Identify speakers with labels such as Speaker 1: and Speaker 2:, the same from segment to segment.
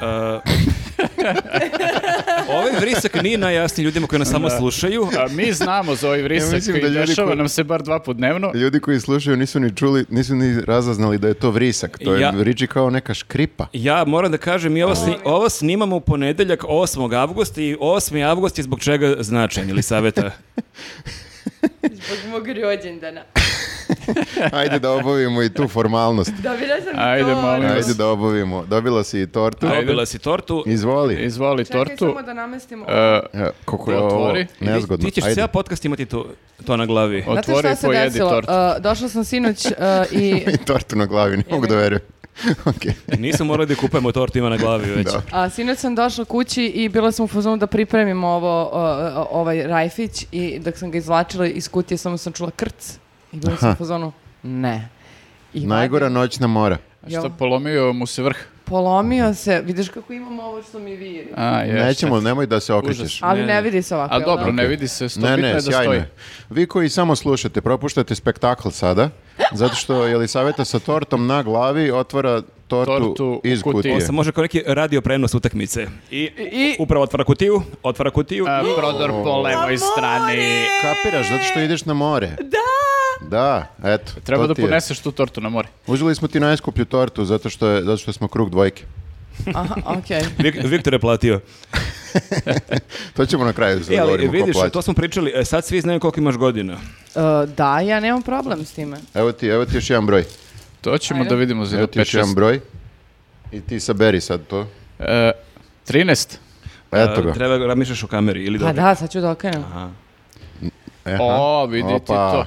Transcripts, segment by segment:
Speaker 1: Uh, ovaj Vrisak nije najjasniji ljudima koji nas samo slušaju.
Speaker 2: A mi znamo za ovaj
Speaker 3: Ja
Speaker 2: vrisak
Speaker 3: mislim
Speaker 2: koji
Speaker 3: da ljudi
Speaker 2: dešava
Speaker 3: koji-
Speaker 2: nam se bar dva put dnevno.
Speaker 3: Ljudi koji slušaju nisu ni čuli, nisu ni razaznali da je to vrisak. To je
Speaker 1: Ja-
Speaker 3: riči kao neka škripa.
Speaker 1: Ja moram da kažem, mi ovo, sni- ovo snimamo u ponedeljak 8. avgusta i 8. avgust je zbog čega značajan ili saveta.
Speaker 4: Zbog mog rođendana.
Speaker 3: Ajde da obavimo i tu formalnost.
Speaker 4: Dobila sam
Speaker 2: Ajde,
Speaker 4: tortu.
Speaker 2: molim vas.
Speaker 3: Ajde da obavimo. Dobila si i tortu.
Speaker 2: Ajde.
Speaker 1: Dobila si tortu.
Speaker 3: Izvoli.
Speaker 2: Izvoli
Speaker 4: Čekaj
Speaker 2: tortu.
Speaker 4: samo da namestim ovo.
Speaker 2: E,
Speaker 3: Ja, Koliko je ovo
Speaker 2: Otvori.
Speaker 3: nezgodno.
Speaker 1: Ti ćeš
Speaker 3: Ajde.
Speaker 1: cijel podcast imati to, to na glavi.
Speaker 4: Znate
Speaker 2: otvori
Speaker 4: šta
Speaker 2: i
Speaker 4: se
Speaker 2: pojedi
Speaker 4: desilo?
Speaker 2: tortu.
Speaker 4: Uh, došla sam sinoć uh, i
Speaker 3: I tortu na glavi, ne mogu da verujem. Okej.
Speaker 1: Nisam morali da kupujemo tortu, ima na glavi već.
Speaker 3: Da.
Speaker 4: A sinoć sam došla kući i bila sam u fazonu da pripremim ovo, o, o, ovaj rajfić i dok sam ga izvlačila iz kutije samo sam čula krc i bila sam u fazonu ne. I
Speaker 3: Najgora
Speaker 4: vadim-
Speaker 3: noćna mora.
Speaker 2: A
Speaker 4: jel?
Speaker 2: E, Šta polomio mu se vrh?
Speaker 4: Polomio se, vidiš kako imam ovo što mi viri.
Speaker 2: A, je,
Speaker 3: Nećemo,
Speaker 2: šta-
Speaker 3: nemoj da se okrećeš.
Speaker 2: Užas.
Speaker 4: Ali
Speaker 1: ne,
Speaker 4: ne,
Speaker 1: ne.
Speaker 4: vidi se ovako.
Speaker 2: A
Speaker 4: jel da?
Speaker 2: dobro, ne vidi se, sto
Speaker 3: Ne,
Speaker 2: bitno je
Speaker 3: ne,
Speaker 2: da stoji.
Speaker 3: sjajno. je. Vi koji samo slušate, propuštate spektakl sada, zato što Jelisaveta sa tortom na glavi otvara tortu,
Speaker 2: Tortu u
Speaker 3: iz
Speaker 2: kutiji.
Speaker 3: kutije.
Speaker 1: Sam može kao neki radio prenos utakmice. I,
Speaker 4: I-
Speaker 1: upravo otvara kutiju, otvara kutiju.
Speaker 2: A, prodor po levoj strani.
Speaker 3: Kapiraš, zato što ideš na more. Da! Da, eto.
Speaker 2: E, Treba
Speaker 3: to
Speaker 2: da
Speaker 3: ti je.
Speaker 2: poneseš tu tortu na more.
Speaker 3: Uzeli smo ti najskuplju tortu zato što, je, zato što smo krug dvojke.
Speaker 4: Aha, okej.
Speaker 1: Vik- Viktor je platio.
Speaker 3: To ćemo na kraju
Speaker 1: E, ali
Speaker 3: zagovorimo ko
Speaker 1: vidiš,
Speaker 3: plaća.
Speaker 1: to smo pričali, e, sad svi znaju koliko imaš godina.
Speaker 4: E, da, ja nemam problem s time.
Speaker 3: Evo ti, evo ti još jedan broj.
Speaker 2: To ćemo
Speaker 4: Ajde.
Speaker 2: da vidimo za
Speaker 3: Evo
Speaker 2: jedno
Speaker 3: ti još jedan
Speaker 2: 5-6.
Speaker 3: broj. I ti saberi sad to.
Speaker 2: E, 13.
Speaker 3: Pa Eto ga.
Speaker 1: E, Treba da razmišljaš o kameri ili
Speaker 4: Pa
Speaker 1: dok-
Speaker 4: da, sad ću da okrenem.
Speaker 1: Aha.
Speaker 3: Aha.
Speaker 2: O, vidi ti
Speaker 3: Opa.
Speaker 2: to. Pa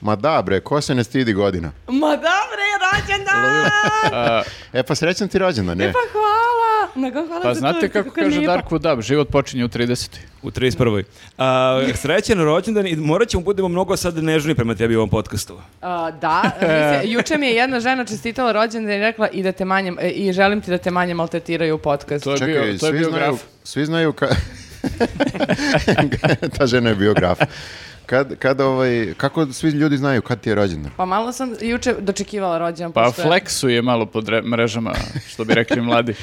Speaker 3: Ma da bre, ko se ne stidi godina?
Speaker 4: Ma dobre, rođendan!
Speaker 3: E pa srećan ti rođendan,
Speaker 2: E,
Speaker 3: ne?
Speaker 4: Pa hvala! Nego hvala
Speaker 2: Pa
Speaker 4: za
Speaker 2: znate
Speaker 4: tortu,
Speaker 2: kako kaže
Speaker 4: lijepo.
Speaker 2: Darko Dab, život počinje u 30.
Speaker 1: U 31. A, srećan rođendan i morat ćemo budemo mnogo sad nežni prema tebi u ovom podcastu.
Speaker 4: pa- A, da, mislim, juče mi je jedna žena čestitala rođendan i rekla i da te manje, e, i želim ti da te manje maltretiraju u podcastu.
Speaker 2: To je
Speaker 3: Čekaj,
Speaker 2: bio, to je
Speaker 3: svi,
Speaker 2: bio
Speaker 3: znaju,
Speaker 2: graf.
Speaker 3: svi znaju ka... Ta žena je biograf. Kad, kad ovaj, kako svi ljudi znaju kad ti je rođendan?
Speaker 4: Pa malo sam juče dočekivala rođendan.
Speaker 2: Pa
Speaker 4: pošto je-
Speaker 2: fleksuje malo pod re- mrežama, što bi rekli mladi.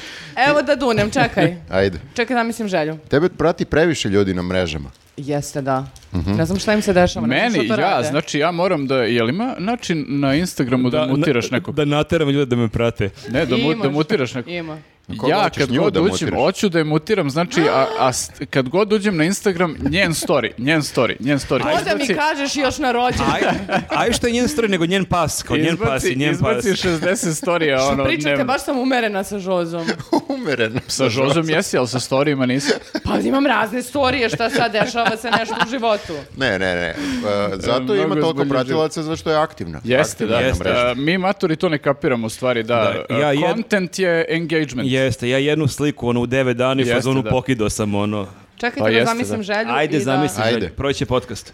Speaker 4: Evo da dunem, čekaj.
Speaker 3: Ajde.
Speaker 4: Čekaj da mislim želju.
Speaker 3: Tebe prati previše ljudi na mrežama.
Speaker 4: Jeste, da. Ne znam šta im se dešava. ne znam
Speaker 2: Mhm. Meni,
Speaker 4: što to
Speaker 2: ja,
Speaker 4: rade.
Speaker 2: znači ja moram da, jel ima način na Instagramu da, mutiraš
Speaker 1: na-
Speaker 2: nekog?
Speaker 1: Da nateram ljude da me prate.
Speaker 2: Ne, e, da, mu,
Speaker 4: Imaš.
Speaker 2: da mutiraš nekog.
Speaker 4: Ima.
Speaker 3: Koga
Speaker 2: ja
Speaker 3: hoćeš,
Speaker 2: kad
Speaker 3: nju
Speaker 2: god
Speaker 3: da
Speaker 2: uđem,
Speaker 3: mutiraš?
Speaker 2: hoću da je mutiram, znači, a, a st- kad god uđem na Instagram, njen story, njen story, njen story.
Speaker 4: To da mi kažeš još na rođendan.
Speaker 1: Aj, aj što je njen story, nego njen pas, kao njen pas i njen pas.
Speaker 2: izbaci 60 storija, ono,
Speaker 4: Pričate,
Speaker 2: dnevno.
Speaker 4: baš sam umerena sa Žozom.
Speaker 3: Umereno.
Speaker 2: Sa Žozom jesi, ali sa storijima nisi.
Speaker 4: Pa imam razne storije šta sad dešava se nešto u životu.
Speaker 3: Ne, ne, ne. E, zato
Speaker 2: E,
Speaker 3: ima
Speaker 2: mnogo
Speaker 3: toliko
Speaker 2: zbog
Speaker 3: pratilaca zato što je aktivna.
Speaker 2: Jeste,
Speaker 3: Aktivna
Speaker 2: da.
Speaker 3: na
Speaker 1: Jeste.
Speaker 3: mreži.
Speaker 2: A, mi maturi to ne kapiramo u stvari, da.
Speaker 1: Da, ja
Speaker 2: A,
Speaker 1: jed-
Speaker 2: Content je engagement.
Speaker 1: Jeste, ja jednu sliku, ono, u devet dani,
Speaker 2: Jeste,
Speaker 1: fazonu
Speaker 2: da.
Speaker 1: pokido sam, ono.
Speaker 4: Čekajte
Speaker 2: Pa
Speaker 4: da
Speaker 2: jeste,
Speaker 4: zamislim
Speaker 2: da.
Speaker 4: želju i
Speaker 1: Ajde,
Speaker 4: da-
Speaker 1: zamisli,
Speaker 3: Ajde.
Speaker 1: Ajde. proće podcast.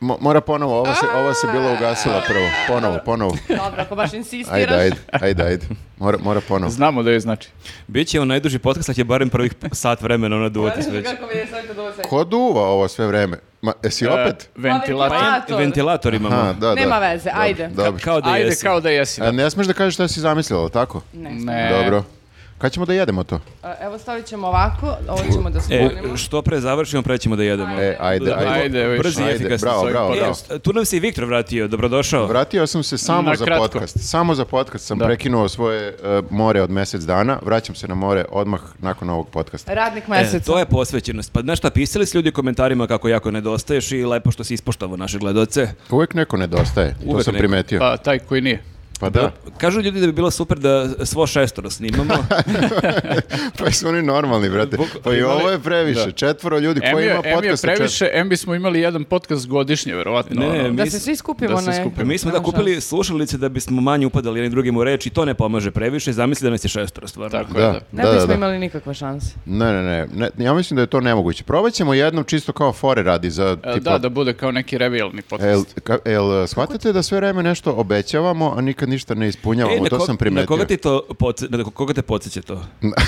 Speaker 3: Mo- mora ponovo, ova se, ova se bila ugasila prvo. Ponovo, ponovo.
Speaker 4: Dobro, ako baš insistiraš.
Speaker 3: Ajde, ajde, ajde, ajde. Mora, mora ponovo.
Speaker 2: Znamo da je znači.
Speaker 1: Biće on najduži podcast, ali će barem prvih sat vremena, ono, duvati
Speaker 4: Znaš
Speaker 1: sveće.
Speaker 4: kako mi je sad kad ovo sve-
Speaker 3: Ko duva ovo sve vreme? Ma,
Speaker 2: E,
Speaker 3: jesi opet?
Speaker 2: A, ventilator.
Speaker 4: Pa,
Speaker 1: Ventilator. Ventilator imamo.
Speaker 3: Aha, da, da.
Speaker 4: Nema veze,
Speaker 3: Dobro,
Speaker 4: ajde.
Speaker 3: Dobro.
Speaker 1: Kao da
Speaker 2: Ajde,
Speaker 1: jesi.
Speaker 2: kao da jesi.
Speaker 3: A
Speaker 2: Da.
Speaker 3: ne smeš da kažeš šta si zamislila, jel tako?
Speaker 2: E, Ne.
Speaker 3: Dobro. Kad ćemo da jedemo to?
Speaker 4: A, Evo stavit ćemo ovako, ovo ćemo da
Speaker 1: E,
Speaker 4: sklonimo.
Speaker 1: što pre završimo, prećemo da jedemo.
Speaker 3: E, ajde,
Speaker 1: Da,
Speaker 3: ajde.
Speaker 2: ajde, više.
Speaker 1: Brzi i
Speaker 3: Ajde,
Speaker 1: efikasni.
Speaker 3: bravo,
Speaker 2: s ovim
Speaker 3: bravo, bravo.
Speaker 2: podcastom.
Speaker 1: E, tu nam se i Viktor vratio, dobrodošao.
Speaker 3: Vratio sam se samo
Speaker 2: Na
Speaker 3: za
Speaker 2: kratko.
Speaker 3: podcast. Samo za podcast sam
Speaker 2: Da.
Speaker 3: prekinuo svoje e, more od mjesec dana. Vraćam se na more odmah nakon ovog podcasta.
Speaker 4: Radnik
Speaker 1: E,
Speaker 4: meseca.
Speaker 1: to je posvećenost. Pa znaš šta, pisali su ljudi u komentarima kako jako nedostaješ i lepo što si ispoštovao naše gledoce.
Speaker 3: Uvijek neko nedostaje, to
Speaker 1: Uvek
Speaker 3: sam
Speaker 1: neko.
Speaker 3: primetio. Pa,
Speaker 2: Pa taj koji nije.
Speaker 3: da,
Speaker 1: Kažu ljudi da bi bilo super da svo šestoro snimamo.
Speaker 3: pa su oni normalni, brate. Pa i ovo je previše, četvoro ljudi,
Speaker 2: Em
Speaker 3: koji
Speaker 2: je,
Speaker 3: ima
Speaker 2: em je
Speaker 3: podcast
Speaker 2: previše, em bismo imali jedan podcast godišnje, verovatno.
Speaker 1: Ne, ne,
Speaker 2: ono.
Speaker 1: mi-
Speaker 4: Da se svi skupimo
Speaker 2: Da se
Speaker 4: na...
Speaker 2: skupimo.
Speaker 1: Mi smo da
Speaker 4: Nema
Speaker 1: kupili slušalice da bismo manje upadali jednim drugim u reč i to ne pomaže previše. Zamisli da nas je šestoro stvarno.
Speaker 2: Tako je,
Speaker 3: Da,
Speaker 2: da.
Speaker 4: Ne
Speaker 3: da, da,
Speaker 4: bismo
Speaker 3: da.
Speaker 4: imali nikakve šanse.
Speaker 3: Ne, ne, ne, ne, ja mislim da je to nemoguće. Probat ćemo jednom čisto kao fore radi za
Speaker 2: E,
Speaker 3: tipa...
Speaker 2: Da, da bude kao neki revijalni
Speaker 3: Jel, e,
Speaker 2: podcast.
Speaker 3: ka- jel, shvatate da sve vreme nešto obećavamo, a nikad nikad ništa ne ispunjavamo,
Speaker 1: E, na
Speaker 3: to
Speaker 1: ko-
Speaker 3: sam primetio.
Speaker 1: Na koga ti to, podse- na koga te podsjeća to?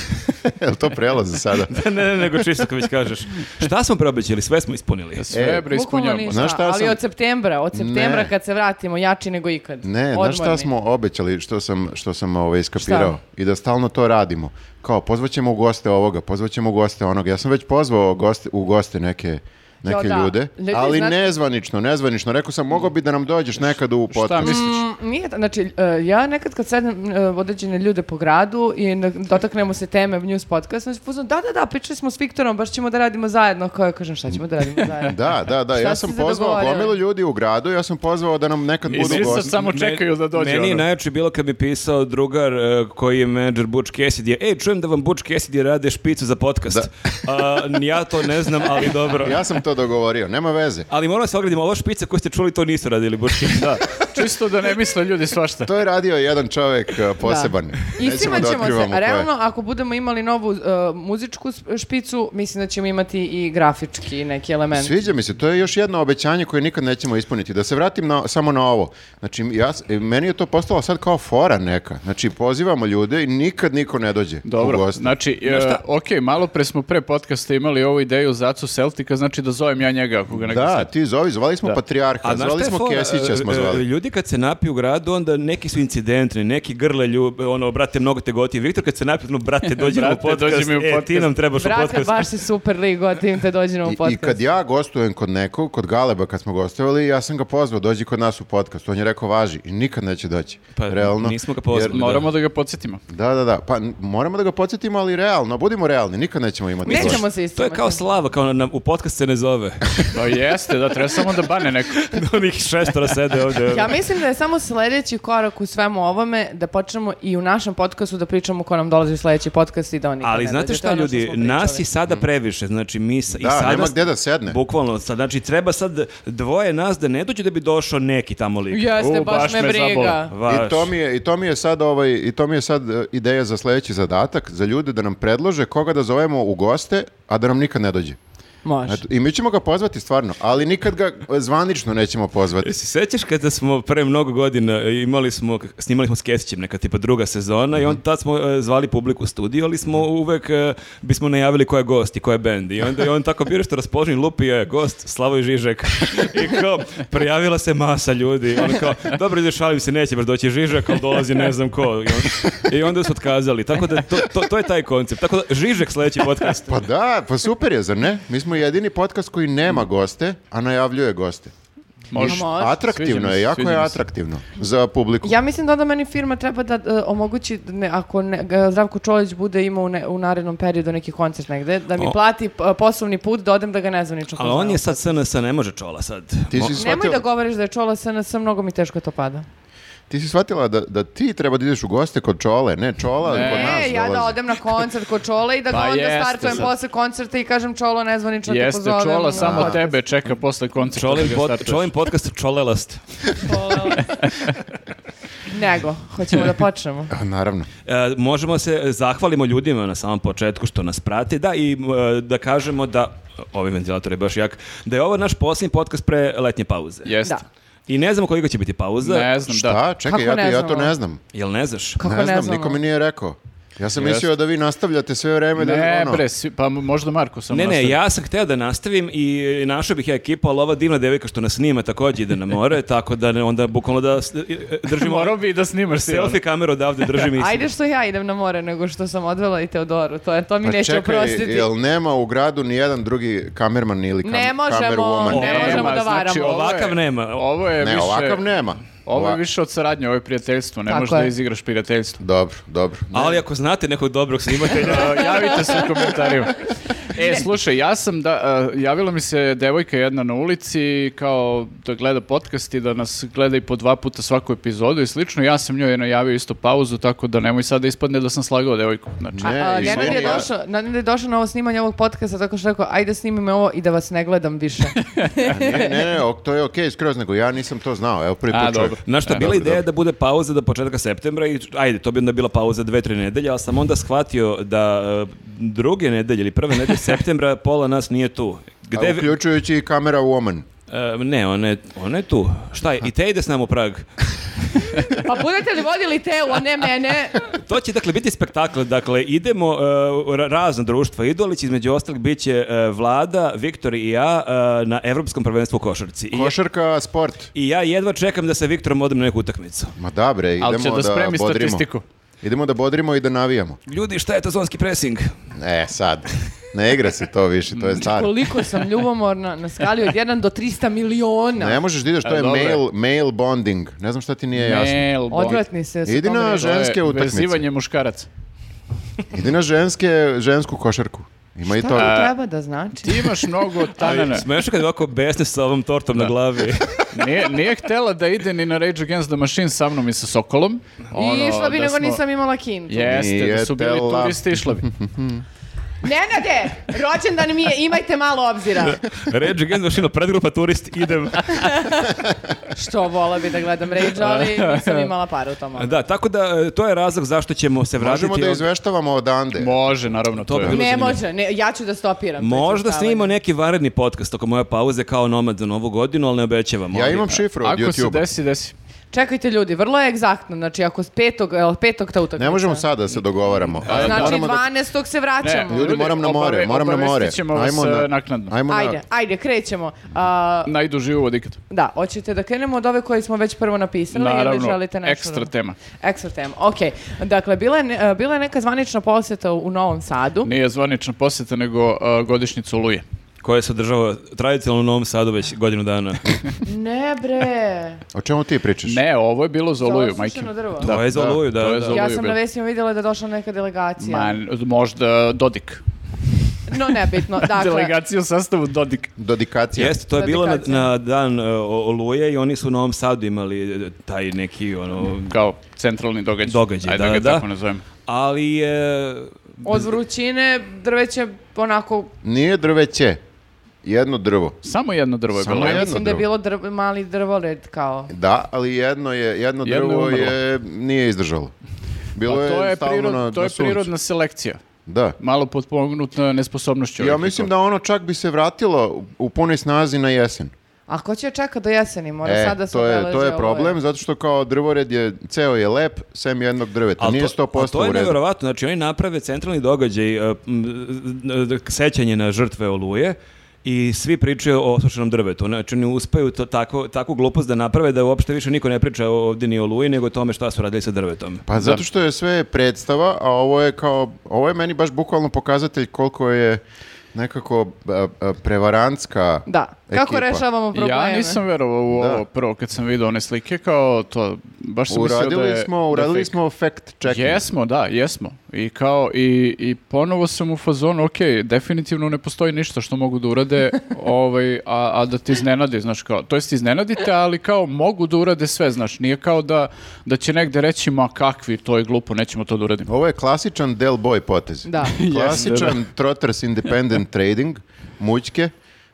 Speaker 3: Jel to prelaze sada?
Speaker 1: ne, ne, nego čisto kad već kažeš. Šta smo preobećali, sve smo ispunili.
Speaker 2: Sve
Speaker 3: E,
Speaker 2: bre
Speaker 4: Bukvalno
Speaker 2: ispunjavamo.
Speaker 4: ništa,
Speaker 3: Znaš šta
Speaker 4: ali
Speaker 3: sam-
Speaker 4: od septembra, od septembra
Speaker 3: Ne.
Speaker 4: kad se vratimo, jači nego ikad.
Speaker 3: Ne, znaš šta
Speaker 4: Odmorni.
Speaker 3: smo obećali, što sam, što sam ovaj, iskapirao? I da stalno to radimo. Kao, pozvaćemo u goste ovoga, pozvaćemo u goste onoga. Ja sam već pozvao goste, u goste neke, neke
Speaker 4: da.
Speaker 3: ljude,
Speaker 4: Ljudi,
Speaker 3: ali
Speaker 4: znate-
Speaker 3: nezvanično, nezvanično. Rekao sam, mogao bi da nam dođeš nekad u
Speaker 2: Šta
Speaker 3: podcast.
Speaker 2: misliš?
Speaker 4: Mm, Nije, ta- znači, e, ja nekad kad sedem e, određene ljude po gradu i na- dotaknemo se teme news podcast, znači, fuzon, da, da, da, pričali smo s Viktorom, baš ćemo da radimo zajedno. Kao ja kažem, šta ćemo da radimo zajedno?
Speaker 3: Da, da, da.
Speaker 4: Šta
Speaker 3: Ja
Speaker 4: ste
Speaker 3: sam
Speaker 4: se
Speaker 3: pozvao
Speaker 4: dogovorili?
Speaker 3: gomilu ljudi u gradu, ja sam pozvao da nam nekad
Speaker 2: I
Speaker 3: budu
Speaker 2: svi sad
Speaker 3: gosti.
Speaker 2: samo čekaju da dođe.
Speaker 1: Meni je
Speaker 2: ono.
Speaker 1: najjače bilo kad mi pisao drugar e, koji je menadžer Butch Cassidy. Ej, čujem da vam Butch Cassidy rade špicu za podcast. A, n- ja to ne znam, ali dobro.
Speaker 3: Ja sam to dogovorio, nema veze.
Speaker 1: Ali moram da se ogradimo, ova špica koju ste čuli, to nisu radili Butch Cassidy. Da.
Speaker 2: Čisto da ne misle ljudi svašta.
Speaker 3: To je radio jedan čovek uh, poseban.
Speaker 4: I
Speaker 3: Nećemo
Speaker 4: svima
Speaker 3: da
Speaker 4: ćemo se,
Speaker 3: otkrivamo ko je.
Speaker 4: realno, ako budemo imali novu e, muzičku sp- špicu, mislim da ćemo imati i grafički neki element.
Speaker 3: Sviđa mi se, to je još jedno obećanje koje nikad nećemo ispuniti. Da se vratim na, samo na ovo. Znači, ja, s- e, meni je to postalo sad kao fora neka. Znači, pozivamo ljude i nikad niko ne dođe u
Speaker 2: Dobro,
Speaker 3: goste.
Speaker 2: znači, e, ok, malo pre smo pre podcasta imali ovu ideju Zacu Celtika, znači da zovem ja njega ako ga neko
Speaker 3: Da,
Speaker 2: seti.
Speaker 3: ti zovi, zvali smo
Speaker 2: Da.
Speaker 3: Patrijarha,
Speaker 1: A znaš
Speaker 3: zvali
Speaker 1: šta je
Speaker 3: smo
Speaker 1: fora?
Speaker 3: Kesića, smo
Speaker 1: E, e,
Speaker 3: zvali.
Speaker 1: Ljudi kad se napiju u gradu, onda neki su incidentni, neki grle ljub, ono, brate, mnogo te goti. Viktor kad se napiju, no, brate, dođi mi u
Speaker 2: Brate,
Speaker 1: podcast,
Speaker 2: dođi mi u
Speaker 1: e, ti
Speaker 2: podcast.
Speaker 1: nam trebaš u
Speaker 4: Brate,
Speaker 1: podcast.
Speaker 4: baš si super ligo, a tim te dođe nam u
Speaker 3: I,
Speaker 4: podcast.
Speaker 3: I kad ja gostujem kod nekog, kod Galeba kad smo gostovali, ja sam ga pozvao, dođi kod nas u podcast. On je rekao, važi, i nikad neće doći.
Speaker 1: Pa,
Speaker 3: realno.
Speaker 1: nismo ga pozvali, da.
Speaker 2: Moramo da ga podsjetimo.
Speaker 3: Da, da, da. Pa n- moramo da ga podsjetimo, ali realno, budimo realni, nikad nećemo imati
Speaker 4: Nećemo
Speaker 3: goste.
Speaker 4: se
Speaker 1: To je
Speaker 4: istimati.
Speaker 1: kao slava, kao na, u podcast se ne zove.
Speaker 2: Pa jeste, da treba samo da bane neko.
Speaker 1: Onih šestora sede ovdje. ono.
Speaker 4: Ja mislim da je samo sljedeći korak u svemu ovome da počnemo i u našem podcastu da pričamo ko nam dolazi u sljedeći podcast i da on nikad
Speaker 1: Ali
Speaker 4: ne
Speaker 1: znate
Speaker 4: dođe. To
Speaker 1: šta
Speaker 4: je ono
Speaker 1: ljudi,
Speaker 4: što smo
Speaker 1: nas
Speaker 4: pričali.
Speaker 1: je sada previše, znači mi sa, i
Speaker 3: Mm. Da,
Speaker 1: sada...
Speaker 3: nema gde da sedne.
Speaker 1: Bukvalno, sad, znači treba sad dvoje nas da ne dođe da bi došao neki tamo lik.
Speaker 4: Jeste,
Speaker 2: U,
Speaker 4: baš,
Speaker 2: baš
Speaker 4: me
Speaker 2: me
Speaker 4: briga.
Speaker 2: zabole.
Speaker 1: Vaš.
Speaker 3: I to mi je i to mi je sad ovaj i to mi je sad e, ideja za sljedeći zadatak za ljude da nam predlože koga da zovemo u goste, a da nam nikad ne dođe.
Speaker 4: Može.
Speaker 3: Eto, I mi ćemo ga pozvati stvarno, ali nikad ga e, zvanično nećemo pozvati.
Speaker 1: E, Se sećaš kada smo pre mnogo godina e, imali smo, snimali smo s Kesićem neka tipa druga sezona i
Speaker 3: Mhm.
Speaker 1: on tad smo e, zvali publiku u studio, ali smo uvek e, bismo najavili ko je gost i ko je bend i onda je on tako bio što raspoložen lupi je gost Slavoj Žižek i kao prijavila se masa ljudi on kao dobro ide šalim se neće baš doći Žižek ali dolazi ne znam ko i, on- i onda su otkazali tako da to, to, to je taj koncept tako da Žižek sledeći podcast
Speaker 3: Pa da, pa super je, zar ne? Mi smo jedini podcast koji nema goste, a najavljuje goste.
Speaker 2: Može.
Speaker 4: Ma, može.
Speaker 3: Atraktivno
Speaker 2: Sviđa mi se,
Speaker 3: je, jako
Speaker 2: sviđa
Speaker 3: je
Speaker 2: mi se.
Speaker 3: atraktivno za publiku.
Speaker 4: Ja mislim da onda meni firma treba da e, omogući, da ne, ako ne, ga Zdravko Čolić bude imao u, ne- u narednom periodu neki koncert negde, da mi
Speaker 1: O.
Speaker 4: plati p- poslovni put da odem da ga nezvanično
Speaker 1: ali on je sad SNS ne može čola sad
Speaker 3: Ti si
Speaker 4: Nemoj
Speaker 3: shvatila,
Speaker 4: da govoriš da je Čola SNS, mnogo mi teško to pada.
Speaker 3: ti si shvatila da, da ti treba da ideš u goste kod Čole, ne Čola,
Speaker 2: Ne.
Speaker 3: kod Pa nas
Speaker 4: E, ja da
Speaker 3: dolazi.
Speaker 4: odem na koncert kod Čola i da ga
Speaker 2: Pa
Speaker 4: onda
Speaker 2: jeste
Speaker 4: startujem
Speaker 2: sad.
Speaker 4: posle koncerta i kažem Čolo nezvanično te
Speaker 2: Jeste,
Speaker 4: pozovem.
Speaker 2: Čola samo
Speaker 4: Da.
Speaker 2: tebe čeka posle koncerta.
Speaker 1: Čolin,
Speaker 2: da ga
Speaker 1: pod,
Speaker 2: startuješ.
Speaker 1: čolin podcast Čolelast.
Speaker 4: Nego, hoćemo da počnemo.
Speaker 3: A, Naravno.
Speaker 1: E, možemo da se zahvalimo ljudima na samom početku što nas prati, da i e, da kažemo da ovaj ventilator je baš jak, da je ovo naš posljednji podcast pre letnje pauze.
Speaker 2: Jeste.
Speaker 4: Da.
Speaker 1: I ne znamo koliko će biti pauza,
Speaker 2: Ne znam, da.
Speaker 3: Šta? Čekaj,
Speaker 4: Kako
Speaker 3: ja,
Speaker 4: ne ono?
Speaker 3: ti- ja to
Speaker 4: znamo?
Speaker 3: ne znam.
Speaker 1: jel ne znaš?
Speaker 4: Kako
Speaker 3: ne,
Speaker 4: ne,
Speaker 3: znam,
Speaker 4: znamo?
Speaker 3: niko mi nije rekao. Ja sam
Speaker 2: Jeste.
Speaker 3: mislio da vi nastavljate sve vreme. da,
Speaker 2: Ne,
Speaker 3: ono,
Speaker 2: bre, svi- pa možda Marko samo
Speaker 1: Ne, ne,
Speaker 2: nastavi.
Speaker 1: ja sam hteo da nastavim i e, našao bih ja ekipu, ali ova divna devika što nas snima također ide na more, tako da ne- onda bukvalno da s- e, držimo
Speaker 2: Morao bi da snimaš sve. ono.
Speaker 1: selfie kameru odavde, držim i
Speaker 4: Ajde što ja idem na more nego što sam odvela i Teodoru, to, je, to mi
Speaker 3: Pa
Speaker 4: neće
Speaker 3: čekaj,
Speaker 4: oprostiti.
Speaker 3: jel nema u gradu ni jedan drugi kamerman ili kam,
Speaker 4: Ne možemo,
Speaker 3: kamerwoman?
Speaker 4: ne
Speaker 2: Nema,
Speaker 4: možemo da varamo.
Speaker 2: znači, ovo je-
Speaker 1: Ovakav nema.
Speaker 2: Ovo je
Speaker 3: Ne,
Speaker 2: više...
Speaker 3: ovakav nema.
Speaker 2: Ovo je
Speaker 3: Ova-
Speaker 2: više od saradnje, ovo je prijateljstvo, ne
Speaker 4: Tako
Speaker 2: možeš da
Speaker 4: je.
Speaker 2: izigraš prijateljstvo.
Speaker 3: Dobro, dobro. Ne.
Speaker 1: Ali ako znate nekog dobrog snimatelja,
Speaker 2: Uh, javite se u komentarima. E, slušaj, ja sam da, uh, javila mi se devojka jedna na ulici kao da gleda podcast i da nas gleda i po dva puta svaku epizodu i slično. Ja sam njoj najavio isto pauzu, tako da nemoj sad da ispadne da sam slagao devojku. Znači,
Speaker 4: A,
Speaker 3: Ne,
Speaker 4: a,
Speaker 3: izvini,
Speaker 4: Nenad je,
Speaker 3: ja-
Speaker 4: došao, Nenad je došao na ovo snimanje ovog podcasta tako što je rekao, ajde snimi me ovo i da vas ne gledam više.
Speaker 3: Ne, ne, ne, ok, to je okej skroz, nego ja nisam to znao. Evo, prvi
Speaker 2: A,
Speaker 3: put čujem.
Speaker 2: dobro.
Speaker 1: Znaš šta, bila ideja da bude pauza do početka septembra i ajde, to bi onda bila pauza dve, tri nedelje, ali sam onda shvatio da e, druge nedelje ili prve nedelje septembra pola nas nije tu. Gde
Speaker 3: A
Speaker 1: vi-
Speaker 3: uključujući i kamera woman.
Speaker 1: E, ne, ona je, ona je tu. Šta je, i te ide s nama u Prag.
Speaker 4: Pa budete li vodili teo, a ne mene?
Speaker 1: To će dakle biti spektakl, dakle idemo e, ra- razna društva idolić, između ostalog bit će e, vlada, Viktor i ja e, na Evropskom prvenstvu u košarci. I,
Speaker 3: Košarka, sport.
Speaker 1: I ja jedva čekam da sa Viktorom odem na neku utakmicu.
Speaker 3: Ma da bre, idemo
Speaker 2: Ali će da spremi
Speaker 3: bodrimo.
Speaker 2: statistiku.
Speaker 3: Idemo da bodrimo i da navijamo.
Speaker 1: Ljudi, šta je to zonski pressing?
Speaker 3: E, sad. Ne igra se to više, to je staro.
Speaker 4: Koliko sam ljubomorna na skali od 1 do 300 miliona.
Speaker 3: Ne možeš da ideš, to
Speaker 2: E,
Speaker 3: je
Speaker 2: dobro je.
Speaker 3: male, male bonding. Ne znam šta ti nije jasno.
Speaker 2: Mail boy.
Speaker 4: Odvratni se. sa
Speaker 3: Idi
Speaker 4: tom
Speaker 3: na
Speaker 4: rečju.
Speaker 2: To je
Speaker 3: Ženske utakmice.
Speaker 2: Vezivanje muškaraca.
Speaker 3: Idi na ženske, žensku košarku. Ima i
Speaker 4: Šta
Speaker 3: to.
Speaker 4: to treba da znači?
Speaker 2: Ti imaš mnogo tanana.
Speaker 1: Smešno kad je ovako besne sa ovom tortom na glavi.
Speaker 2: Nije, nije htela da ide ni na Rage Against the Machine sa mnom i sa Sokolom.
Speaker 4: I
Speaker 2: Ono,
Speaker 4: išla bi
Speaker 2: da
Speaker 4: nego
Speaker 2: smo-
Speaker 4: nisam imala kintu.
Speaker 2: Jeste, da
Speaker 3: Nije
Speaker 2: su bili tu,
Speaker 3: tela.
Speaker 2: vi ste išli bi.
Speaker 4: Nenade, rođendan mi je, imajte malo obzira.
Speaker 1: Rage Against the Machine, predgrupa turist, idem.
Speaker 4: Što vola bi da gledam Rage, ali nisam imala para u tom momentu.
Speaker 1: Da, tako da e, to je razlog zašto ćemo se vratiti.
Speaker 3: Možemo da
Speaker 1: ovdje.
Speaker 3: izveštavamo odande.
Speaker 2: Može, naravno, to,
Speaker 1: bi
Speaker 2: je.
Speaker 1: bilo
Speaker 4: Ne
Speaker 1: zanimljivo.
Speaker 4: može, ne, ja ću da stopiram. to
Speaker 1: Možda
Speaker 4: izveštavanje.
Speaker 1: snimimo neki varedni podcast oko moje pauze kao nomad za novu godinu, ali ne obećavam.
Speaker 3: Ja
Speaker 1: Ali-
Speaker 3: imam šifru od
Speaker 2: Ako se
Speaker 3: YouTube-a.
Speaker 2: desi, desi.
Speaker 4: Čekajte ljudi, vrlo je egzaktno, znači ako s petog, jel petog ta utakmica.
Speaker 3: Ne možemo sada da se dogovaramo. ali
Speaker 4: Znači
Speaker 3: moramo da-
Speaker 4: 12. se vraćamo.
Speaker 2: Ne,
Speaker 3: Ljudi, moram na more,
Speaker 2: Obave-
Speaker 3: moram na more.
Speaker 2: obavestit ćemo vas, e, naknadno.
Speaker 3: Ajmo na-
Speaker 4: Ajde, ajde, krećemo. A,
Speaker 2: Najduži uvod ikad.
Speaker 4: da, hoćete da krenemo od ove koje smo već prvo napisali ili
Speaker 2: Naravno,
Speaker 4: želite nešto?
Speaker 2: ekstra
Speaker 4: drugo?
Speaker 2: tema.
Speaker 4: Ekstra tema, okej. Dakle, bila je, ne- bila je neka zvanična posjeta u Novom Sadu.
Speaker 2: Nije zvanična posjeta, nego e, godišnjicu Luje.
Speaker 1: Koje se održava tradicionalno u Novom Sadu već godinu dana.
Speaker 4: Ne bre,
Speaker 3: O čemu ti pričaš?
Speaker 2: Ne, ovo je bilo za
Speaker 4: Za
Speaker 2: Oluju,
Speaker 4: ovo
Speaker 2: majke.
Speaker 4: sušeno drvo.
Speaker 1: To je za Oluju, da,
Speaker 2: to je
Speaker 1: da.
Speaker 2: za Oluju
Speaker 4: ja sam
Speaker 2: bilo.
Speaker 4: na vestima vidjela da je došla neka delegacija.
Speaker 2: Ma, možda Dodik.
Speaker 4: No, nebitno. Dakle,
Speaker 2: Delegaciju u sastavu Dodik.
Speaker 3: Dodikacija.
Speaker 1: Jeste, to je bilo na,
Speaker 4: Dedikacija.
Speaker 1: na dan e, o- Oluje i oni su u Novom Sadu imali e, taj neki ono...
Speaker 2: Kao centralni događaj.
Speaker 1: Događaj,
Speaker 2: Ajde
Speaker 1: da,
Speaker 2: ga
Speaker 1: da.
Speaker 2: tako nazovem.
Speaker 1: Ali je...
Speaker 4: od vrućine drveće onako...
Speaker 3: Nije drveće. Jedno drvo.
Speaker 2: Samo jedno drvo je
Speaker 3: Samo
Speaker 2: bilo.
Speaker 3: jedno.
Speaker 4: Mislim da je
Speaker 3: drvo.
Speaker 4: bilo drv- mali drvored kao.
Speaker 3: Da, ali jedno je jedno
Speaker 2: Jedno je
Speaker 3: drvo
Speaker 2: umrlo.
Speaker 3: je nije izdržalo.
Speaker 2: Pa
Speaker 3: Bilo
Speaker 2: to je,
Speaker 3: stalno
Speaker 2: prirod-
Speaker 3: na,
Speaker 2: to je
Speaker 3: na suncu.
Speaker 2: prirodna selekcija.
Speaker 3: Da.
Speaker 2: Malo potpomognuta nesposobnošću.
Speaker 3: Ja mislim da ono čak bi se vratilo u- u punoj snazi na jesen.
Speaker 4: A ko će čekati do jeseni? Mora
Speaker 3: E,
Speaker 4: sada ovaj. se
Speaker 3: to je, to
Speaker 4: obeleže
Speaker 3: je
Speaker 4: ovo.
Speaker 3: problem, zato što kao drvored je, ceo je lep, sem jednog
Speaker 2: Pa
Speaker 3: drveta.
Speaker 1: Al
Speaker 3: Nije
Speaker 1: to- al
Speaker 3: 100%
Speaker 1: to je
Speaker 3: u redu.
Speaker 1: nevjerovatno, znači oni naprave centralni događaj, e, m, e, e, sećanje na žrtve Oluje, i svi pričaju o osušenom drvetu. Znači, oni uspeju to tako, takvu glupost da naprave da uopšte više niko ne priča ovdje ni o Oluji, nego o tome šta su radili sa drvetom.
Speaker 3: Pa zato što je sve predstava, a ovo je kao, ovo je meni baš bukvalno pokazatelj koliko je nekako a, a, prevarantska
Speaker 4: Da. Kako
Speaker 3: ekipa.
Speaker 4: rešavamo probleme?
Speaker 2: Ja nisam verovao u
Speaker 3: Da.
Speaker 2: ovo prvo kad sam vidio one slike, kao to, baš sam mislio da
Speaker 3: Uradili
Speaker 2: je... da
Speaker 3: smo,
Speaker 2: je
Speaker 3: uradili
Speaker 2: fake.
Speaker 3: smo fact checking.
Speaker 2: Jesmo, da, jesmo. I kao, i, i ponovo sam u fazonu, ok, definitivno ne postoji ništa što mogu da urade, ovaj, a, a da ti iznenadi, znaš, kao, to jest iznenadite, ali kao mogu da urade sve, znaš, nije kao da, da će negde reći, ma kakvi, to je glupo, nećemo to da uradimo.
Speaker 3: Ovo je klasičan Del Boy potez.
Speaker 4: Da.
Speaker 3: Klasičan Trotters Independent Trading, mućke.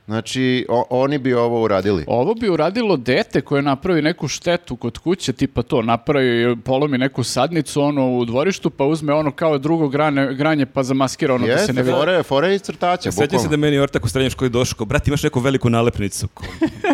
Speaker 3: Znači, o- oni bi ovo uradili.
Speaker 2: Ovo bi uradilo dete koje napravi neku štetu kod kuće, tipa to, napravi, polomi neku sadnicu ono u dvorištu, pa uzme ono kao drugo grane, granje, pa zamaskira ono da se ne
Speaker 3: Jeste,
Speaker 2: vidi.
Speaker 3: fora je, fora je iz
Speaker 2: E,
Speaker 3: crtaća,
Speaker 1: Sjećam E, se da je meni ortak u srednjoj školi došao, kao, brate, imaš neku veliku nalepnicu. Ko,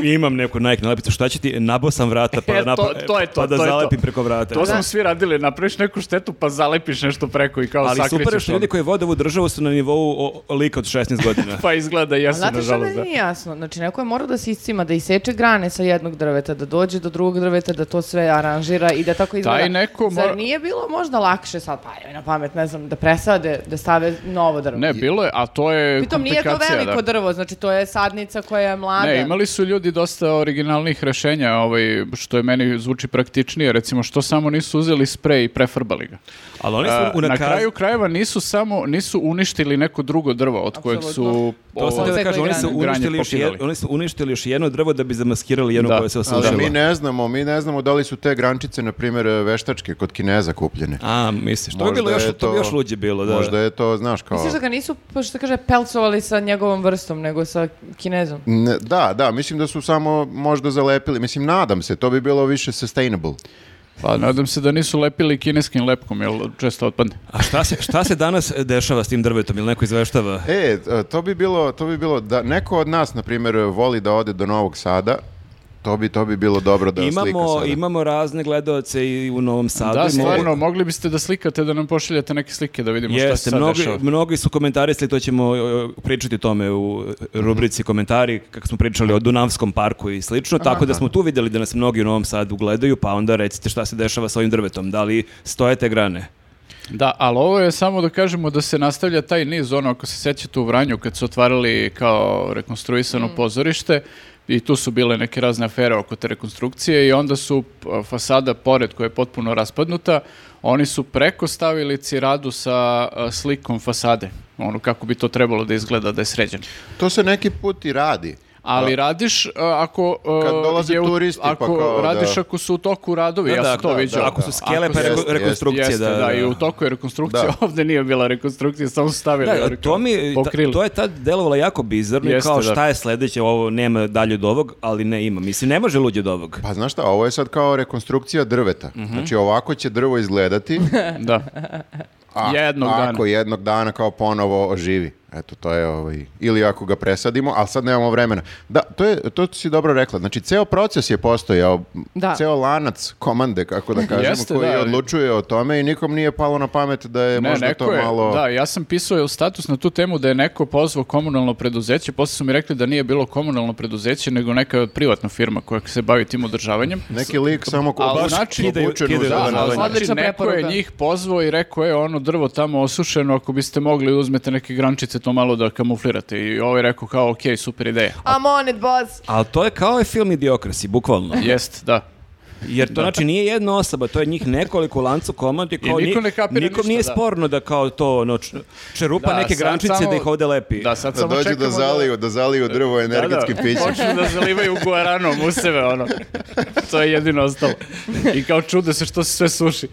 Speaker 1: imam neku Nike nalepnicu, šta će ti? Nabao sam vrata, pa,
Speaker 2: E,
Speaker 1: da
Speaker 2: to-
Speaker 1: napa-
Speaker 2: to je to,
Speaker 1: pa da
Speaker 2: to je to.
Speaker 1: zalepim preko vrata.
Speaker 2: To smo svi radili, napraviš neku štetu pa zalepiš nešto preko i kao
Speaker 1: Ali
Speaker 2: sakrićeš
Speaker 1: super je što
Speaker 2: ono.
Speaker 1: ljudi koji vode ovu državu su na nivou o, o- lika od 16 godina.
Speaker 2: Pa izgleda jesu,
Speaker 4: Znate što
Speaker 2: nažalost,
Speaker 4: meni
Speaker 2: da.
Speaker 4: nije jasno? Znači, neko je morao da se iscima, da iseče grane sa jednog drveta, da dođe do drugog drveta, da to sve aranžira i da tako izgleda.
Speaker 2: neko mora-
Speaker 4: Zar nije bilo možda lakše sad, pa evo na pamet, ne znam, da presade, da stave novo drvo?
Speaker 2: Ne, bilo je, a to je
Speaker 4: Pritom nije to
Speaker 2: komplikacija,
Speaker 4: veliko
Speaker 2: da.
Speaker 4: drvo, znači to je sadnica koja je mlada.
Speaker 2: Ne, imali su ljudi dosta originalnih rešenja, ovaj, što je meni zvuči praktičnije, recimo što samo nisu uzeli sprej i prefarbali ga.
Speaker 1: Ali oni
Speaker 2: A,
Speaker 1: su
Speaker 2: E, na
Speaker 1: unakaz...
Speaker 2: kraju krajeva nisu samo nisu uništili neko drugo drvo od kojeg su
Speaker 4: Apsolutno.
Speaker 1: To sam htio da
Speaker 4: Odsekli
Speaker 1: kažem, oni
Speaker 4: grane.
Speaker 1: su, uništili
Speaker 2: Granje
Speaker 1: još jed-
Speaker 2: pokidali.
Speaker 1: oni su uništili još jedno drvo da bi zamaskirali jedno
Speaker 2: Da.
Speaker 1: koje se
Speaker 3: Ali mi
Speaker 1: osušilo.
Speaker 3: ne znamo, mi ne znamo da li su te grančice, na primjer, veštačke kod Kineza kupljene.
Speaker 1: A, misliš, to bi
Speaker 3: Možda
Speaker 1: bilo još,
Speaker 3: je
Speaker 1: to bi još luđe bilo, da.
Speaker 3: Možda je to, znaš, kao...
Speaker 4: Misliš da ga nisu, pa što kaže, pelcovali sa njegovom vrstom, nego sa kinezom?
Speaker 3: Ne, Da, da, mislim da su samo možda zalepili. Mislim, nadam se, to bi bilo više sustainable.
Speaker 2: Pa nadam se da nisu lepili kineskim lepkom, jer često otpadne.
Speaker 1: A šta se, šta se danas dešava s tim drvetom ili neko izveštava?
Speaker 3: E, to bi bilo, to bi bilo da neko od nas, na primjer, voli da ode do Novog Sada, to bi, to bi bilo dobro da slika
Speaker 1: Imamo,
Speaker 3: sada.
Speaker 1: imamo razne gledaoce i u Novom Sadu.
Speaker 2: Da,
Speaker 1: i mogu-
Speaker 2: stvarno, mogli biste da slikate, da nam pošaljete neke slike da vidimo šta se
Speaker 1: Jeste,
Speaker 2: sad
Speaker 1: mnogi,
Speaker 2: dešava.
Speaker 1: mnogi su komentarisali, to ćemo e, pričati o tome u rubrici komentari, kako smo pričali o Dunavskom parku i slično, tako da smo tu vidjeli da nas mnogi u Novom Sadu gledaju, pa onda recite šta se dešava s ovim drvetom, da li stoje te grane?
Speaker 2: Da, ali ovo je samo da kažemo da se nastavlja taj niz, ono ako se sećate u Vranju kad su otvarali kao rekonstruisano pozorište i tu su bile neke razne afere oko te rekonstrukcije i onda su p- fasada pored koja je potpuno raspadnuta, oni su preko stavili ciradu sa a, slikom fasade, ono kako bi to trebalo da izgleda da je sređeno.
Speaker 3: To se neki put i radi.
Speaker 2: Ali radiš a, ako a,
Speaker 3: Kad dolaze
Speaker 2: je u-
Speaker 3: turisti, pa
Speaker 2: ako
Speaker 3: kao da-
Speaker 2: radiš ako su u toku radovi,
Speaker 1: Da,
Speaker 2: ja
Speaker 1: da,
Speaker 2: sam to
Speaker 1: da,
Speaker 2: viđao.
Speaker 1: da, ako su skele, pa
Speaker 2: Ako
Speaker 1: reko-
Speaker 3: jeste,
Speaker 1: rekonstrukcija.
Speaker 2: Jeste, da, i u toku je rekonstrukcija,
Speaker 3: Da.
Speaker 2: ovdje nije bila rekonstrukcija, samo su stavili.
Speaker 1: Da,
Speaker 2: rekao,
Speaker 1: to mi, ta-
Speaker 2: pokrili.
Speaker 1: to je tad delovalo jako bizarno, i
Speaker 2: Jeste,
Speaker 1: kao
Speaker 2: da.
Speaker 1: šta je sljedeće, ovo nema dalje od ovog, ali ne ima. Mislim, ne može luđe od ovog.
Speaker 3: Pa znaš šta, ovo je sad kao rekonstrukcija drveta.
Speaker 2: Mhm.
Speaker 3: Znači ovako će drvo izgledati,
Speaker 2: E, Da.
Speaker 3: E, a
Speaker 2: Jednog dana.
Speaker 3: ako jednog dana kao ponovo oživi. Eto, to je ovaj... Ili ako ga presadimo, ali sad nemamo vremena. Da, to, je, to si dobro rekla. Znači, ceo proces je postojao,
Speaker 4: Da.
Speaker 3: ceo lanac komande, kako da kažemo,
Speaker 2: Jeste,
Speaker 3: koji
Speaker 2: da.
Speaker 3: odlučuje o tome i nikom nije palo na pamet da je
Speaker 2: Ne,
Speaker 3: možda
Speaker 2: neko
Speaker 3: to
Speaker 2: je,
Speaker 3: malo...
Speaker 2: da, ja sam pisao je status na tu temu da je neko pozvao komunalno preduzeće, posle su mi rekli da nije bilo komunalno preduzeće, nego neka privatna firma koja se bavi tim održavanjem.
Speaker 3: Neki lik samo ko
Speaker 2: Ali
Speaker 3: baš
Speaker 2: znači-
Speaker 3: obučen
Speaker 1: Kidaju-
Speaker 3: u
Speaker 1: kidaju
Speaker 3: zeleno.
Speaker 2: Da, ali
Speaker 1: Održavanje.
Speaker 2: znači
Speaker 4: Odlična
Speaker 2: neko je
Speaker 4: preporuka.
Speaker 2: njih pozvao i rekao je ono drvo tamo osušeno, ako biste mogli da uzmete neke grančice to malo da kamuflirate. I ovaj je rekao kao, ok, super ideja.
Speaker 4: I'm on it, boss.
Speaker 1: Ali to je kao je film Idiokrasi, bukvalno.
Speaker 2: Jest, da.
Speaker 1: Jer to znači nije jedna osoba, to je njih nekoliko u lancu komandi. Kao,
Speaker 2: niko
Speaker 1: ni-
Speaker 2: ne kapira
Speaker 1: nikom
Speaker 2: ništa,
Speaker 1: nije
Speaker 2: da.
Speaker 1: sporno da kao to ono, č- čerupa
Speaker 2: Da,
Speaker 1: neke
Speaker 2: sad
Speaker 1: grančice
Speaker 2: samo-
Speaker 1: da ih ovde lepi.
Speaker 2: Da, sad
Speaker 3: Da
Speaker 2: samo
Speaker 3: dođu
Speaker 2: čekamo
Speaker 3: da zaliju, da zaliju drvo energetskim pićem.
Speaker 2: Počnu da zalivaju guaranom u sebe, ono. To je jedino ostalo. I kao čude se što se sve suši.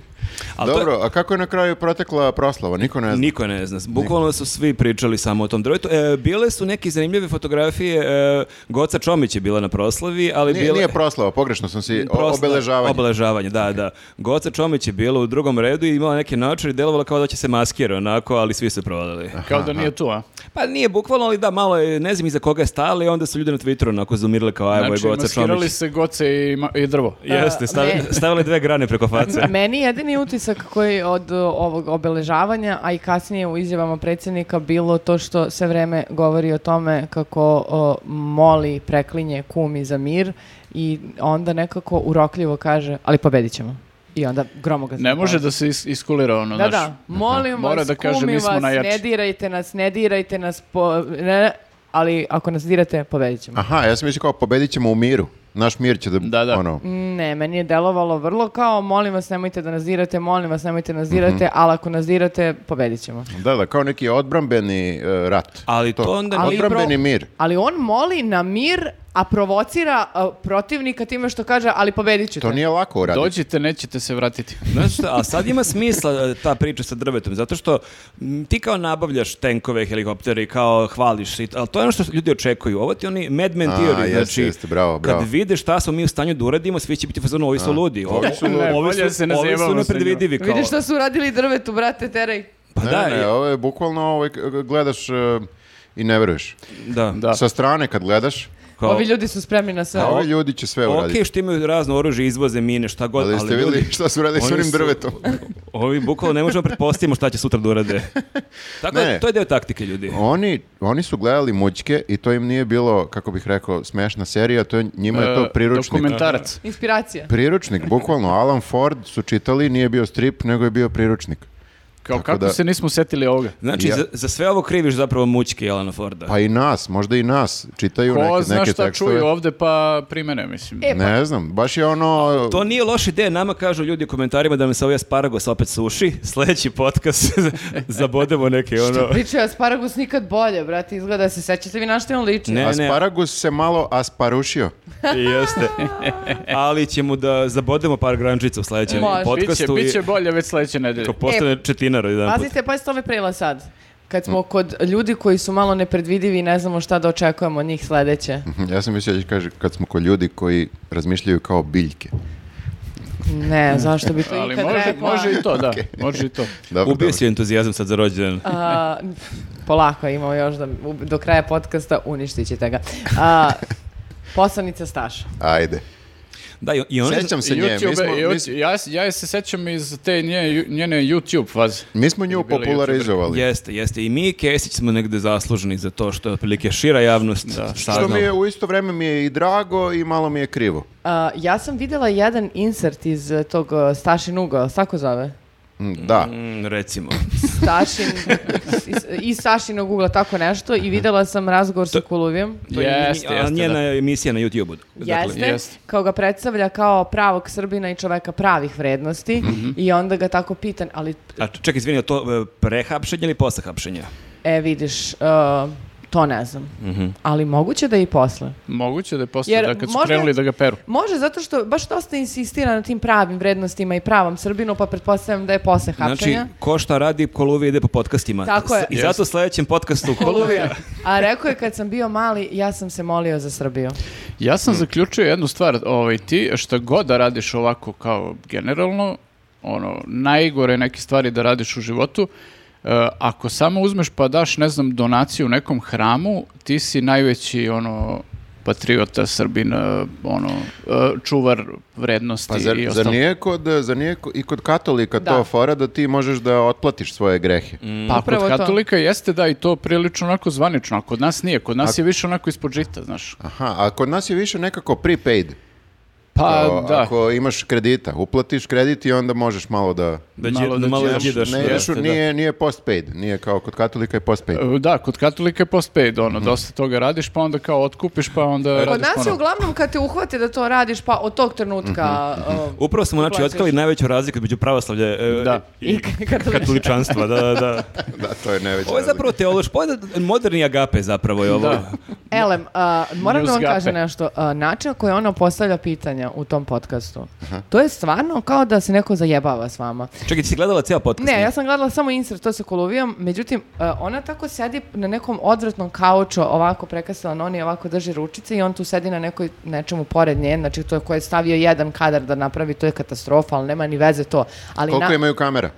Speaker 1: Ali to je-
Speaker 3: Dobro, a kako je na kraju protekla proslava? Niko ne zna.
Speaker 1: Niko ne zna. Bukvalno su svi pričali samo o tom drvetu. E, bile su neke zanimljive fotografije. E, Goca Čomić je bila na proslavi, ali
Speaker 3: Nije,
Speaker 1: bila...
Speaker 3: nije proslava, pogrešno sam si, o-
Speaker 1: Prosta-
Speaker 3: obeležavanje.
Speaker 1: Obeležavanje, da, da. Goca Čomić je bila u drugom redu i imala neke naočare i delovala kao da će se maskira onako, ali svi su provalili.
Speaker 3: Eh.
Speaker 2: Kao da nije tu, a?
Speaker 1: Pa nije bukvalno, ali da, malo je, ne znam iza koga je stala i onda su ljudi na Twitteru onako zumirali kao, ajmo je
Speaker 2: Znači,
Speaker 1: Goca
Speaker 2: maskirali
Speaker 1: Čomić.
Speaker 2: se goce i, ma- i drvo.
Speaker 1: Jeste, stav,
Speaker 4: ne.
Speaker 1: stavili dve grane preko face.
Speaker 4: Meni jedini utisak koji od uh, ovog obeležavanja, a i kasnije u izjavama predsjednika, bilo to što sve vreme govori o tome kako uh, moli, preklinje kumi za mir i onda nekako urokljivo kaže, ali pobedit ćemo. I onda gromogazno.
Speaker 2: Ne može da se is- iskulira ono,
Speaker 4: Da,
Speaker 2: znaš.
Speaker 4: da, molim
Speaker 2: Mora
Speaker 4: vas,
Speaker 2: da kaže,
Speaker 4: kumi
Speaker 2: mi smo
Speaker 4: vas,
Speaker 2: najjači.
Speaker 4: ne dirajte nas, ne dirajte nas, po, ne, ali ako nas dirate, pobedit ćemo.
Speaker 3: Aha, ja sam mislio kao pobedit ćemo u miru. Naš mir će da...
Speaker 2: Da, da.
Speaker 3: Ono,
Speaker 4: Ne, meni je delovalo vrlo kao molim vas nemojte da nas dirate, molim vas nemojte nas
Speaker 1: Mhm.
Speaker 4: dirate, ali ako nas dirate, pobedit ćemo.
Speaker 3: da, da, kao neki odbrambeni e, rat.
Speaker 1: Ali to onda
Speaker 4: Ali
Speaker 3: Odbrambeni
Speaker 4: pro-
Speaker 3: mir.
Speaker 4: Ali on moli na mir, a provocira a, protivnika time što kaže ali pobedit ćete.
Speaker 3: To nije lako uraditi.
Speaker 2: Dođite, nećete se vratiti.
Speaker 1: Znaš šta, a sad ima smisla e, ta priča sa drvetom, zato što m, ti kao nabavljaš tenkove, helikoptere i kao hvališ, i, t- ali to je ono što ljudi očekuju. Ovo ti oni Mad Men
Speaker 3: A,
Speaker 1: theory,
Speaker 3: jeste,
Speaker 1: znači
Speaker 3: jeste, bravo, bravo.
Speaker 1: kad vide šta smo mi u stanju da uradimo, svi će biti fazonu, ovi su ludi, ovi
Speaker 3: su ono ludi.
Speaker 2: Ne, bolje se ne
Speaker 1: ovi su
Speaker 2: zajebamo sa njima.
Speaker 1: nepredvidivi. Kao,
Speaker 4: Vidiš šta su radili drvetu, brate, teraj.
Speaker 1: Pa
Speaker 3: Ne,
Speaker 1: da,
Speaker 3: ne,
Speaker 1: je-
Speaker 3: ovo je bukvalno ovaj, k- gledaš e, i ne veruješ.
Speaker 1: da,
Speaker 2: Da.
Speaker 3: Sa strane kad gledaš,
Speaker 1: kao-
Speaker 4: Ovi ljudi su spremni na sve.
Speaker 3: a ovi ljudi će sve uraditi.
Speaker 1: Ok, što imaju razno oružje, izvoze, mine, šta god.
Speaker 3: Ali ste vidjeli
Speaker 1: ljudi-
Speaker 3: šta su radili s
Speaker 1: oni
Speaker 3: onim
Speaker 1: su-
Speaker 3: drvetom.
Speaker 1: Ovi bukvalo ne možemo pretpostavimo šta će sutra da urade. Tako da,
Speaker 3: Ne.
Speaker 1: to je deo taktike ljudi.
Speaker 3: Oni, oni su gledali mućke i to im nije bilo, kako bih rekao, smešna serija, to je- njima je to
Speaker 2: E,
Speaker 3: priručnik.
Speaker 2: Dokumentarac.
Speaker 4: Inspiracija.
Speaker 3: Priručnik, bukvalno. Alan Ford su čitali, nije bio strip, nego je bio priručnik.
Speaker 2: Kao
Speaker 3: Tako
Speaker 2: kako
Speaker 3: da-
Speaker 2: se nismo setili ovoga.
Speaker 1: Znači,
Speaker 3: Ja.
Speaker 1: za, za sve ovo kriviš zapravo mučke Jelana Forda.
Speaker 3: Pa i nas, možda i nas. Čitaju
Speaker 2: Ko
Speaker 3: neke,
Speaker 2: zna
Speaker 3: neke
Speaker 2: šta
Speaker 3: tekstove.
Speaker 2: čuju ovde, pa primene, mislim.
Speaker 4: E, pa,
Speaker 3: Ne znam, baš je ono...
Speaker 1: To nije loša ideja, nama kažu ljudi u komentarima da nam se ovaj asparagos opet suši. Sljedeći podcast zabodemo neke ono...
Speaker 4: pričaju asparagus nikad bolje, brate, izgleda da se sećate vi na što je on liči.
Speaker 1: Ne, ne,
Speaker 3: Asparagus se malo asparušio.
Speaker 1: jeste. Ali ćemo da zabodemo par grančica u sljedećem
Speaker 4: Može.
Speaker 1: podcastu.
Speaker 2: Biće, biće bolje već sledeće nedelje.
Speaker 1: Ko postane četinar jedan put.
Speaker 4: E,
Speaker 1: Mm.
Speaker 4: Pazite, pazite ove prela sad. Kad smo kod ljudi koji su malo nepredvidivi i ne znamo šta da očekujemo od njih sledeće.
Speaker 3: Ja sam mislio da će kaže kad smo kod ljudi koji razmišljaju kao biljke.
Speaker 4: Ne, zašto bi to
Speaker 2: Ali
Speaker 4: ikad
Speaker 2: može,
Speaker 4: rekla?
Speaker 2: može i to, da. Može i to.
Speaker 3: Dobro,
Speaker 1: Ubio si entuzijazam sad za rođendan.
Speaker 4: A, polako, imamo još da, u- do kraja podcasta uništit ćete ga. A, Poslanica Staša.
Speaker 3: Ajde.
Speaker 1: Da, i, i ona,
Speaker 3: Sećam se nje. Mi
Speaker 2: YouTube,
Speaker 3: smo,
Speaker 2: e,
Speaker 3: mi,
Speaker 2: ju-
Speaker 3: s-
Speaker 2: ja, s- ja je se sećam iz te nje, njene YouTube faze.
Speaker 3: mi smo nju
Speaker 2: bili
Speaker 3: popularizovali.
Speaker 1: Jeste, jeste. I mi i Kesić smo negde zaslužni za to što je otprilike šira javnost
Speaker 3: Što
Speaker 1: saznala.
Speaker 3: mi je u isto vreme mi je i drago i malo mi je krivo.
Speaker 4: A, ja sam vidjela jedan insert iz eh, tog eh, Stašin ugao, tako zove?
Speaker 3: Mm, Da.
Speaker 1: Mm, recimo.
Speaker 4: Stašin, iz, iz Stašinog ugla, tako nešto, i vidjela sam razgovor sa Kuluvijem.
Speaker 1: To je
Speaker 2: Jeste,
Speaker 1: nji- a
Speaker 2: jeste,
Speaker 1: njena
Speaker 2: da.
Speaker 1: emisija na YouTube-u. Dakle,
Speaker 2: Dakle,
Speaker 4: Jeste,
Speaker 2: jeste.
Speaker 4: kao ga predstavlja kao pravog Srbina i čoveka pravih vrednosti
Speaker 2: Mhm.
Speaker 4: i onda ga tako pitan, ali
Speaker 1: A čekaj, izvini, je to e, pre hapšenja ili posle hapšenja?
Speaker 4: e vidiš, eh, to ne znam,
Speaker 1: Mhm.
Speaker 4: ali moguće da i posle.
Speaker 2: Moguće da je postao
Speaker 4: Jer
Speaker 2: da kad su
Speaker 4: možda-
Speaker 2: krenuli da ga peru.
Speaker 4: Može, zato što baš dosta insistira na tim pravim vrednostima i pravom Srbinu, pa pretpostavljam da je posle
Speaker 1: Znači,
Speaker 4: hapšenja.
Speaker 1: ko šta radi, Koluvija ide po podcastima.
Speaker 4: Tako je.
Speaker 1: S- I zato u sledećem podcastu Koluvija.
Speaker 4: A rekao je kad sam bio mali, ja sam se molio za Srbiju.
Speaker 2: Ja
Speaker 3: Hm.
Speaker 2: sam zaključio jednu stvar, ovaj, ti šta god da radiš ovako kao generalno, ono, najgore neke stvari da radiš u životu, e, ako samo uzmeš pa daš, ne znam, donaciju nekom hramu, ti si najveći, ono, patriota, srbina, ono, e, čuvar vrednosti
Speaker 3: Pa zar,
Speaker 2: i
Speaker 3: zar
Speaker 2: ostalo.
Speaker 3: nije, kod, zar nije ko- i kod katolika
Speaker 4: Da.
Speaker 3: to fora da ti možeš da otplatiš svoje grehe?
Speaker 2: Pa kod
Speaker 4: Upravo to.
Speaker 2: katolika jeste da i to prilično onako zvanično, a kod nas nije. Kod nas je više onako ispod žita, znaš.
Speaker 3: Aha, a kod nas je više nekako prepaid.
Speaker 2: Pa
Speaker 3: O,
Speaker 2: da.
Speaker 3: Ako imaš kredita, uplatiš kredit i onda možeš malo da...
Speaker 1: Da
Speaker 2: Malo
Speaker 1: malo,
Speaker 2: da
Speaker 1: malo da
Speaker 2: ćeš-
Speaker 1: đidaš,
Speaker 3: Ne,
Speaker 1: jeste, da.
Speaker 3: nije, nije postpaid, nije kao kod katolika je postpaid.
Speaker 2: E, Da, kod katolika je postpaid, ono,
Speaker 3: Mhm.
Speaker 2: dosta toga radiš, pa onda kao otkupiš, pa onda
Speaker 4: E, Kod
Speaker 2: radiš
Speaker 4: nas je
Speaker 2: ponovo.
Speaker 4: uglavnom kad te uhvate da to radiš, pa od tog trenutka... uh,
Speaker 1: Upravo smo znači
Speaker 4: Uplaćuješ.
Speaker 1: otkrili najveću razliku između pravoslavlja e,
Speaker 2: Da.
Speaker 1: i katoličanstva, da, da, da.
Speaker 3: Da, to je najveća
Speaker 1: Ovo je zapravo teološ, ovo je moderni agape zapravo je ovo.
Speaker 2: Da.
Speaker 4: Elem, uh, moram da
Speaker 2: News
Speaker 4: vam
Speaker 2: gape.
Speaker 4: kažem nešto. Uh, način na koji ona postavlja pitanja u tom podcastu, to je stvarno kao da se neko zajebava s vama.
Speaker 1: Čekaj, ti si gledala cijel podcast?
Speaker 4: Ne,
Speaker 1: nije?
Speaker 4: ja sam gledala samo insert, to sa Koluvijom, međutim, uh, ona tako sedi na nekom odvratnom kauču, ovako prekasila noni, ovako drži ručice i on tu sedi na nekoj, nečemu pored nje, znači to koje je stavio jedan kadar da napravi, to je katastrofa, ali nema ni veze to. Ali
Speaker 3: Koliko
Speaker 4: na-
Speaker 3: imaju kamera?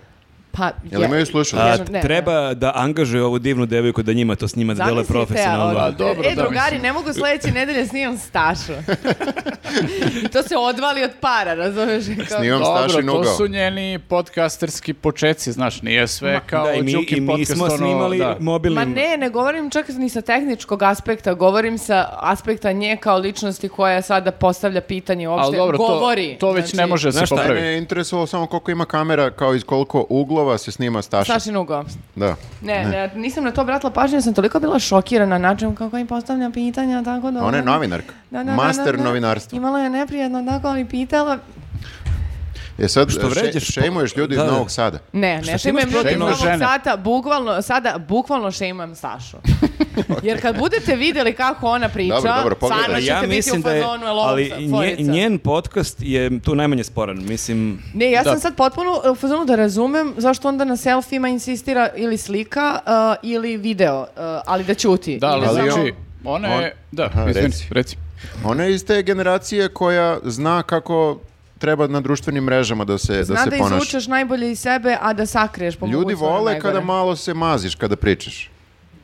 Speaker 4: Pa,
Speaker 3: Jel imaju slušalice?
Speaker 1: A,
Speaker 4: jedno- ne, ne.
Speaker 1: treba da angažuje ovu divnu devojku da njima to s njima da dele
Speaker 4: Zamislite,
Speaker 1: profesionalno.
Speaker 2: a
Speaker 4: od-
Speaker 2: Pa dobro,
Speaker 4: e,
Speaker 2: da,
Speaker 4: drugari,
Speaker 2: mislim.
Speaker 4: ne mogu sledeće nedelje snimam Stašu. I to se odvali od para, razumeš? Kao-
Speaker 3: Snimam
Speaker 2: Dobro,
Speaker 3: Stašin
Speaker 2: to
Speaker 3: ugao.
Speaker 2: su njeni podcasterski počeci, znaš, nije sve kao
Speaker 1: Da, i mi,
Speaker 2: Đukin
Speaker 1: i mi
Speaker 2: podcast,
Speaker 1: smo
Speaker 2: ono,
Speaker 1: snimali
Speaker 2: da.
Speaker 1: mobilnim.
Speaker 4: Ma ne, ne govorim čak ni sa tehničkog aspekta, govorim sa aspekta nje kao ličnosti koja sada postavlja pitanje uopšte,
Speaker 2: Ali dobro, to,
Speaker 4: govori.
Speaker 2: to već ne
Speaker 4: znači,
Speaker 2: može da se
Speaker 1: Znaš šta,
Speaker 2: popravi.
Speaker 3: Mene je interesovalo samo koliko ima kamera, kao iz koliko uglova se snima Staša.
Speaker 4: Stašin ugo.
Speaker 3: Da.
Speaker 4: Ne, ne, nisam na to obratila pažnju, jer sam toliko bila šokirana način kako im postavljam pitanja, tako da... ono-
Speaker 3: Ona je novinarka.
Speaker 4: Da, da, da,
Speaker 3: Master
Speaker 4: da, da.
Speaker 3: novinarstva.
Speaker 4: Imala je neprijatno tako, ali pitala...
Speaker 3: E sad,
Speaker 1: Što
Speaker 3: še-
Speaker 1: vređaš?
Speaker 3: šejmuješ ljudi
Speaker 1: Da,
Speaker 3: iz
Speaker 1: da.
Speaker 3: Novog Sada.
Speaker 1: Šta
Speaker 4: Ne, ne
Speaker 1: ti imaš
Speaker 4: šemujem protiv
Speaker 1: protiv
Speaker 4: Novog
Speaker 2: žene?
Speaker 4: Sada, bukvalno, sada bukvalno šemujem Sašu. Jer kad budete vidjeli kako ona priča,
Speaker 3: Dobro, dobro, pogledaj.
Speaker 4: stvarno ćete
Speaker 1: Ja
Speaker 4: biti u
Speaker 1: mislim da je,
Speaker 4: fazonu, "Jel ovo
Speaker 1: ali
Speaker 4: sa-
Speaker 1: nje-
Speaker 4: tvorica?"
Speaker 1: njen podcast je tu najmanje sporan, mislim,
Speaker 4: Ne, ja sam
Speaker 2: Da.
Speaker 4: sad potpuno uh, u fazonu da razumem zašto onda na selfima insistira ili slika uh, ili video, uh, ali da ćuti.
Speaker 2: Da,
Speaker 4: I
Speaker 2: ali
Speaker 3: Ali on-
Speaker 2: znači, ona je... Da, izvini,
Speaker 3: reci.
Speaker 2: reci.
Speaker 3: Ona je iz te generacije koja zna kako treba na društvenim mrežama da se, da
Speaker 4: Zna
Speaker 3: se
Speaker 4: da
Speaker 3: ponaša.
Speaker 4: izvučeš najbolje iz sebe, a da sakriješ po
Speaker 3: Ljudi
Speaker 4: mogućnosti ono
Speaker 3: vole
Speaker 4: najgore.
Speaker 3: kada malo se maziš, kada pričaš.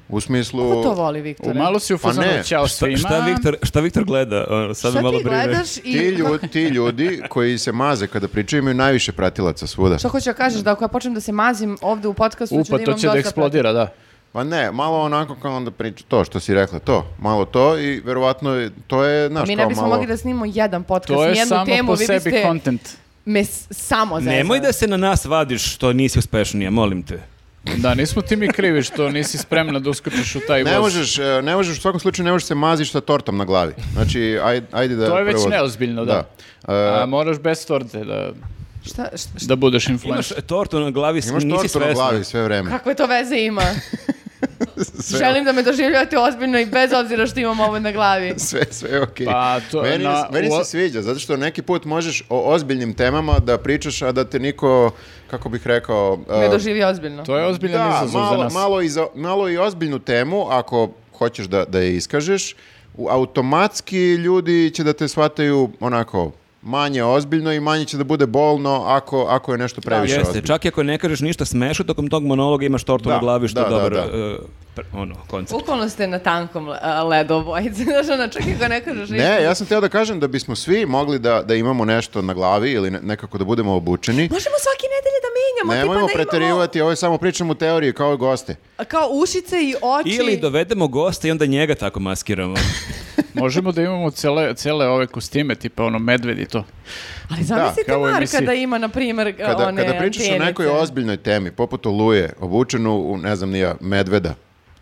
Speaker 3: U smislu...
Speaker 4: Ko Pa to voli,
Speaker 2: U
Speaker 4: Viktore?
Speaker 2: malo si u
Speaker 3: Pa
Speaker 2: fazonu,
Speaker 3: ne,
Speaker 2: ćao
Speaker 1: Šta,
Speaker 2: svima.
Speaker 1: šta Viktor, šta Viktor gleda? Ono, Sad
Speaker 4: Šta
Speaker 1: me malo
Speaker 4: ti
Speaker 1: brine.
Speaker 4: gledaš
Speaker 3: Ti,
Speaker 4: i...
Speaker 3: ljudi, ti ljudi koji se maze kada pričaju imaju najviše pratilaca svuda.
Speaker 4: Šta hoću da kažeš, da ako ja počnem da se mazim ovde u podcastu,
Speaker 2: U,
Speaker 4: ću
Speaker 2: pa
Speaker 4: Znači, da
Speaker 2: to
Speaker 4: imam
Speaker 2: će da
Speaker 4: dosta
Speaker 2: eksplodira, da.
Speaker 3: Pa ne, malo onako kao onda priča, to što si rekla, to, malo to i verovatno je- to je, znaš,
Speaker 4: Mi ne
Speaker 3: kao
Speaker 4: bismo
Speaker 3: malo...
Speaker 4: mogli da snimamo jedan podcast,
Speaker 2: To je
Speaker 4: jednu
Speaker 2: samo
Speaker 4: temu,
Speaker 2: po
Speaker 4: vi
Speaker 2: sebi
Speaker 4: biste
Speaker 2: content.
Speaker 4: me s- samo zezali.
Speaker 1: Nemoj da se na nas vadiš što nisi uspešnija, molim te.
Speaker 2: Da, nismo ti mi krivi što nisi spremna da uskočiš u taj
Speaker 3: Ne
Speaker 2: voz.
Speaker 3: možeš, e, ne možeš, u svakom slučaju ne možeš se maziš sa tortom na glavi. Znači, ajde, ajde da...
Speaker 2: To je već
Speaker 3: prvo-
Speaker 2: neozbiljno, da.
Speaker 3: E,
Speaker 2: A moraš bez torte da,
Speaker 4: Šta, šta, šta-
Speaker 2: da budeš
Speaker 1: Imaš
Speaker 2: influencer.
Speaker 1: tortu na glavi, s-
Speaker 3: imaš
Speaker 1: nisi
Speaker 3: tortu na
Speaker 1: svesna.
Speaker 3: glavi sve vreme.
Speaker 4: kakve to veze ima? Želim da me doživljavate ozbiljno i bez obzira što imam ovo na glavi.
Speaker 3: Sve, sve je okej.
Speaker 2: Pa, to-
Speaker 3: meni,
Speaker 2: na-
Speaker 3: meni
Speaker 2: u-
Speaker 3: se sviđa, zato što neki put možeš o ozbiljnim temama da pričaš, a da te niko, kako bih rekao... e,
Speaker 4: Me doživi ozbiljno.
Speaker 2: To je ozbiljan
Speaker 3: da,
Speaker 2: izazov za
Speaker 3: malo,
Speaker 2: nas.
Speaker 3: malo, i za- malo i ozbiljnu temu, ako hoćeš da, da je iskažeš, u- automatski ljudi će da te shvataju onako manje ozbiljno i manje će da bude bolno ako, ako je nešto previše
Speaker 1: Jeste,
Speaker 3: ozbiljno.
Speaker 1: čak i ako ne kažeš ništa smešu, tokom tog monologa imaš tortu
Speaker 3: Da,
Speaker 1: na glavi što je
Speaker 3: da, da,
Speaker 1: dobar
Speaker 3: da.
Speaker 1: e, pr- ono, koncept.
Speaker 4: Bukvalno ste na tankom a, ledu obojice. Znaš, ono, čak i ako ne kažeš ništa.
Speaker 3: Ne, ja sam teo da kažem da bismo svi mogli da, da imamo nešto na glavi ili ne- nekako da budemo
Speaker 2: Pa,
Speaker 3: obučeni.
Speaker 4: Možemo svake nedelje da menjamo.
Speaker 3: Nemojmo
Speaker 4: tipa da imamo
Speaker 3: preterivati, ovo je samo pričam u teoriji kao i goste.
Speaker 4: kao ušice i oči.
Speaker 1: Ili dovedemo gosta i onda njega tako maskiramo.
Speaker 2: Možemo da imamo cele, cele ove kostime, tipa ono medved i to.
Speaker 4: Ali zamislite
Speaker 2: kao u
Speaker 4: Marka
Speaker 2: emisiji.
Speaker 4: da ima, na primjer,
Speaker 3: Kada,
Speaker 4: one
Speaker 3: kada pričaš o
Speaker 4: antijenice.
Speaker 3: nekoj ozbiljnoj temi, poput oluje, obučenu u, ne znam nija, medveda,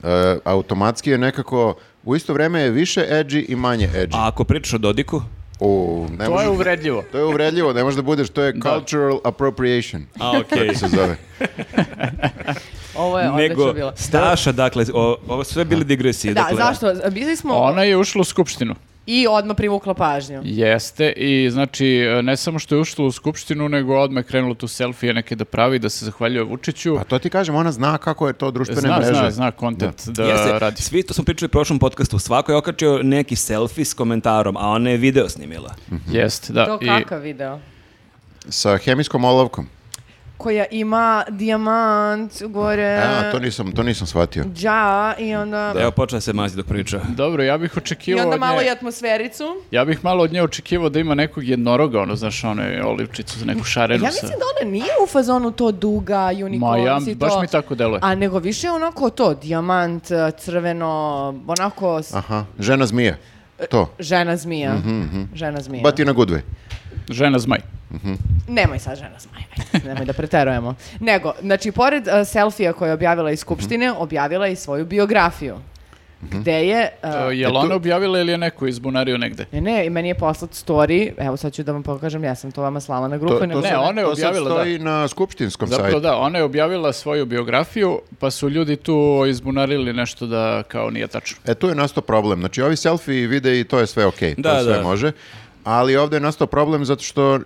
Speaker 3: e, automatski je nekako, u isto vreme je više edgy i manje edgy.
Speaker 1: A ako pričaš o Dodiku?
Speaker 3: U, ne
Speaker 2: To
Speaker 3: može-
Speaker 2: je uvredljivo.
Speaker 3: to je uvredljivo, ne možeš da budeš, to je cultural appropriation.
Speaker 1: A, okej.
Speaker 3: Se zove.
Speaker 4: Ovo je odlično
Speaker 1: Nego,
Speaker 4: bilo.
Speaker 1: Staša, dakle, o, ovo su sve bili digresije.
Speaker 4: Da,
Speaker 1: dakle,
Speaker 4: zašto? Bili smo
Speaker 2: Ona je ušla u skupštinu.
Speaker 4: i odmah privukla pažnju.
Speaker 2: Jeste, i znači, ne samo što je ušla u skupštinu, nego odmah krenula tu selfije neke da pravi, da se zahvaljuje Vučiću.
Speaker 3: Pa to ti kažem, ona zna kako je to društvene
Speaker 2: Zna,
Speaker 3: mreže.
Speaker 2: zna, zna kontent da,
Speaker 1: Jeste,
Speaker 2: radi.
Speaker 1: svi to smo pričali u prošlom podcastu, svako je okačio neki selfie s komentarom, a ona je video snimila.
Speaker 3: Mhm.
Speaker 2: Jeste, da.
Speaker 4: To
Speaker 2: i-
Speaker 4: kakav video?
Speaker 3: Sa hemijskom olovkom.
Speaker 4: Koja ima dijamant gore,
Speaker 3: E, A, to nisam, to nisam shvatio.
Speaker 4: dža i onda...
Speaker 1: Evo, počela se mazi dok priča.
Speaker 2: Dobro, ja bih
Speaker 4: I
Speaker 2: očekivao
Speaker 4: onda
Speaker 2: od nje-
Speaker 4: malo i atmosfericu.
Speaker 2: Ja bih malo od nje očekivao da ima nekog jednoroga, ono, znaš, one olivčicu, neku šarenu
Speaker 4: Ja
Speaker 2: sa...
Speaker 4: mislim da ona nije u fazonu to duga,
Speaker 2: Ma ja,
Speaker 4: unicorns i to.
Speaker 2: baš mi tako deluje.
Speaker 4: A nego više onako to, dijamant, eh, crveno, onako s-
Speaker 3: Aha, žena zmija.
Speaker 2: E.
Speaker 3: To.
Speaker 4: žena zmija.
Speaker 2: Mhm,
Speaker 4: Žena zmija.
Speaker 3: But in a good way.
Speaker 2: Žena zmaj.
Speaker 4: Nemoj sad žena zmaj, ajde, nemoj da preterujemo. Nego, znači, pored uh, selfija koje je objavila iz Skupštine,
Speaker 2: Mhm.
Speaker 4: objavila je i svoju biografiju. Gde je... uh,
Speaker 2: E, Mhm. je li ona objavila ili je neko izbunario negde?
Speaker 4: Ne, ne, i meni je poslat story, evo sad ću da vam pokažem, ja sam to vama slala na grupu.
Speaker 3: To,
Speaker 4: i ne-
Speaker 3: to
Speaker 2: ne,
Speaker 3: sad-
Speaker 2: ona je
Speaker 3: to sad
Speaker 2: objavila, da.
Speaker 3: stoji na skupštinskom
Speaker 2: Zapravo
Speaker 3: sajtu.
Speaker 2: da, ona je objavila svoju biografiju, pa su ljudi tu izbunarili nešto da kao nije tačno.
Speaker 3: E, tu je nastao problem. Znači, ovi selfie vide i to je sve okej.
Speaker 1: Da,
Speaker 3: to sve
Speaker 1: da.
Speaker 3: može. Ali ovdje je nastao problem zato što e,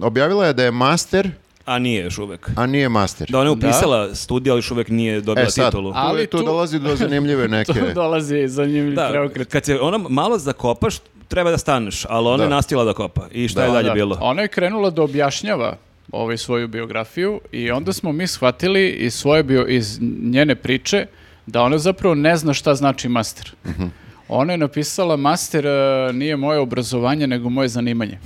Speaker 3: objavila je da je master,
Speaker 1: A nije još uvek.
Speaker 3: a nije master.
Speaker 1: Da, ona je upisala studij, ali još uvek nije dobila
Speaker 3: E sad,
Speaker 1: titulu.
Speaker 2: A- Ali
Speaker 3: tu, tu
Speaker 2: tu-
Speaker 3: dolazi do zanimljive neke...
Speaker 2: Tu dolazi zanimljiv
Speaker 1: Da,
Speaker 2: preokret.
Speaker 1: kad se ona malo zakopaš, treba da staneš, ali ona je
Speaker 3: Da.
Speaker 1: nastila da kopa. I šta je dalje
Speaker 2: Da.
Speaker 1: bilo?
Speaker 2: Ona je krenula da objašnjava ovaj svoju biografiju i onda smo mi shvatili iz svoje bio iz njene priče da ona zapravo ne zna šta znači master. Ona je napisala master e, nije moje obrazovanje nego moje zanimanje.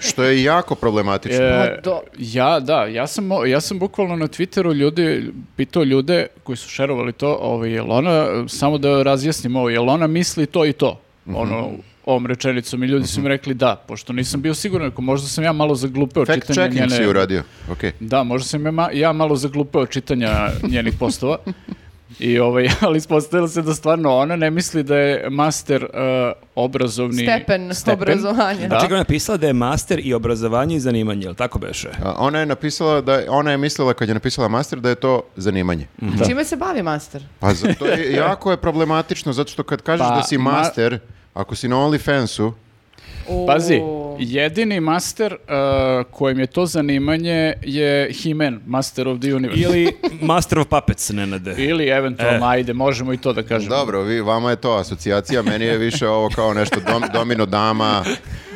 Speaker 3: Što je jako problematično.
Speaker 2: E,
Speaker 4: Pa do-
Speaker 2: ja, da, ja sam, mo- ja sam bukvalno na Twitteru ljudi, pitao ljude koji su šerovali to, ovaj, jel ona, samo da razjasnim ovo, jel ona misli to i to?
Speaker 3: Mhm.
Speaker 2: Ono, ovom rečenicom i ljudi su mi rekli da, pošto nisam bio siguran, ako možda sam ja malo zaglupeo
Speaker 3: Fact
Speaker 2: čitanje
Speaker 3: checking si
Speaker 2: njene...
Speaker 3: uradio. Okej.
Speaker 2: Da, možda sam ja, ma- ja malo zaglupeo čitanja njenih postova. I ovaj, ali ispostavilo se da stvarno ona ne misli da je master eh, obrazovni
Speaker 4: Stepen obrazovanja.
Speaker 1: Čekaj,
Speaker 2: Da.
Speaker 1: Znači, ona je pisala da je master i obrazovanje i zanimanje, jel tako beše?
Speaker 3: A Ona je napisala da ona je mislila kad je napisala master da je to zanimanje.
Speaker 1: Mm.
Speaker 4: Čime se bavi master?
Speaker 3: Pa za- to je jako je problematično zato što kad kažeš
Speaker 2: Pa,
Speaker 3: da si
Speaker 2: ma-
Speaker 3: master, ako si na OnlyFansu,
Speaker 4: U-
Speaker 2: Pazi, jedini master uh, kojem je to zanimanje je He-Man, Master of the Universe. Ili,
Speaker 1: Ili E. Master of Puppets, Nenade.
Speaker 2: eventualno, ajde, možemo i to da kažemo.
Speaker 3: dobro, vi vama je to asocijacija, meni je više ovo kao nešto dom, domino dama,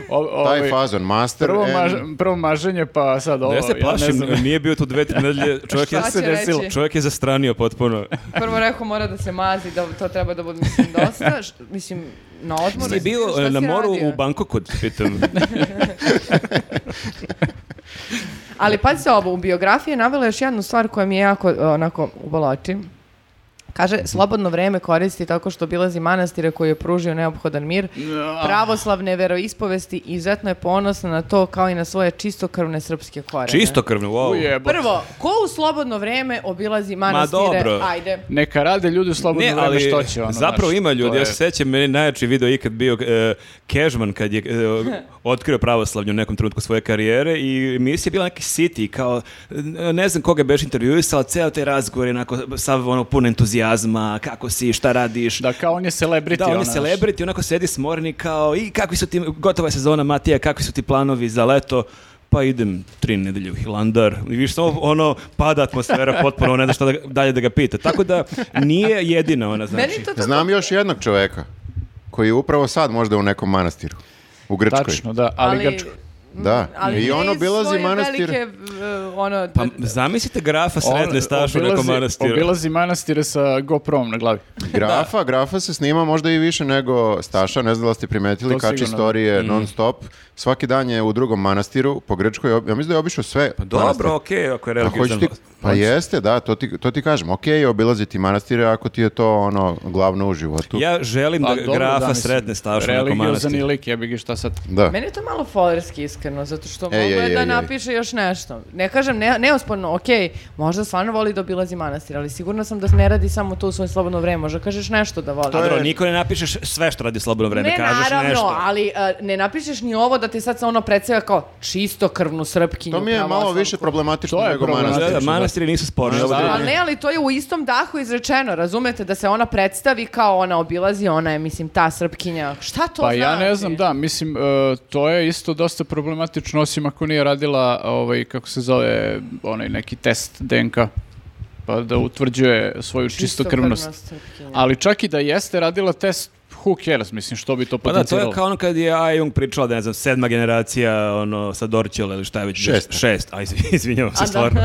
Speaker 2: O- ovaj,
Speaker 3: taj fazon master.
Speaker 2: prvo,
Speaker 3: and-
Speaker 2: maž- prvo maženje, pa sad ovo.
Speaker 1: Da ja se
Speaker 2: ne
Speaker 1: plašim,
Speaker 2: znam.
Speaker 1: nije bio tu dve, tri nedelje, čovjek, je,
Speaker 4: Šta će
Speaker 2: desilo?
Speaker 4: reći?
Speaker 1: čovjek je zastranio potpuno.
Speaker 4: Prvo rekao mora da se mazi, da to treba da bude, mislim, dosta. Š- Mislim, na odmoru.
Speaker 1: Ti je bio
Speaker 4: Šta
Speaker 1: e,
Speaker 4: si
Speaker 1: na moru
Speaker 4: radio?
Speaker 1: u Bankoku, pitam.
Speaker 4: Ali pazi se ovo, u biografiji je navela još jednu stvar koja mi je jako e, onako ubola oči. Kaže, slobodno vreme koristi tako što obilazi manastire koji je pružio neophodan mir. Pravoslavne veroispovesti izuzetno je ponosna na to kao i na svoje čistokrvne srpske korene.
Speaker 1: Čisto krvno, wow.
Speaker 2: Ujebo.
Speaker 4: Prvo, ko u slobodno vreme obilazi manastire?
Speaker 1: dobro.
Speaker 4: Ajde.
Speaker 2: Neka rade ljudi u slobodno
Speaker 1: Ne,
Speaker 2: vreme
Speaker 1: ali
Speaker 2: što će. Ono,
Speaker 1: zapravo
Speaker 2: znaš,
Speaker 1: ima
Speaker 2: to
Speaker 1: ljudi.
Speaker 2: je-
Speaker 1: Ja se sećam, meni je najjači video ikad bio e, Cashman kad je e, otkrio pravoslavlje u nekom trenutku svoje karijere i emisija je bila neki city, kao e, ne znam koga je beš intervjuisao, ceo taj razgovor je onako sav ono pun entuzijazma, kako si, šta radiš.
Speaker 2: Da, kao on je celebrity.
Speaker 1: Da, on
Speaker 2: ono,
Speaker 1: je
Speaker 2: znaš.
Speaker 1: celebrity, onako sedi smorni kao i kakvi su ti, gotova je sezona Matija, kakvi su ti planovi za leto? Pa idem tri nedelje u Hilandar. I viš samo ono, pada atmosfera potpuno, ne zna šta da, ga- dalje da ga pita. Tako da nije jedina ona, znači.
Speaker 4: Meni je to tako-
Speaker 3: Znam još jednog čoveka koji je upravo sad možda u nekom manastiru u Grčkoj.
Speaker 2: Tačno, da, ali,
Speaker 4: ali
Speaker 2: Grčko.
Speaker 3: Da.
Speaker 4: Ali
Speaker 3: I
Speaker 4: ne
Speaker 3: on
Speaker 4: iz
Speaker 3: obilazi
Speaker 4: svoje
Speaker 3: manastir.
Speaker 4: velike, e, ono,
Speaker 1: Pa zamislite grafa sretne
Speaker 2: On
Speaker 1: stašu u nekom
Speaker 2: obilazi-
Speaker 1: manastiru.
Speaker 2: Obilazi manastire sa GoProm na glavi.
Speaker 3: Grafa, grafa se snima možda i više nego Staša, ne znam da li ste primetili,
Speaker 2: To
Speaker 3: kači
Speaker 2: sigurno. Mm.
Speaker 3: storije non stop. Svaki dan je u drugom manastiru, po Grčkoj, ja mislim da je obišao sve.
Speaker 1: Pa dobro, okej, ako je
Speaker 3: Pa, hoćeš
Speaker 1: religiozan.
Speaker 3: ti- pa jeste, da, to ti, to ti kažem. Ok je obilaziti manastire ako ti je to ono glavno u životu.
Speaker 1: Ja želim
Speaker 2: Pa
Speaker 1: da
Speaker 2: dobro,
Speaker 1: grafa
Speaker 2: da, mislim,
Speaker 1: sretne stašu u nekom
Speaker 2: Religiozan je
Speaker 1: manastiru.
Speaker 2: lik, ja bih ga šta sad.
Speaker 3: Da.
Speaker 4: Meni je to malo folerski iskreno, zato što mogu
Speaker 3: ej,
Speaker 4: je
Speaker 3: ej,
Speaker 4: da
Speaker 3: ej.
Speaker 4: napiše još nešto. Ne kažem, ne, neosporno, okej, možda stvarno voli da obilazi manastir, ali sigurno sam da ne radi samo to u svoje slobodno vreme, možda kažeš nešto da voli.
Speaker 1: Pa dobro, niko ne napišeš sve što radi u slobodno vreme,
Speaker 4: ne,
Speaker 1: kažeš
Speaker 4: naravno,
Speaker 1: nešto.
Speaker 4: ali e, ne napišeš ni ovo da ti sad se ono predstavlja kao čisto krvnu srpkinju.
Speaker 3: To mi je malo
Speaker 4: pravoslavku.
Speaker 3: više problematično
Speaker 2: To je
Speaker 3: nego
Speaker 2: problematično.
Speaker 1: Da,
Speaker 3: manastir.
Speaker 1: da,
Speaker 2: da.
Speaker 1: manastiri nisu sporni.
Speaker 3: Manastiri-
Speaker 1: ovo
Speaker 4: Ali ne, ali to je u istom dahu izrečeno, razumete, da se ona predstavi kao ona obilazi, ona je, mislim, ta srpkinja. Šta to
Speaker 2: Pa
Speaker 4: znači?
Speaker 2: ja ne znam, da, mislim, e, to je isto dosta problematično, osim ako nije radila, ovaj, kako se zove, onaj neki test DNK, pa da utvrđuje svoju čistokrvnost.
Speaker 4: Čistokrvna srpkinja.
Speaker 2: Ali čak i da jeste radila test, who cares, mislim, što bi to
Speaker 1: Pa da, to je
Speaker 2: potenciralo?
Speaker 1: kao ono kad je A. Jung pričala da, ne znam, sedma generacija, ono, sa Dorčela ili šta je već.
Speaker 3: Šesta.
Speaker 1: Šest, aj, izvi- izvinjavam se,
Speaker 4: A da.
Speaker 1: stvarno.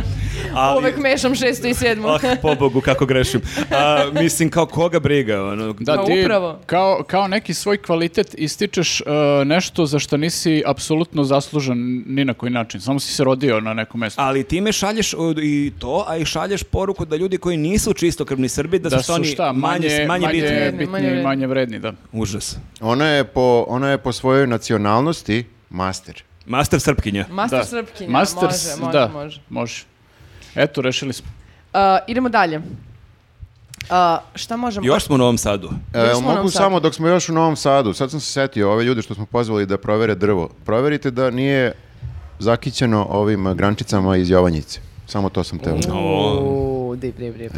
Speaker 1: Ali,
Speaker 4: Uvek mešam šestu i sedmu.
Speaker 1: ah, pobogu, kako grešim. A, mislim, kao koga briga, ono.
Speaker 2: Da,
Speaker 4: Pa
Speaker 2: ti
Speaker 4: upravo.
Speaker 2: Kao, kao neki svoj kvalitet ističeš e, nešto za što nisi apsolutno zaslužen ni na koji način. Samo si se rodio na nekom mestu.
Speaker 1: Ali time šalješ uh, i to, a i šalješ poruku da ljudi koji nisu čistokrvni Srbi, da,
Speaker 2: da
Speaker 1: su oni
Speaker 2: šta,
Speaker 1: manje, manje, bitni.
Speaker 4: Manje
Speaker 2: bitni
Speaker 4: vredni.
Speaker 2: i manje vredni, da.
Speaker 1: Užas.
Speaker 3: Ona je po, ona je po svojoj nacionalnosti master.
Speaker 1: Master Srpkinja.
Speaker 4: Master
Speaker 2: Da.
Speaker 4: srpkinja,
Speaker 2: Masters,
Speaker 4: može, može,
Speaker 2: da,
Speaker 4: može.
Speaker 2: može. Eto, rešili smo.
Speaker 4: Uh, idemo dalje. Uh, šta možemo?
Speaker 1: Još smo u Novom Sadu.
Speaker 3: E,
Speaker 4: Još smo u
Speaker 3: mogu
Speaker 4: Novom Sadu.
Speaker 3: samo, dok smo još u Novom Sadu, sad sam se setio ove ljude što smo pozvali da provere drvo. Proverite da nije zakićeno ovim eh, grančicama iz Jovanjice. Samo to sam
Speaker 2: Mm.
Speaker 3: teo.
Speaker 4: Uuu, dip, dip, dip.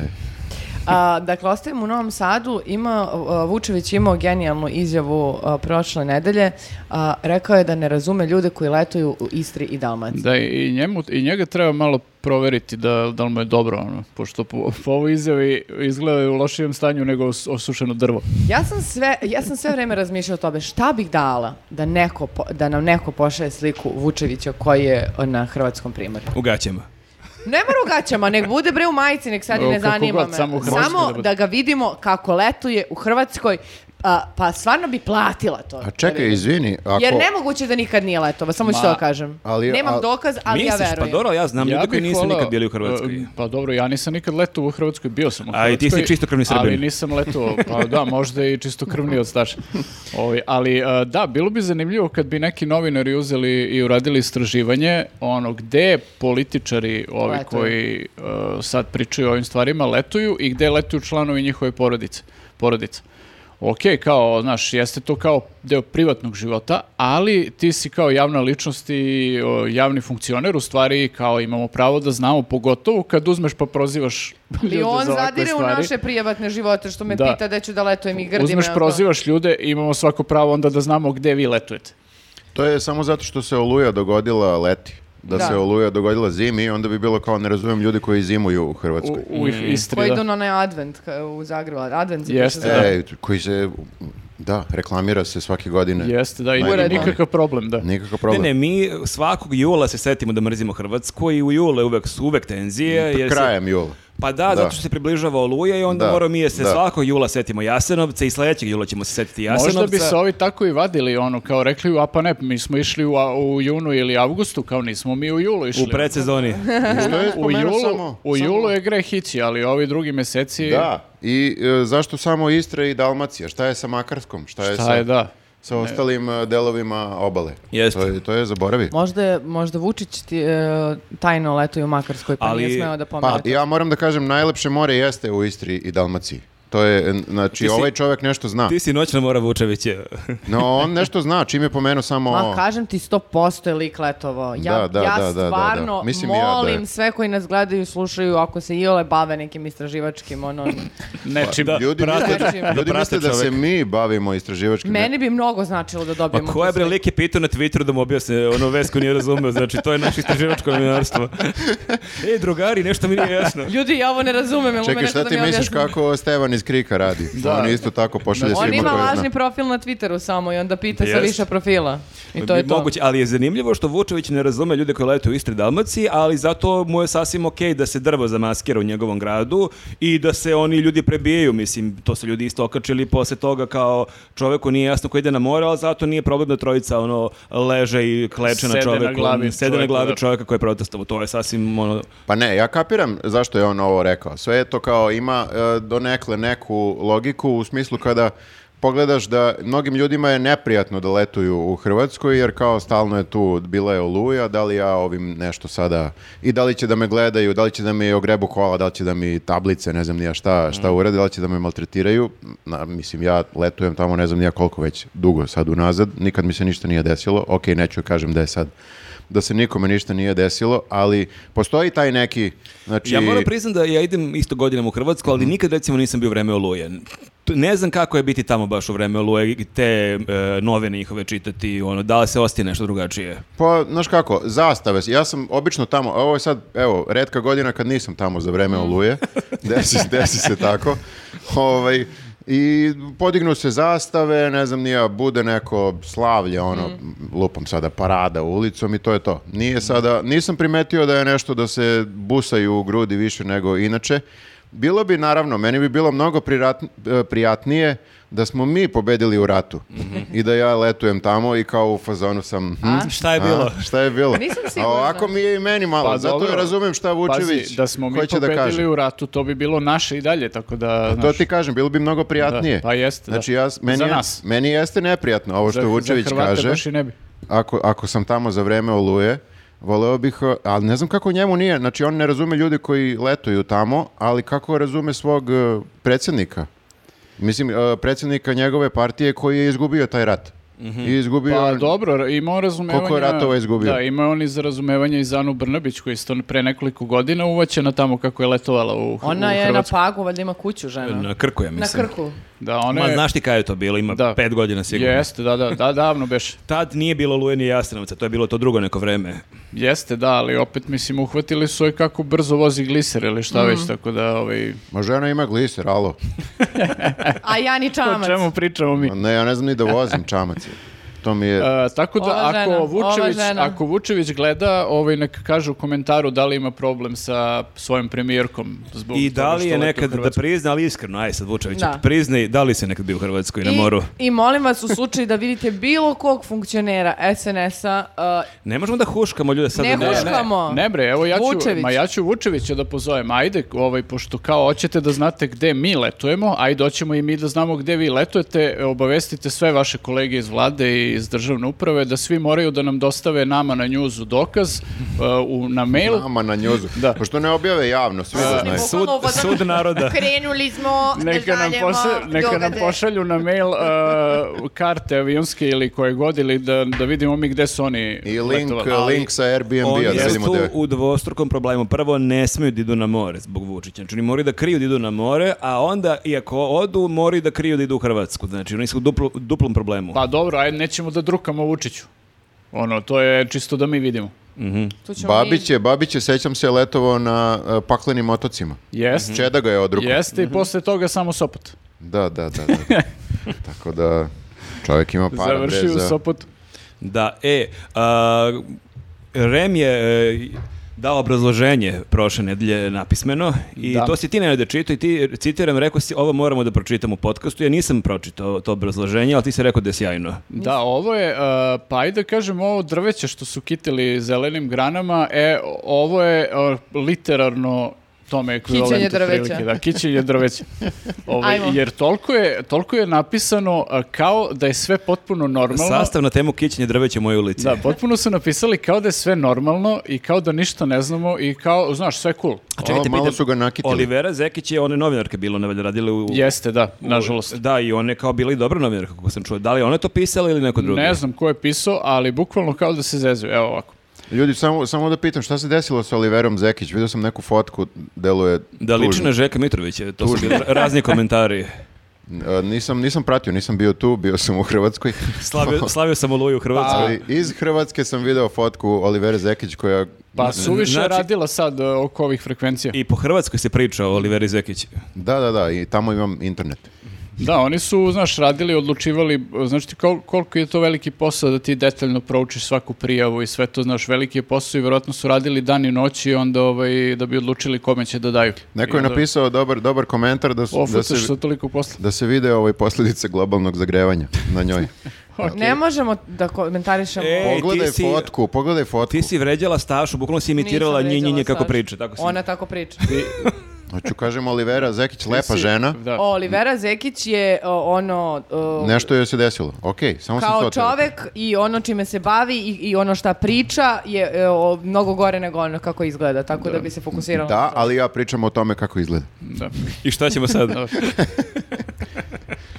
Speaker 4: A, dakle, ostajemo u Novom Sadu. Ima, a, Vučević je imao genijalnu izjavu a, prošle nedelje. A, rekao je da ne razume ljude koji letuju u Istri i Dalmaciji.
Speaker 2: Da, i, njemu, i njega treba malo proveriti da, da li mu je dobro, ono, pošto po, po ovoj izjavi izgleda u lošijem stanju nego os- osušeno drvo.
Speaker 4: Ja sam sve, ja sam sve vreme razmišljala o tome šta bih dala da, neko, po- da nam neko pošalje sliku Vučevića koji je na hrvatskom primorju.
Speaker 1: U gaćama.
Speaker 4: Ne mora u gaćama, nek bude bre u majici, nek sad i
Speaker 2: Evo,
Speaker 4: ne
Speaker 2: kako
Speaker 4: zanima
Speaker 2: god,
Speaker 4: me.
Speaker 2: samo u
Speaker 4: Samo,
Speaker 2: Hrvatskoj da
Speaker 4: da,
Speaker 2: bude.
Speaker 4: ga vidimo kako letuje u Hrvatskoj, a, pa stvarno bi platila to.
Speaker 3: A
Speaker 4: da
Speaker 3: čekaj,
Speaker 4: vidim.
Speaker 3: izvini, ako...
Speaker 4: Jer nemoguće da nikad nije letova, samo ću
Speaker 2: Ma,
Speaker 4: to da kažem.
Speaker 3: ali-
Speaker 4: Nemam
Speaker 3: al-
Speaker 4: dokaz, ali ja
Speaker 1: Misliš,
Speaker 4: verujem.
Speaker 1: pa dobro, ja znam ljudi koji
Speaker 2: bih
Speaker 1: nisu
Speaker 2: voleo,
Speaker 1: nikad bili u
Speaker 2: e,
Speaker 1: Hrvatskoj.
Speaker 2: Pa dobro, ja nisam nikad leto u Hrvatskoj, bio sam u
Speaker 1: A
Speaker 2: Hrvatskoj.
Speaker 1: i ti si čistokrvni Srbin.
Speaker 2: Ali nisam leto, pa da, možda i čistokrvni od staša. Ovaj, ali e, da, bilo bi zanimljivo kad bi neki novinari uzeli i uradili istraživanje, ono, gde političari ovi
Speaker 4: Letuju.
Speaker 2: koji e, sad pričaju o ovim stvarima letuju i gde letuju članovi njihove porodice. Porodica. Ok, kao, znaš, jeste to kao deo privatnog života, ali ti si kao javna ličnost i o, javni funkcioner, u stvari kao imamo pravo da znamo, pogotovo kad uzmeš pa prozivaš ljude
Speaker 4: I on
Speaker 2: za ovakve
Speaker 4: zadire u
Speaker 2: stvari.
Speaker 4: naše prijavatne živote što me
Speaker 2: Da.
Speaker 4: pita da ću da letujem i grdi
Speaker 2: Uzmeš,
Speaker 4: me. ono.
Speaker 2: prozivaš ljude i imamo svako pravo onda da znamo gde vi letujete.
Speaker 3: To je samo zato što se Oluja dogodila leti. Da,
Speaker 4: Da.
Speaker 3: se Oluja dogodila zimi, onda bi bilo kao, ne razumijem ljudi koji zimuju u
Speaker 2: U,
Speaker 3: Hrvatskoj.
Speaker 2: u Istri,
Speaker 4: Koji
Speaker 2: da.
Speaker 4: idu na onaj advent ka- u Zagrebu, advent se
Speaker 2: Jeste,
Speaker 4: piše
Speaker 2: da.
Speaker 4: za-
Speaker 3: E, koji se, da, reklamira se svake godine.
Speaker 2: Jeste, da, i
Speaker 3: Uredno.
Speaker 2: nikakav problem, da.
Speaker 3: Nikakav
Speaker 1: Ne,
Speaker 3: problem.
Speaker 1: ne, mi svakog jula se setimo da mrzimo Hrvatsku i u jule uvek su uvek tenzije. Jer se-
Speaker 3: Krajem jula.
Speaker 1: Pa da, zato što se približava oluja i onda
Speaker 3: Da,
Speaker 1: moramo mi je se
Speaker 3: da.
Speaker 1: svakog jula setimo Jasenovca i sledećeg jula ćemo se setiti Jasenovca.
Speaker 2: Možda bi se ovi tako i vadili, ono, kao rekli, a pa ne, mi smo išli u, a- u junu ili avgustu, kao nismo mi u julu išli.
Speaker 1: U predsezoni.
Speaker 3: Što je
Speaker 2: U
Speaker 3: spomenuo
Speaker 2: julu,
Speaker 3: samo-
Speaker 2: u
Speaker 3: samo-
Speaker 2: julu je gre hići, ali ovi drugi meseci...
Speaker 3: Da, i e, zašto samo Istra i Dalmacija? Šta je sa Makarskom? Šta je,
Speaker 2: Šta
Speaker 3: sa,
Speaker 2: je, da.
Speaker 3: sa ostalim e, delovima obale?
Speaker 1: Jeste.
Speaker 3: To je, to je zaboravi.
Speaker 4: Možda, je- možda Vučić ti, e, tajno letuje u Makarskoj, pa
Speaker 1: Ali-
Speaker 4: nije smeo da pomene
Speaker 3: Pa
Speaker 4: to.
Speaker 3: ja moram da kažem, najlepše more jeste u Istri i Dalmaciji. To je, n- znači,
Speaker 1: si-
Speaker 3: ovaj čovjek nešto zna.
Speaker 1: Ti si noćna mora Vučeviće.
Speaker 3: No, on nešto zna, čim je pomenuo samo...
Speaker 4: Ma kažem ti 100% je lik letovo. Ja,
Speaker 3: Da, da,
Speaker 4: ja
Speaker 3: da, da, da, da.
Speaker 4: stvarno
Speaker 3: Mislim i ja da
Speaker 4: molim
Speaker 3: je.
Speaker 4: sve koji nas gledaju i slušaju ako se iole bave nekim istraživačkim ono.
Speaker 2: Nečim.
Speaker 1: Da.
Speaker 3: Ljudi
Speaker 1: Prate-
Speaker 3: misle,
Speaker 4: da
Speaker 3: ljudi
Speaker 1: prate
Speaker 3: misle da se
Speaker 1: čovek.
Speaker 3: mi bavimo istraživačkim...
Speaker 4: Meni bi mnogo značilo da
Speaker 1: Pa
Speaker 4: dobijemo.
Speaker 1: ko je
Speaker 4: tu
Speaker 1: bre
Speaker 4: sliku.
Speaker 1: lik je pitao na Twitteru da mu objasne ono vesku nije razumeo, znači to je naše istraživačko novinarstvo. Ej drugari, nešto mi nije jasno.
Speaker 4: Ljudi, ja ovo ne razumem, jel
Speaker 3: Čekaj,
Speaker 4: ume neko
Speaker 3: šta
Speaker 4: da
Speaker 3: ti
Speaker 4: mi
Speaker 3: misliš
Speaker 4: objasni?
Speaker 3: kako Stevan iz Krika radi?
Speaker 2: Da.
Speaker 3: On isto tako pošalje
Speaker 2: On
Speaker 4: On
Speaker 3: svima
Speaker 4: ima
Speaker 3: koje zna.
Speaker 4: lažni profil na Twitteru samo i onda pita sa
Speaker 1: Jest.
Speaker 4: više profila. I E, to je to.
Speaker 1: Moguće, ali je zanimljivo što Vučević ne razume ljude koji lete u Istri i Dalmaciji, ali zato mu je sasvim okej da se drvo zamaskira u njegovom gradu i da se oni ljudi prebijaju, mislim, to su ljudi isto okačili posle toga kao čoveku nije jasno ko ide na more, ali zato nije problem da trojica ono leže i kleče na
Speaker 2: Sede na
Speaker 1: čoveku,
Speaker 2: glavi
Speaker 1: sede na
Speaker 2: čoveku,
Speaker 1: glavi
Speaker 2: da.
Speaker 1: čoveka koji je protestovao, to je sasvim ono,
Speaker 3: Pa ne, ja kapiram zašto je on ovo rekao. Sve je to kao ima e, donekle neku logiku u smislu kada pogledaš da mnogim ljudima je neprijatno da letuju u Hrvatskoj jer kao stalno je tu bila je oluja, da li ja ovim nešto sada i da li će da me gledaju, da li će da mi ogrebu kola, da li će da mi tablice, ne znam ni ja šta, šta
Speaker 1: Mhm.
Speaker 3: urade, da li će da me maltretiraju. Na, mislim, ja letujem tamo ne znam ni ja koliko već dugo sad unazad, nikad mi se ništa nije desilo. Ok, neću kažem da je sad da se nikome ništa nije desilo, ali postoji taj neki, znači...
Speaker 1: Ja moram priznam da ja idem isto godinama u Hrvatsku, ali nikad recimo nisam bio u vreme oluje. T- Ne znam kako je biti tamo baš u vreme oluje, i te e, novine njihove čitati, ono, da li se ostaje nešto drugačije.
Speaker 3: Pa, znaš kako, zastave, ja sam obično tamo, a ovo je sad, evo, redka godina kad nisam tamo za vreme oluje, desi, desi se tako, ovaj, i podignu se zastave, ne znam, nije, bude neko slavlje, ono, lupam sada, parada ulicom i to je to. Nije sada, nisam primetio da je nešto da se busaju u grudi više nego inače, Bilo bi, naravno, meni bi bilo mnogo prirat- e, prijatnije da smo mi pobedili u ratu i da ja letujem tamo i kao u fazonu sam... hm,
Speaker 4: A?
Speaker 1: Šta je bilo?
Speaker 3: a, šta je bilo?
Speaker 4: Pa Nisam
Speaker 3: A
Speaker 4: sigurna.
Speaker 3: ovako mi je i meni malo,
Speaker 2: Pa
Speaker 3: zato
Speaker 2: dobro.
Speaker 3: ja razumem šta Vučević
Speaker 2: Pazi, da smo mi
Speaker 3: hoće da
Speaker 2: pobedili
Speaker 3: kaže.
Speaker 2: u ratu, to bi bilo naše i dalje, tako da...
Speaker 3: Pa To
Speaker 2: znaš,
Speaker 3: ti kažem, bilo bi mnogo prijatnije.
Speaker 2: Da, pa jeste, da.
Speaker 3: Znači, ja, meni,
Speaker 2: Za
Speaker 3: je-
Speaker 2: nas.
Speaker 3: meni jeste neprijatno ovo što
Speaker 2: za- za
Speaker 3: Vučević
Speaker 2: Hrvate
Speaker 3: kaže.
Speaker 2: baš i ne bi.
Speaker 3: Ako, ako sam tamo za vreme oluje, voleo bih, eh, ali ne znam kako njemu nije, znači on ne razume ljude koji letuju tamo, ali kako razume svog eh, predsjednika. Mislim, eh, predsjednika njegove partije koji je izgubio taj rat. I izgubio...
Speaker 2: Pa dobro, imao razumevanja...
Speaker 3: Koliko je ratova izgubio?
Speaker 2: Da, imao je on i za razumevanje i za Anu Brnabić, koji je isto pre nekoliko godina uvaćena tamo kako je letovala u,
Speaker 4: Ona
Speaker 2: u
Speaker 4: je na pa-
Speaker 2: Hrvatsku.
Speaker 4: pagu, valjda ima kuću žena.
Speaker 1: Na Krku, ja
Speaker 4: Na
Speaker 1: mislim.
Speaker 4: krku.
Speaker 2: Da, ona
Speaker 1: Ma
Speaker 2: je...
Speaker 1: znaš ti kada je to bilo, ima
Speaker 2: Da.
Speaker 1: pet godina sigurno.
Speaker 2: Jeste, da, da, da, davno beš.
Speaker 1: Tad nije bilo Oluje ni Jasenovca, to je bilo to drugo neko vreme.
Speaker 2: Jeste, da, ali opet, mislim, uhvatili su je kako brzo vozi gliser ili šta
Speaker 4: Mhm.
Speaker 2: već, tako da, ovaj...
Speaker 3: Ma žena ima gliser, alo.
Speaker 4: A ja ni
Speaker 2: O
Speaker 4: čamac.
Speaker 2: čemu pričamo mi?
Speaker 3: Pa Ne, ja ne znam ni da vozim čamac. To mi je...
Speaker 2: E, tako da
Speaker 4: Ova
Speaker 2: ako
Speaker 4: žena, ova
Speaker 2: Vučević
Speaker 4: žena.
Speaker 2: ako Vučević gleda, ovaj nek kaže u komentaru da li ima problem sa svojom premijerkom zbog
Speaker 1: I da
Speaker 2: toga
Speaker 1: li
Speaker 2: što
Speaker 1: je
Speaker 2: leti u
Speaker 1: nekad, da
Speaker 2: Hrvatsku.
Speaker 1: prizna, ali iskreno, aj sad Vučević,
Speaker 4: Da.
Speaker 1: priznaj, da li se nekad bio u Hrvatskoj na moru?
Speaker 4: I molim vas u slučaju da vidite bilo kog funkcionera SNS-a, uh,
Speaker 1: Ne možemo da huškamo ljude sad.
Speaker 4: Ne
Speaker 1: da
Speaker 4: huškamo. Sluškamo.
Speaker 2: Ne bre, evo ja ću,
Speaker 4: Vučević.
Speaker 2: ma ja ću Vučevića da pozovem, ajde, ovaj, pošto kao hoćete da znate gde mi letujemo, ajde doćemo i mi da znamo gde vi letujete, obavestite sve vaše kolege iz vlade i iz državne uprave da svi moraju da nam dostave nama na njuzu dokaz e, u, na mail.
Speaker 1: E,
Speaker 3: Nama na njuzu.
Speaker 2: Da.
Speaker 3: Pošto ne objave javno, svi da znaju.
Speaker 1: Sud,
Speaker 5: Bukvalno uvodno-
Speaker 1: sud naroda.
Speaker 5: Krenuli smo,
Speaker 2: Neka nam,
Speaker 5: žaljemo,
Speaker 2: posle- neka nam
Speaker 5: događaj.
Speaker 2: pošalju na mail e, karte avionske ili koje god ili da, da vidimo mi gde su oni
Speaker 3: I link,
Speaker 2: letovali.
Speaker 3: link sa
Speaker 1: Oni
Speaker 3: Airbnb-a, da
Speaker 1: su
Speaker 3: vidimo
Speaker 1: tu
Speaker 3: da je-
Speaker 1: u dvostrukom problemu. Prvo, ne smiju da idu na more zbog Vučića. Znači, oni moraju da kriju da idu na more, a onda, iako odu, moraju da kriju da idu u Hrvatsku. Znači, oni su u duplu- duplom problemu.
Speaker 2: Pa dobro, ajde, nećemo da drukamo Vučiću. Ono, to je čisto da mi vidimo.
Speaker 4: tu ćemo
Speaker 3: Babić
Speaker 4: mi...
Speaker 3: je, Babić je, sećam se, letovao na e, paklenim otocima.
Speaker 1: Mm.
Speaker 2: Jeste.
Speaker 3: Čeda ga je odrukao.
Speaker 2: Jeste
Speaker 4: Mhm.
Speaker 2: i posle toga samo Sopot.
Speaker 3: Da, da, da. da. Tako da čovjek ima para. bre,
Speaker 2: Završio u
Speaker 3: za-
Speaker 2: Sopotu.
Speaker 1: Da, e, a, Rem je e, dao obrazloženje prošle nedelje napismeno i
Speaker 2: Da.
Speaker 1: to si ti Nenade čitao i ti, citiram, rekao si ovo moramo da pročitam u podcastu, ja nisam pročitao to obrazloženje, ali ti si rekao da je sjajno.
Speaker 2: Da, ovo je, uh, pa ajde kažem, ovo drveće što su kitili zelenim granama, e, ovo je uh, literarno tome ekvivalent.
Speaker 4: Kićenje
Speaker 2: u
Speaker 4: drveća.
Speaker 2: prilike, Da, kićenje drveća. Ovaj,
Speaker 4: Ajmo.
Speaker 2: jer toliko je, toliko je napisano uh, kao da je sve potpuno normalno.
Speaker 1: Sastav na temu kićenje drveća u mojoj ulici.
Speaker 2: Da, potpuno su napisali kao da je sve normalno i kao da ništa ne znamo i kao, znaš, sve cool.
Speaker 3: O, malo
Speaker 1: pitam,
Speaker 3: su ga nakitili.
Speaker 1: Olivera Zekić je one novinarke bilo, ne valjda radile u...
Speaker 2: Jeste, da,
Speaker 1: u-
Speaker 2: nažalost.
Speaker 1: Da, i one kao bili dobra novinarka, kako sam čuo. Da li je ona to pisala ili neko drugi?
Speaker 2: Ne znam ko je pisao, ali bukvalno kao da se zezuju. Evo ovako.
Speaker 3: Ljudi, samo, samo da pitam, šta se desilo sa Oliverom Zekić? Vidio sam neku fotku, deluje
Speaker 1: Da
Speaker 3: tužno.
Speaker 1: liči na Žeka Mitrovića, to su bili razni komentari.
Speaker 3: E, Nisam, nisam pratio, nisam bio tu, bio sam u Hrvatskoj.
Speaker 1: Slavio, slavio sam Oluju u Hrvatskoj.
Speaker 3: Ali iz Hrvatske sam video fotku Olivere Zekić koja...
Speaker 2: Pa suviše
Speaker 1: znači-
Speaker 2: je radila sad e, oko ovih frekvencija.
Speaker 1: I po Hrvatskoj se priča o Oliveri Zekić.
Speaker 3: Da, da, da, i tamo imam internet.
Speaker 2: Da, oni su, znaš, radili, odlučivali, znaš ti kol- koliko je to veliki posao da ti detaljno proučiš svaku prijavu i sve to, znaš, veliki je posao i vjerojatno su radili dan i noć i onda ovaj, da bi odlučili kome će da daju.
Speaker 3: Neko je napisao dobar, dobar komentar da, su, da, se,
Speaker 2: Ofutaš sa toliko posla.
Speaker 3: da se vide ovaj posljedice globalnog zagrevanja na njoj.
Speaker 4: Ne možemo da komentarišemo.
Speaker 1: E, Ej, ti
Speaker 3: Pogledaj
Speaker 1: si-
Speaker 3: fotku, pogledaj fotku.
Speaker 1: Ti si vređala Stašu, bukvalno si
Speaker 4: Nisam
Speaker 1: imitirala
Speaker 4: vređala
Speaker 1: njinjinje kako
Speaker 4: Sašu.
Speaker 1: priča. Tako si.
Speaker 4: Ona tako priča.
Speaker 3: Hoću kažem Olivera Zekić, lepa žena.
Speaker 2: Da.
Speaker 4: Olivera Zekić je o, ono... o,
Speaker 3: Nešto joj se desilo. Okej, samo sam
Speaker 4: kao
Speaker 3: to teo.
Speaker 4: čovek i ono čime se bavi i, i ono šta priča je e, o, mnogo gore nego ono kako izgleda, tako da, bi se fokusirala. na
Speaker 3: Da,
Speaker 4: to.
Speaker 3: ali ja pričam o tome kako izgleda.
Speaker 2: da.
Speaker 1: I šta ćemo sad?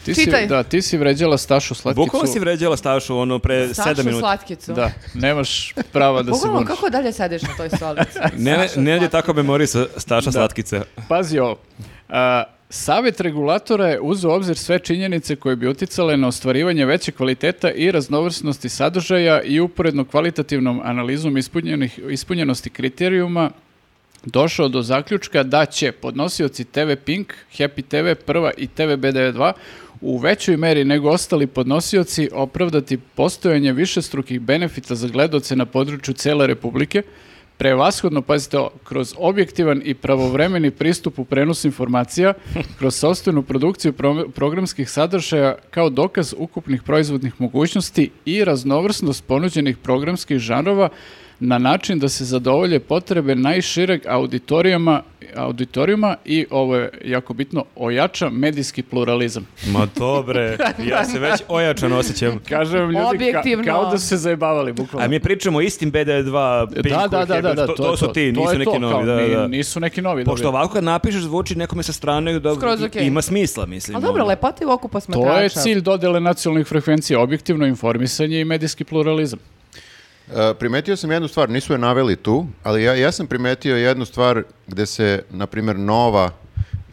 Speaker 2: Ti si,
Speaker 4: Čitaj.
Speaker 2: da, ti si vređala Stašu Slatkicu.
Speaker 1: Bukvalno
Speaker 4: Znači,
Speaker 1: si vređala Stašu ono pre
Speaker 4: Sašu
Speaker 1: sedam minuta.
Speaker 4: slatkicu.
Speaker 2: Da, nemaš prava da se
Speaker 4: Bukvalno,
Speaker 2: buneš.
Speaker 4: kako dalje sediš na toj stolici?
Speaker 1: Ne,
Speaker 4: Saša
Speaker 1: ne, ne,
Speaker 4: slatkica.
Speaker 1: tako memorisa Staša Slatkice.
Speaker 2: Pazi ovo. A, Savet uh, regulatora je uzeo u obzir sve činjenice koje bi uticale na ostvarivanje veće kvaliteta i raznovrsnosti sadržaja i uporedno kvalitativnom analizom ispunjenih, ispunjenosti kriterijuma došao do zaključka da će podnosioci TV Pink, Happy TV Prva i TV B92 u većoj meri nego ostali podnosioci opravdati postojanje višestrukih benefita za gledoce na području cele Republike, prevashodno, pazite ovo, kroz objektivan i pravovremeni pristup u prenos informacija, kroz sopstvenu produkciju pro- programskih sadržaja kao dokaz ukupnih proizvodnih mogućnosti i raznovrsnost ponuđenih programskih žanrova na način da se zadovolje potrebe najšireg auditorijama, auditorijuma i ovo je jako bitno, ojača medijski pluralizam.
Speaker 1: Ma dobre, ja se već ojačano osjećam.
Speaker 2: Kažem vam, ljudi, ka-
Speaker 4: Objektivno.
Speaker 2: kao da su se zajebavali, bukvalno.
Speaker 1: A mi pričamo o istim BD2, Pinku,
Speaker 2: da, da, da, da, da,
Speaker 1: to,
Speaker 2: je
Speaker 1: to su ti,
Speaker 2: to
Speaker 1: nisu
Speaker 2: je
Speaker 1: neki
Speaker 2: to,
Speaker 1: novi.
Speaker 2: kao,
Speaker 1: Da,
Speaker 2: ni-
Speaker 1: da.
Speaker 2: Nisu neki novi.
Speaker 1: Pošto
Speaker 2: dobili.
Speaker 1: ovako kad napišeš zvuči nekome sa strane da
Speaker 4: Skroz okej.
Speaker 1: ima smisla, mislim.
Speaker 4: Ali dobro,
Speaker 1: ono.
Speaker 4: lepota i u oku posmatrača.
Speaker 2: To je cilj dodele nacionalnih frekvencija, objektivno informisanje i medijski pluralizam.
Speaker 3: E, primetio sam jednu stvar, nisu je naveli tu, ali ja, ja sam primetio jednu stvar gde se, na primjer, Nova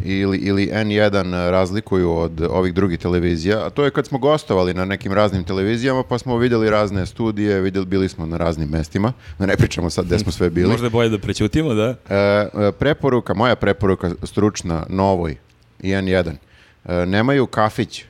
Speaker 3: ili, ili N1 razlikuju od ovih drugih televizija, a to je kad smo gostovali na nekim raznim televizijama, pa smo vidjeli razne studije, vidjeli, bili smo na raznim mestima, da ne pričamo sad gde smo sve bili.
Speaker 1: Možda je bolje da prećutimo, da?
Speaker 3: E, e, preporuka, moja preporuka stručna Novoj i N1, e, nemaju kafić.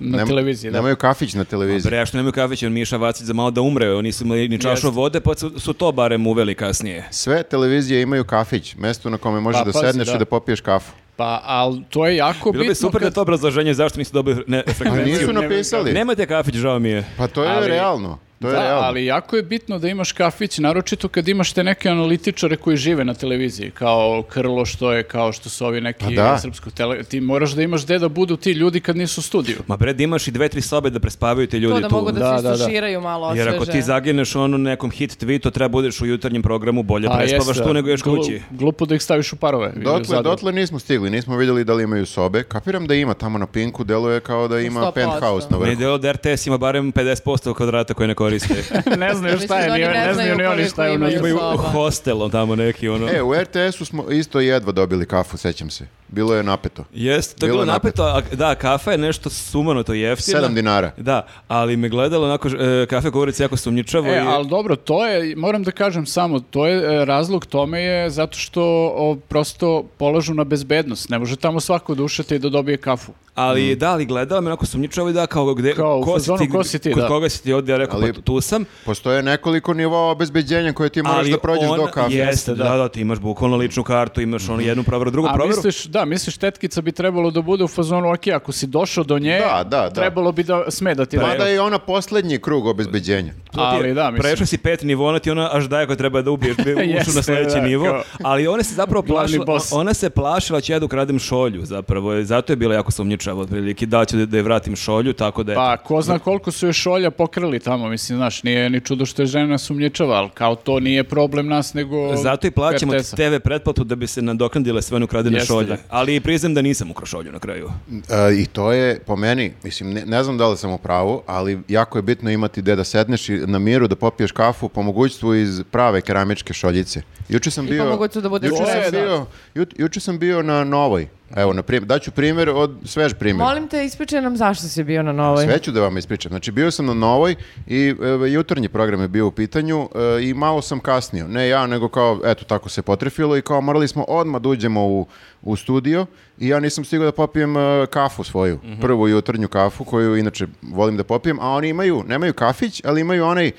Speaker 2: Na
Speaker 3: Nem-
Speaker 2: televiziji, da.
Speaker 3: Nemaju kafić na televiziji.
Speaker 1: Bre, ja što nemaju kafić, on Miša Vacić za malo da umre, oni su imali ni čašu
Speaker 2: Jeste.
Speaker 1: vode, pa su, su to barem uveli kasnije.
Speaker 3: Sve televizije imaju kafić, mesto na kome možeš
Speaker 2: Pa,
Speaker 3: da
Speaker 2: pazi,
Speaker 3: sedneš
Speaker 2: da.
Speaker 3: i da popiješ kafu.
Speaker 2: Pa, ali to je jako
Speaker 1: Bilo
Speaker 2: bitno.
Speaker 1: bi super da je
Speaker 2: kad-
Speaker 1: to obrazloženje zašto nisu dobili ne,
Speaker 3: Pa
Speaker 1: frekvenciju.
Speaker 3: nisu napisali.
Speaker 1: Nemate kafić, žao mi je.
Speaker 3: Pa to je
Speaker 2: Ali-
Speaker 3: realno. To je
Speaker 2: Da,
Speaker 3: realno.
Speaker 2: ali jako je bitno da imaš kafić, naročito kad imaš te neke analitičare koji žive na televiziji, kao Krlo što je, kao što su ovi neki
Speaker 3: Pa da.
Speaker 2: srpsko tele... Ti moraš da imaš gde da budu ti ljudi kad nisu u studiju.
Speaker 1: Ma bre, da imaš i dve, tri sobe da prespavaju te
Speaker 4: To
Speaker 1: ljudi
Speaker 4: da
Speaker 1: tu.
Speaker 4: mogu
Speaker 2: Da,
Speaker 4: da, se
Speaker 2: da, da.
Speaker 4: istuširaju malo osveže.
Speaker 1: Jer ako ti zagineš ono nekom hit tweetu, treba budeš u jutarnjem programu, bolje
Speaker 2: A,
Speaker 1: prespavaš
Speaker 2: jeste,
Speaker 1: pa tu nego ješ
Speaker 2: glu-
Speaker 1: kući.
Speaker 2: Glupo da ih staviš u parove. ili u
Speaker 3: Dotle,
Speaker 2: zadrugu.
Speaker 3: dotle nismo stigli, nismo vidjeli da li imaju sobe. Kapiram da ima tamo na Pinku, deluje kao da ima
Speaker 4: 100%.
Speaker 3: penthouse na
Speaker 1: Ne
Speaker 3: vrhu.
Speaker 1: delo da RTS ima barem 50% kvadrata koje ne koriste.
Speaker 2: ne znaju šta je,
Speaker 4: Mislim da oni
Speaker 2: ni-
Speaker 4: ne
Speaker 2: ne znaju
Speaker 4: znaju
Speaker 2: ni oni
Speaker 4: koliko
Speaker 2: šta je. ono-
Speaker 4: imaju.
Speaker 1: Imaju
Speaker 4: Soba.
Speaker 1: hostel tamo neki ono.
Speaker 3: E, u RTS-u smo isto jedva dobili kafu, sećam se. Bilo je napeto.
Speaker 1: Jeste, to je
Speaker 3: Bilo
Speaker 1: bilo
Speaker 3: je
Speaker 1: napeto, a, da, kafa je nešto sumano to jeftina.
Speaker 3: 7 dinara.
Speaker 1: Da, ali me gledalo onako, e, kafe govorice jako sumnjičavo.
Speaker 2: E,
Speaker 1: i-
Speaker 2: ali dobro, to je, moram da kažem samo, to je e, razlog tome je zato što o, prosto polažu na bezbednost. Ne može tamo svako da ušete i da dobije kafu.
Speaker 1: Ali da, ali gledala me onako sumnjičavo i da kao gde,
Speaker 2: Kao, u fazonu, ko si ti,
Speaker 1: kod
Speaker 2: da.
Speaker 1: koga si ti ovdje, ja rekao,
Speaker 3: Ali-
Speaker 1: pa tu sam.
Speaker 3: Postoje nekoliko nivoa obezbeđenja koje ti moraš
Speaker 1: ali
Speaker 3: da prođeš
Speaker 1: on
Speaker 3: do kafe.
Speaker 1: Jeste, da. da, ti imaš bukvalno ličnu kartu, imaš ono jednu proveru, drugu
Speaker 2: A
Speaker 1: proveru.
Speaker 2: misliš, da, misliš tetkica bi trebalo da bude u fazonu, ok, ako si došao do nje,
Speaker 3: Da, da, da.
Speaker 2: trebalo bi da sme da ti da.
Speaker 3: Mada je ona posljednji krug obezbeđenja.
Speaker 1: To ti je-
Speaker 2: Ali da, mislim.
Speaker 1: Prešao si pet nivona, ona ti ona aš daje koja treba da ubiješ, da ušu na
Speaker 2: Jeste,
Speaker 1: sljedeći
Speaker 2: da,
Speaker 1: nivo.
Speaker 2: kao-
Speaker 1: Ali ona se zapravo
Speaker 2: Glavni
Speaker 1: plašila,
Speaker 2: boss.
Speaker 1: ona se plašila će ja da ukradem šolju zapravo, je- zato je bila jako sumnjičava otprilike, da ću da, da je vratim šolju, tako da je.
Speaker 2: Pa, ko zna koliko su još olja pokrali tamo, mislim, znaš, nije ni čudo što je žena sumnjičava, ali kao to nije problem nas, nego...
Speaker 1: Zato i plaćamo
Speaker 2: RTS-a.
Speaker 1: TV pretplatu da bi se nadoknadile sve one ukradene
Speaker 2: Jeste,
Speaker 1: šolje.
Speaker 2: da.
Speaker 1: Ali priznam da nisam ukrao šolju na kraju.
Speaker 3: E, I to je, po meni, mislim, ne, ne znam da li sam u pravu, ali jako je bitno imati gde da sedneš i na miru da popiješ kafu po mogućstvu iz prave keramičke šoljice. Juče sam
Speaker 4: I po
Speaker 3: bio...
Speaker 4: mogućstvu da bude
Speaker 3: juče
Speaker 2: sve,
Speaker 3: sam
Speaker 2: da.
Speaker 3: bio, ju- juče sam bio na Novoj Evo, na primjer, daću primjer od svež primjer.
Speaker 4: Molim te, ispričaj nam zašto si bio na novoj.
Speaker 3: Sve ću da vam ispričam. Znači, bio sam na Novoj i e, jutarnji program je bio u pitanju e, i malo sam kasnio. Ne ja, nego kao, eto, tako se potrefilo i kao morali smo odmah da uđemo u, u studio i ja nisam stigao da popijem e, kafu svoju. Prvu jutarnju kafu koju inače volim da popijem, a oni imaju, nemaju kafić, ali imaju onaj e,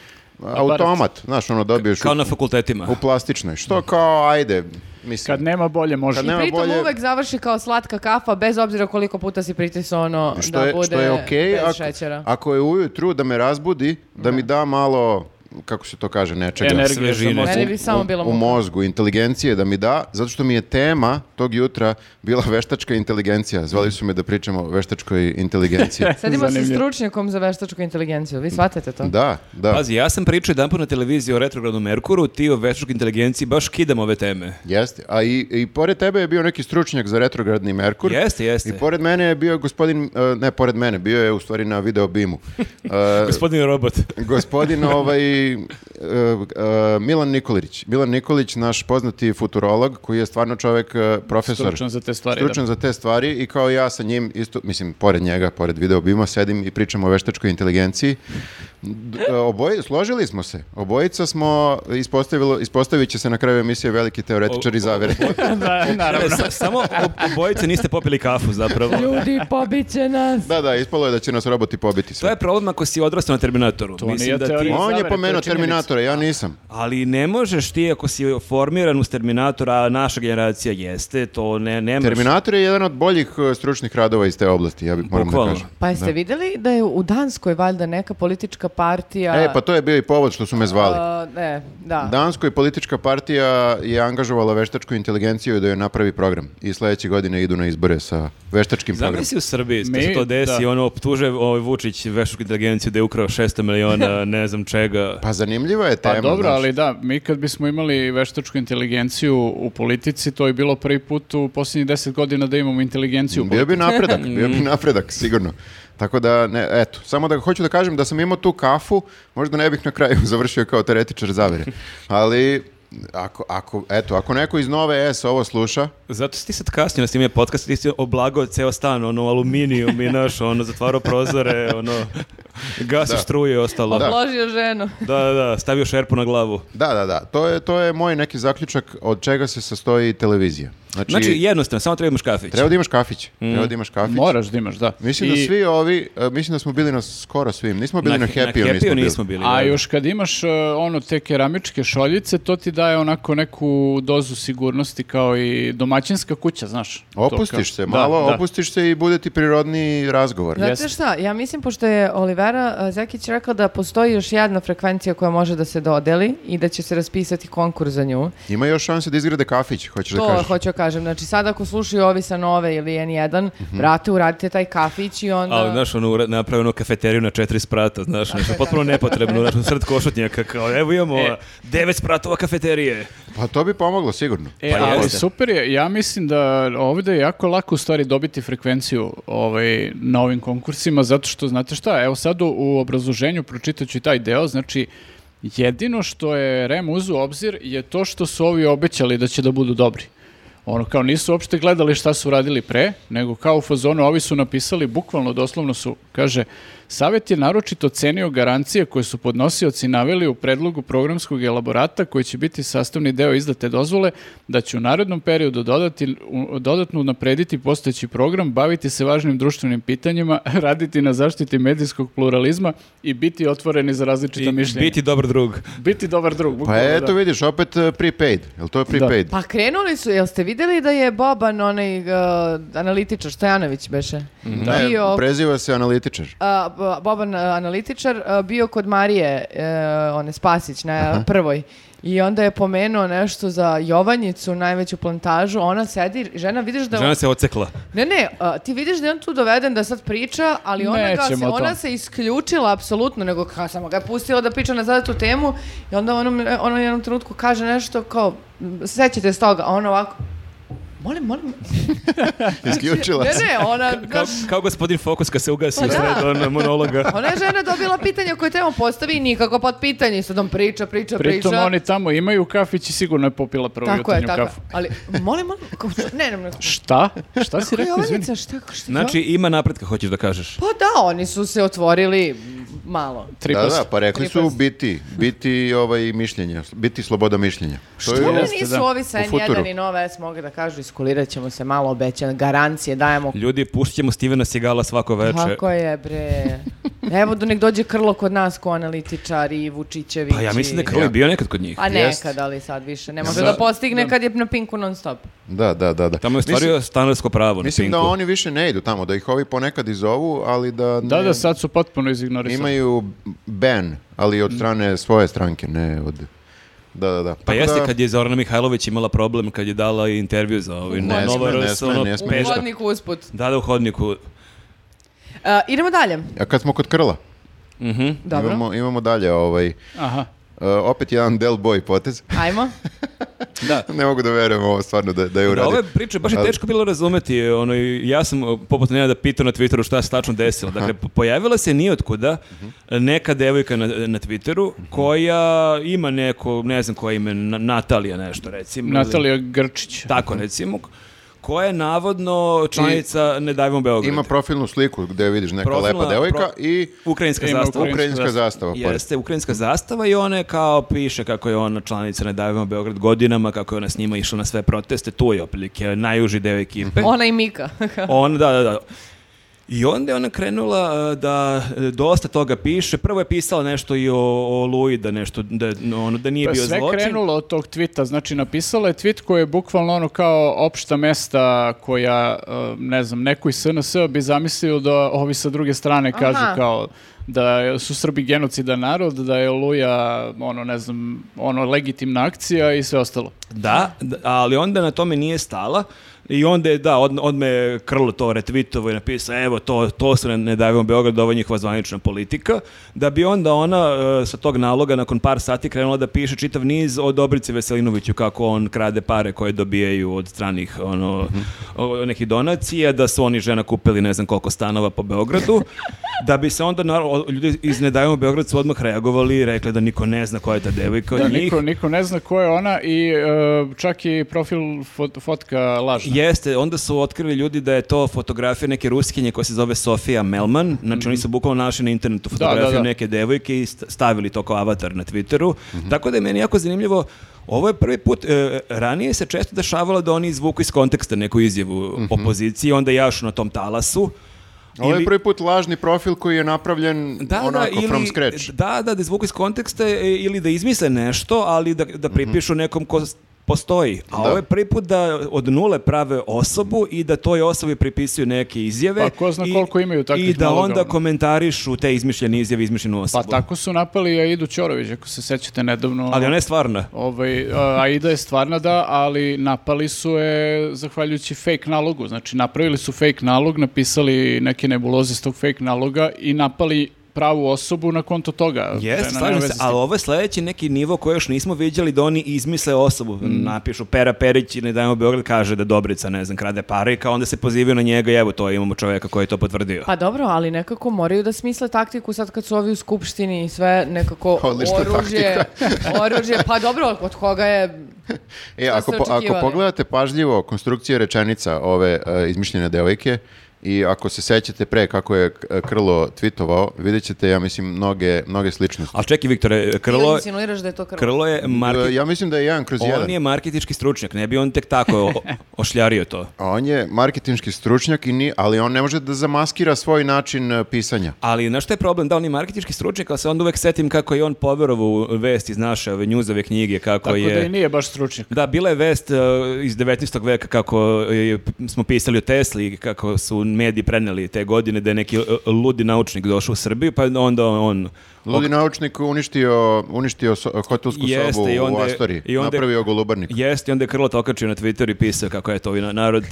Speaker 3: automat, znaš, ono dobiješ
Speaker 1: Kao
Speaker 3: u,
Speaker 1: na fakultetima.
Speaker 3: u plastičnoj. Što kao, ajde, mislim.
Speaker 2: Kad nema bolje, može.
Speaker 3: Kad nema-
Speaker 4: Pritom
Speaker 3: bolje-
Speaker 4: uvek završi kao slatka kafa, bez obzira koliko puta si pritisao ono
Speaker 3: Pa što
Speaker 4: da
Speaker 3: je,
Speaker 4: bude
Speaker 3: što je okej
Speaker 4: bez
Speaker 3: ako,
Speaker 4: šećera.
Speaker 3: ako je ujutru da me razbudi, da mi da malo, kako se to kaže, nečega.
Speaker 2: Energije za
Speaker 1: Svežine.
Speaker 2: mozak.
Speaker 4: Meni bi samo bilo
Speaker 3: u
Speaker 4: muka.
Speaker 3: mozgu, inteligencije da mi da, zato što mi je tema tog jutra bila veštačka inteligencija. Zvali su me da pričamo o veštačkoj inteligenciji.
Speaker 4: Sedimo sa
Speaker 2: Zanimljivo.
Speaker 4: stručnjakom za veštačku inteligenciju, vi shvatate to?
Speaker 3: da, da.
Speaker 1: Pazi, ja sam pričao jedan put na televiziji o retrogradnom Merkuru, ti o veštačkoj inteligenciji baš kidam ove teme.
Speaker 3: Jeste. A i, i pored tebe je bio neki stručnjak za retrogradni Merkur.
Speaker 1: Jeste, jeste.
Speaker 3: I pored mene je bio gospodin, e, ne pored mene, bio je u stvari na video E, bimu.
Speaker 1: Gospodin robot.
Speaker 3: Gospodin ovaj, e, e, Milan Nikolić. Milan Nikolić, naš poznati futurolog, koji je stvarno čovjek, e, profesor.
Speaker 2: Stručan za te stvari,
Speaker 3: Stručan za te stvari i kao ja sa njim, isto, mislim, pored njega, pored video bima, sedim i pričam o veštačkoj inteligenciji. D- e, Oboje, složili smo se. Obojica smo, ispostavilo, ispostavit će se na kraju emisije veliki teoretičari zavere.
Speaker 2: da, naravno.
Speaker 1: Sa- samo ob- obojice niste popili kafu zapravo.
Speaker 4: Ljudi, pobit će nas!
Speaker 3: da, da, ispalo je da će nas roboti pobiti
Speaker 1: To
Speaker 3: sve.
Speaker 1: je problem ako si odrastao na Terminatoru.
Speaker 2: nije teorija.
Speaker 3: On
Speaker 2: zavere, to
Speaker 3: je
Speaker 2: je
Speaker 3: pomenuo
Speaker 2: činjenica.
Speaker 3: Terminatora, ja nisam.
Speaker 1: ali ne možeš ti ako si formiran uz Terminatora, a naša generacija jeste, to ne, nemaš.
Speaker 3: Terminator je jedan od boljih e, stručnih radova iz te oblasti, ja bih moram da
Speaker 1: Bukvalno.
Speaker 3: kažem.
Speaker 4: Pa jeste vidjeli da je u Danskoj valjda neka politička partija...
Speaker 3: E, pa to je bio i povod što su me zvali.
Speaker 4: a, ne, da.
Speaker 3: Danskoj politička partija je angažovala veštačku inteligenciju da joj napravi program. I sledeće godine idu na izbore sa veštačkim programom.
Speaker 1: Zamisli u Srbiji, da
Speaker 2: Mi-
Speaker 1: se to desi,
Speaker 2: da.
Speaker 1: ono, optuže ovaj Vučić vešku inteligenciju da je ukrao 600 miliona, ne znam čega.
Speaker 3: Pa zanimljiva je tema.
Speaker 2: Pa dobro,
Speaker 3: znaš.
Speaker 2: ali da, mi kad bismo imali veštačku inteligenciju u politici, to je bilo prvi put u posljednjih deset godina da imamo inteligenciju u
Speaker 3: Bio
Speaker 2: politici.
Speaker 3: bi napredak, bio bi napredak, sigurno. Tako da, ne, eto, samo da hoću da kažem da sam imao tu kafu, možda ne bih na kraju završio kao teretičar zavere. Ali, ako, ako, eto, ako neko iz Nove S ovo sluša,
Speaker 1: Zato si ti sad kasnio na snimanje podcasta, ti si oblagao ceo stan, ono, aluminijum i naš, ono, zatvarao prozore, ono, gasi struje i ostalo. Da.
Speaker 4: Obložio ženu.
Speaker 1: da, da, stavio šerpu na glavu.
Speaker 3: da, da, da, to je, to je moj neki zaključak od čega se sastoji televizija. Znači,
Speaker 1: Znači, jednostavno, samo trebaš kafić.
Speaker 3: treba da imaš kafić, treba da imaš kafić.
Speaker 2: Mm. Moraš da imaš, da.
Speaker 3: Mislim da
Speaker 2: I-
Speaker 3: svi ovi, e, mislim da smo bili na skoro svim, nismo bili na,
Speaker 1: he-
Speaker 3: happy-u,
Speaker 1: Happy-u
Speaker 3: nismo
Speaker 1: nismo
Speaker 3: bili.
Speaker 1: bili.
Speaker 2: A
Speaker 1: da.
Speaker 2: još kad imaš uh, ono te keramičke šoljice, to ti daje onako neku dozu sigurnosti kao i domaćinska kuća, znaš. To kao-
Speaker 3: Opustiš se, malo
Speaker 2: da, da.
Speaker 3: opustiš se i bude ti prirodni razgovor.
Speaker 4: Znate
Speaker 2: Jeste.
Speaker 4: šta, ja mislim, pošto je Olivera a, Zekić rekla da postoji još jedna frekvencija koja može da se dodeli i da će se raspisati konkurs za nju.
Speaker 3: Ima još šanse da izgrade kafić, hoćeš da
Speaker 4: To
Speaker 3: kažeš.
Speaker 4: hoću da kažem. Znači, sad ako slušaju ovi sa Nove ili N1, brate, uradite taj kafić i onda...
Speaker 1: Ali, znaš, ono, ura- napravi ono kafeteriju na četiri sprata, znaš, nešto potpuno nepotrebno, znaš, u sred košutnjaka, kao, evo imamo
Speaker 2: E.
Speaker 1: devet spratova kafeterije.
Speaker 3: Pa to bi pomoglo sigurno.
Speaker 2: E,
Speaker 1: Pa
Speaker 2: ali
Speaker 1: jeste.
Speaker 2: super je, ja mislim da ovdje je jako lako u stvari dobiti frekvenciju ovaj, na ovim konkursima, zato što, znate šta, evo sad u, u obrazloženju pročitat ću i taj deo, znači, jedino što je REM uzu obzir je to što su ovi obećali da će da budu dobri. Ono, kao nisu uopšte gledali šta su radili pre, nego kao u fazonu ovi su napisali, bukvalno doslovno su, kaže, Savet je naročito cenio garancije koje su podnosioci naveli u predlogu programskog elaborata koji će biti sastavni deo izdate dozvole da će u narednom periodu dodati, u- dodatno naprediti postojeći program, baviti se važnim društvenim pitanjima, raditi na zaštiti medijskog pluralizma i biti otvoreni za različita
Speaker 1: I
Speaker 2: mišljenja. Biti,
Speaker 1: biti dobar drug.
Speaker 2: dobar drug.
Speaker 3: Pa
Speaker 2: bukvalno, da.
Speaker 3: eto vidiš, opet e, prepaid. Jel to je prepaid?
Speaker 4: Pa krenuli su, jel ste vidjeli da je Boban, onaj uh, analitičar, Stojanović beše,
Speaker 3: Ne,
Speaker 4: bio...
Speaker 3: preziva se analitičar.
Speaker 4: a, b- Boban a, analitičar a, bio kod Marije, e, one Spasić na prvoj. I onda je pomenuo nešto za Jovanjicu, najveću plantažu. Ona sedi, žena vidiš da...
Speaker 1: Žena se ocekla.
Speaker 4: Ne, ne, a, ti vidiš da je on tu doveden da sad priča, ali ona, ga se,
Speaker 2: Nećemo to.
Speaker 4: ona se isključila apsolutno, nego ka, samo ga je pustila da priča na zadatu temu ono, e, i onda ona u jednom trenutku kaže nešto kao, "M, sećate se toga, a ona ono ovako, Molim, molim. Znači,
Speaker 3: Isključila
Speaker 4: Ne,
Speaker 3: se.
Speaker 4: ne, ona,
Speaker 1: Kao,
Speaker 4: znaš,
Speaker 1: kao gospodin Fokus kad se ugasi
Speaker 4: Pa da.
Speaker 1: usred ono, monologa.
Speaker 4: ona je žena dobila pitanje koje treba postavi i nikako pod pitanje. I sad on priča, priča,
Speaker 2: Pritom
Speaker 4: priča.
Speaker 2: oni tamo imaju kafić i sigurno je popila prvu
Speaker 4: Tako je,
Speaker 2: jutarnju
Speaker 4: tako je.
Speaker 2: kafu.
Speaker 4: Ali, molim, molim. kao, Ne, ne, ne.
Speaker 2: Šta? Šta si rekao, izvini?
Speaker 4: Jovanjica, šta, šta?
Speaker 1: Znači, ima napretka, hoćeš da kažeš.
Speaker 4: Pa da, oni su se otvorili malo.
Speaker 3: Da,
Speaker 2: Tripast.
Speaker 3: da, pa rekli su
Speaker 4: Tripast.
Speaker 3: biti, biti ovaj mišljenje, biti sloboda mišljenja. Što
Speaker 2: Što?
Speaker 4: Oni
Speaker 2: Jeste,
Speaker 4: nisu
Speaker 2: da.
Speaker 4: ovi
Speaker 3: U
Speaker 4: sa N1
Speaker 3: futuru.
Speaker 4: i Nova S mogli da kažu iskulirat ćemo se malo obećan, garancije dajemo.
Speaker 1: Ljudi, pustit ćemo Stevena Sigala svako večer.
Speaker 4: Tako je, bre. Evo da nek dođe Krlo kod nas ko analitičar i Vučićević.
Speaker 1: Pa ja mislim da je
Speaker 4: i-
Speaker 1: Krlo i bio nekad kod njih.
Speaker 4: A
Speaker 3: Jest.
Speaker 4: Pa nekad, ali sad više. Ne može
Speaker 2: Sad-
Speaker 4: da postigne
Speaker 2: da.
Speaker 4: kad je na Pinku non stop.
Speaker 3: Da, da, da, da.
Speaker 1: Tamo je ostvario stanarsko pravo
Speaker 3: Mislim
Speaker 1: na Pinku.
Speaker 3: da oni više ne idu tamo, da ih ovi ponekad i zovu, ali da,
Speaker 2: Da,
Speaker 3: ne-
Speaker 2: da, sad su potpuno izignorisani.
Speaker 3: imaju ban, ali od strane svoje stranke, ne od... Da, da, da.
Speaker 1: Pa
Speaker 3: Tako
Speaker 1: jeste
Speaker 3: da-
Speaker 1: kad je Zorana Mihajlović imala problem kad je dala intervju za ovaj
Speaker 3: Ne
Speaker 1: Novo
Speaker 3: sme, ne
Speaker 1: RS,
Speaker 3: sme,
Speaker 1: ono,
Speaker 3: ne sme
Speaker 1: peš-
Speaker 3: ništa.
Speaker 4: Uvodnik usput.
Speaker 1: Da, da, u hodniku.
Speaker 4: E, idemo dalje.
Speaker 3: A kad smo kod krla,
Speaker 4: Dobro.
Speaker 3: imamo, imamo dalje ovaj, e,
Speaker 2: Aha.
Speaker 3: opet jedan del boy potez.
Speaker 4: Ajmo.
Speaker 1: Da.
Speaker 3: ne mogu da verujem ovo stvarno da, da je
Speaker 1: Da,
Speaker 3: uradio.
Speaker 1: ove priče baš je
Speaker 3: Ali-
Speaker 1: teško bilo razumeti. Ono, i ja sam o, poput Nenada pitao na Twitteru šta se tačno desilo. Dakle, po- pojavila se nijotkuda
Speaker 3: Mhm.
Speaker 1: neka devojka na, na Twitteru koja ima neko, ne znam koje ime, Na- Natalija nešto recimo.
Speaker 2: Natalija Grčić.
Speaker 1: Tako recimo. Koja je navodno članica Ne davimo Beograd.
Speaker 3: Ima profilnu sliku gde vidiš neka
Speaker 1: Profilna-
Speaker 3: lepa devojka
Speaker 1: pro-
Speaker 3: i
Speaker 1: Ukrajinska
Speaker 2: Ima
Speaker 1: zastava.
Speaker 2: ukrajinska
Speaker 3: ukrajinska zastava. pored.
Speaker 1: Jeste, ukrajinska zastava i ona je kao piše kako je ona članica Ne davimo Beograd godinama, kako je ona s njima išla na sve proteste, tu je oprilike najuži deo ekipe.
Speaker 4: Ona i Mika.
Speaker 1: Ona, da, da, da. I onda je ona krenula e, da e, dosta toga piše. Prvo je pisala nešto i o, o Luji, da nešto, da, ono, da nije
Speaker 2: Pa
Speaker 1: bio
Speaker 2: sve
Speaker 1: zločin.
Speaker 2: krenulo od tog tvita, znači napisala je tvit koji je bukvalno ono kao opšta mesta koja, eh, ne znam, neko iz SNS bi zamislio da ovi sa druge strane kažu
Speaker 4: Aha.
Speaker 2: kao da su Srbi genocidan narod, da je Oluja, ono, ne znam, ono, legitimna akcija i sve ostalo.
Speaker 1: Da, d- ali onda na tome nije stala. I onda je, da, od, odme je Krlo to retvitovo i napisao, evo, to, to su ne, ne davimo Beograd, ovo je njihova zvanična politika, da bi onda ona e, sa tog naloga nakon par sati krenula da piše čitav niz o Dobrici Veselinoviću, kako on krade pare koje dobijaju od stranih ono, o- nekih donacija, da su oni žena kupili ne znam koliko stanova po Beogradu, da bi se onda, naravno, o- ljudi iz Ne davimo Beograd su odmah reagovali i rekli da niko ne zna koja je ta devojka
Speaker 2: Da,
Speaker 1: od njih.
Speaker 2: niko, niko ne zna ko je ona i eh, čak i profil fot- fotka lažna.
Speaker 1: Jeste, onda su otkrili ljudi da je to fotografija neke ruskinje koja se zove Sofija Melman. Znači oni su bukvalno našli na internetu fotografiju
Speaker 2: da, da.
Speaker 1: neke devojke i st- stavili to kao avatar na Twitteru. Tako da je meni jako zanimljivo Ovo je prvi put, e, ranije se često dešavalo da oni izvuku iz konteksta neku izjavu opoziciji, onda jašu na tom talasu.
Speaker 3: Ovo je
Speaker 1: Ili-
Speaker 3: prvi put lažni profil koji je napravljen
Speaker 1: da,
Speaker 3: onako
Speaker 1: da, ili,
Speaker 3: Ono from scratch.
Speaker 1: Da, da, da izvuku iz konteksta e, ili da izmisle nešto, ali da, da pripišu nekom ko s- postoji. A
Speaker 3: Mhm. Da.
Speaker 1: ovo je prvi put da od nule prave osobu i da toj osobi pripisuju neke izjave.
Speaker 2: Pa ko zna
Speaker 1: i-
Speaker 2: koliko imaju takvih
Speaker 1: I da
Speaker 2: naloga,
Speaker 1: onda
Speaker 2: ono.
Speaker 1: komentarišu te izmišljene izjave, izmišljenu
Speaker 2: Pa
Speaker 1: osobu.
Speaker 2: tako ono. su napali Aidu Ćorović, ako se sećate nedavno.
Speaker 1: Ali ona je stvarna.
Speaker 2: Ovaj, a, Aida je stvarna da, ali napali su je zahvaljujući fake nalogu. Znači, napravili su fake nalog, napisali neke nebuloze s tog fake naloga i napali pravu osobu na konto toga.
Speaker 1: Jeste,
Speaker 2: Žena
Speaker 1: slažem
Speaker 2: nema
Speaker 1: se,
Speaker 2: veze s tim.
Speaker 1: ali ovo je sledeći neki nivo koji još nismo vidjeli da oni izmisle osobu.
Speaker 2: Mhm.
Speaker 1: Napišu Pera Perić i ne dajmo Beograd kaže da Dobrica, ne znam, krade pare i kao onda se pozivaju na njega i evo to imamo čoveka koji je to potvrdio.
Speaker 4: Pa dobro, ali nekako moraju da smisle taktiku sad kad su ovi u skupštini i sve nekako
Speaker 3: Odlična
Speaker 4: oružje, oružje, pa dobro, od koga je
Speaker 3: E,
Speaker 4: Šta
Speaker 3: ako,
Speaker 4: ste
Speaker 3: po- ako
Speaker 4: očekivali?
Speaker 3: pogledate pažljivo konstrukcije rečenica ove e, izmišljene devojke i ako se sećate pre kako je e, Krlo tweetovao, vidjet ćete, ja mislim, mnoge, mnoge sličnosti.
Speaker 1: Ali čekaj, Viktore,
Speaker 4: Ili
Speaker 1: Krlo,
Speaker 4: insinuiraš da je to krv?
Speaker 1: Krlo je
Speaker 3: E,
Speaker 1: market...
Speaker 3: Ja mislim da je jedan kroz jedan.
Speaker 1: On je marketički stručnjak, ne bi on tek tako o- ošljario to.
Speaker 3: A On je marketinški stručnjak, i ni, ali on ne može da zamaskira svoj način e, pisanja.
Speaker 1: Ali znaš šta je problem? Da, on je marketički stručnjak, ali se onda uvek setim kako je on poverovo u vest iz naše ove njuzove knjige, kako
Speaker 2: Tako
Speaker 1: je...
Speaker 2: da i nije baš stručnjak.
Speaker 1: Da, bila je vest e, iz 19. veka kako je- smo pisali o Tesli i kako su mediji preneli te godine da je neki e, ludi naučnik došao u Srbiju, pa onda on...
Speaker 3: Ludi naučnik uništio, uništio so- hotelsku
Speaker 1: Jeste,
Speaker 3: sobu
Speaker 1: i onda
Speaker 3: u
Speaker 1: je-
Speaker 3: Astori,
Speaker 1: i onda je-
Speaker 3: napravio golubarnik.
Speaker 1: Jeste, i onda je Krlo to okačio na Twitter i pisao kako je to ovaj na- narod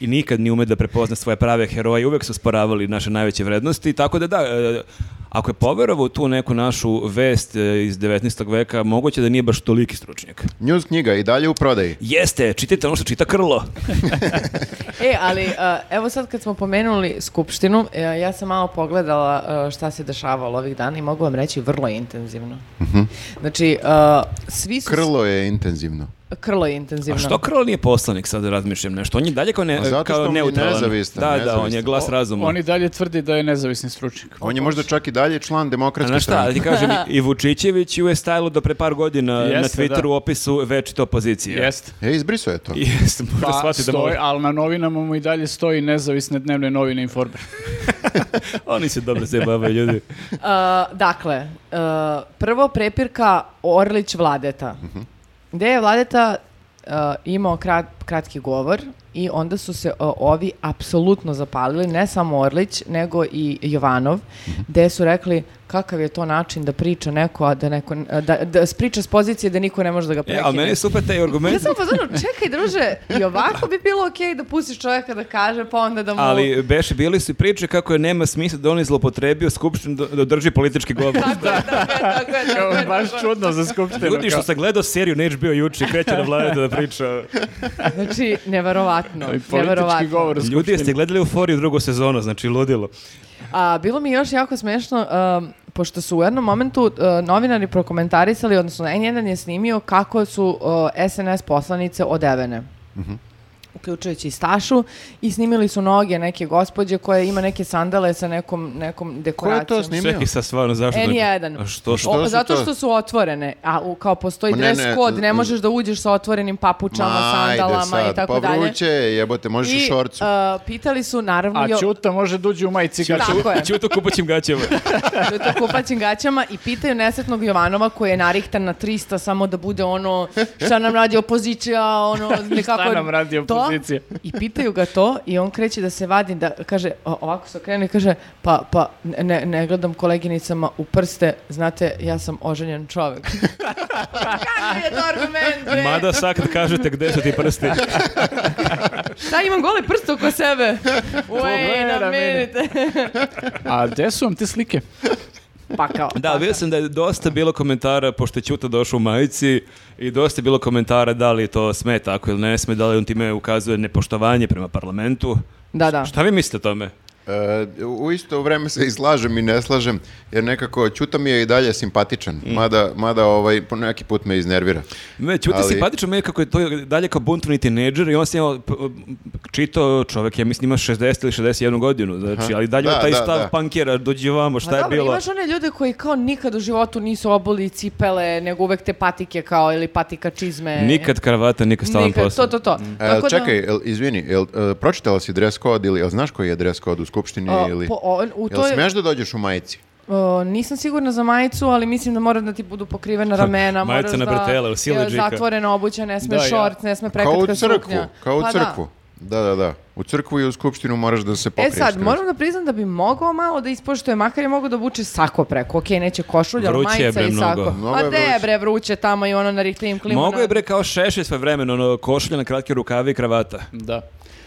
Speaker 1: i nikad ni ume da prepozna svoje prave heroje, uvek su sporavali naše najveće vrednosti, tako da da, e, Ako je poverovao u tu neku našu vest e, iz 19. veka, moguće da nije baš toliki stručnjak.
Speaker 3: News knjiga i dalje u prodaji.
Speaker 1: Jeste, čitajte ono što čita Krlo.
Speaker 4: E, ali a, evo sad kad smo pomenuli Skupštinu, e, ja sam malo pogledala a, šta se dešavalo ovih dana i mogu vam reći vrlo intenzivno.
Speaker 1: Mhm.
Speaker 4: Znači, a, svi su...
Speaker 3: Krlo je intenzivno.
Speaker 4: Krlo je intenzivno.
Speaker 1: A što Krlo nije poslanik, sad razmišljam nešto. On je dalje kao, ne,
Speaker 3: A zato što
Speaker 1: kao
Speaker 3: on je
Speaker 1: neutralan.
Speaker 3: nezavistan,
Speaker 1: da, da, on je
Speaker 3: nezavistan.
Speaker 1: glas razuma.
Speaker 2: Oni dalje tvrdi da je nezavisni stručnjak.
Speaker 3: On je možda čak i dalje član
Speaker 1: A
Speaker 3: demokratske
Speaker 1: znaš šta, ali
Speaker 3: stranke.
Speaker 1: ti kažem, i Vučićević ju je stajalo do pre par godina
Speaker 2: Jeste,
Speaker 1: na Twitteru
Speaker 2: da.
Speaker 1: u opisu večito opozicije.
Speaker 2: Jeste.
Speaker 3: E, izbriso je to.
Speaker 1: Jeste, mora
Speaker 2: Pa,
Speaker 1: shvatiti da
Speaker 2: stoji,
Speaker 1: mora.
Speaker 2: ali na novinama mu i dalje stoji nezavisne dnevne novine Informer.
Speaker 1: Oni se dobro zajebavaju ljudi.
Speaker 4: A, dakle, a, prvo prepirka Orlić-Vladeta. Gde je Vladeta a, imao krat, kratki govor i onda su se a, ovi apsolutno zapalili, ne samo Orlić, nego i Jovanov, gde su rekli kakav je to način da priča neko, a da neko, a da, da priča s pozicije da niko ne može da ga
Speaker 1: E,
Speaker 4: prekine.
Speaker 1: a meni je super taj argument.
Speaker 4: Ja sam u fazonu, čekaj druže, i ovako bi bilo okej da pustiš čovjeka da kaže, pa onda da mu...
Speaker 1: Ali Beši bili su i priče kako je nema smisla da on je zlopotrebio skupštinu da, da drži politički govor.
Speaker 4: Da, da, da, da, da,
Speaker 2: Kao,
Speaker 4: da, da.
Speaker 2: baš čudno za skupštinu.
Speaker 1: Ljudi što
Speaker 2: kao.
Speaker 1: sam gledao seriju na HBO juče, kreće na vlade da priča.
Speaker 4: Znači, neverovatno.
Speaker 2: I ovaj Politički
Speaker 4: neverovatno.
Speaker 2: govor u
Speaker 1: Ljudi, jeste
Speaker 2: skupštini.
Speaker 1: gledali Euforiju drugu sezonu, znači ludilo.
Speaker 4: A, bilo mi je još jako smešno, um, pošto su u jednom momentu uh, novinari prokomentarisali, odnosno N1 je snimio kako su uh, SNS poslanice odevene.
Speaker 3: Mhm.
Speaker 4: uključujući i Stašu i snimili su noge neke gospođe koja ima neke sandale sa nekom, nekom
Speaker 3: Ko
Speaker 4: dekoracijom.
Speaker 3: je to snimio?
Speaker 1: Čekaj sa stvarno, zašto?
Speaker 4: N1.
Speaker 1: A što, što?
Speaker 4: O,
Speaker 3: su
Speaker 4: zato
Speaker 3: to?
Speaker 4: što su otvorene, a u, kao postoji
Speaker 3: Ma ne,
Speaker 4: dress
Speaker 3: ne,
Speaker 4: code, ne
Speaker 3: l-
Speaker 4: možeš da uđeš sa otvorenim papučama,
Speaker 3: Ma, ajde
Speaker 4: sandalama i
Speaker 3: sad,
Speaker 4: tako
Speaker 3: Pa
Speaker 4: dalje.
Speaker 3: vruće je, jebote, možeš u
Speaker 4: I
Speaker 3: šorcu.
Speaker 4: uh, pitali su naravno...
Speaker 2: A
Speaker 4: jo-
Speaker 2: Ćuta može da uđe u majici kad će-
Speaker 4: Tako je.
Speaker 1: Ćuto kupaćim gaćama.
Speaker 4: Što je to kupaćim gaćama i pitaju nesretnog Jovanova koji je narihtan na 300 samo da bude ono šta nam radi opozicija, ono nekako...
Speaker 2: Šta nam radi
Speaker 4: to.
Speaker 2: opozicija?
Speaker 4: I pitaju ga to i on kreće da se vadi, da kaže, o- ovako se okrene i kaže, pa, pa ne, ne gledam koleginicama u prste, znate, ja sam oženjen čovek. Kakav je to argument, bre?
Speaker 1: Mada sad kažete gde su ti prsti.
Speaker 4: Šta imam gole prste oko sebe? Uej,
Speaker 2: Pogledaj ramena.
Speaker 4: namirite.
Speaker 2: A gde su vam te slike?
Speaker 4: pa kao.
Speaker 1: Da, vidio sam da je dosta bilo komentara, pošto je Ćuto došao u majici, i dosta je bilo komentara da li to sme tako ili ne sme, da li on time ukazuje nepoštovanje prema parlamentu.
Speaker 4: Da, da.
Speaker 1: Šta vi mislite o tome?
Speaker 3: E, u isto vreme se i slažem i ne slažem, jer nekako Ćuta mi je i dalje simpatičan, mada, mada ovaj, po neki put me iznervira.
Speaker 1: Me, Ćuta
Speaker 3: Ali-
Speaker 1: simpatično me kako je to dalje kao buntovni tineđer i on se imao, p- čitao čovjek, ja mislim ima 60 ili 61 godinu, znači, ali dalje
Speaker 3: Da,
Speaker 1: ima taj
Speaker 3: da,
Speaker 1: stav
Speaker 3: da.
Speaker 1: pankera, dođi vamo, šta
Speaker 4: Pa
Speaker 1: je
Speaker 4: dobro,
Speaker 1: bilo?
Speaker 4: imaš one ljude koji kao nikad u životu nisu obuli cipele, nego uvek te patike kao ili patika čizme.
Speaker 1: Nikad kravata, nikad stalan
Speaker 4: E. Nikad,
Speaker 1: posao.
Speaker 4: To, to, to.
Speaker 3: E, čekaj, jel, izvini, jel, e, pročitala si dress code ili jel znaš koji je dress code u skupštini
Speaker 4: o,
Speaker 3: ili...
Speaker 4: po- o, u
Speaker 3: Jel
Speaker 4: toj,
Speaker 3: smeš da dođeš u majici?
Speaker 4: o, nisam sigurna za majicu, ali mislim da mora da ti budu pokrivena ramena,
Speaker 1: Majica
Speaker 4: moraš
Speaker 1: na
Speaker 4: da
Speaker 1: bretele, u sile
Speaker 4: je
Speaker 1: džika.
Speaker 4: zatvorena obuća, ne sme
Speaker 2: Da, ja.
Speaker 4: šort, ne sme
Speaker 3: Kao u
Speaker 4: prekratka
Speaker 3: crkvu,
Speaker 4: suknja.
Speaker 3: kao u
Speaker 4: Pa da.
Speaker 3: crkvu. Da. da, da, U crkvu i u skupštinu moraš da se
Speaker 4: E
Speaker 3: pokriješ.
Speaker 4: sad,
Speaker 3: skroz.
Speaker 4: moram da priznam da bi mogao malo da ispoštuje, makar je mogao da obuče sako preko. Okej, neće košulja, ali
Speaker 1: Vruće je,
Speaker 4: majica
Speaker 1: bre,
Speaker 4: i sako.
Speaker 1: mnogo.
Speaker 3: Mnogo
Speaker 4: Pa
Speaker 3: je
Speaker 4: de
Speaker 3: vruće.
Speaker 4: bre, vruće tamo i ono na riklim klimu.
Speaker 1: Mogu je bre kao šeše sve vremeno, ono, košulja na kratke rukave i kravata.
Speaker 2: Da.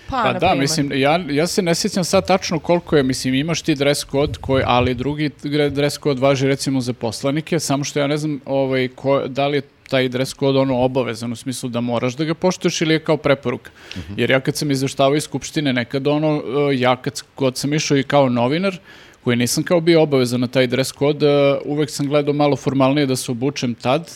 Speaker 4: Pa,
Speaker 2: Pa da,
Speaker 4: na primer.
Speaker 2: mislim, ja, ja se ne sjećam sad tačno koliko je, mislim, imaš ti dress code, koji, ali drugi gre- dress code važi recimo za poslanike, samo što ja ne znam ovaj, ko, da li je taj dress code ono obavezan u smislu da moraš da ga poštuješ ili je kao preporuka. Jer ja kad sam izveštavao iz Skupštine nekad ono, e, ja kad god sam išao i kao novinar, koji nisam kao bio obavezan na taj dress code, e, uvek sam gledao malo formalnije da se obučem tad,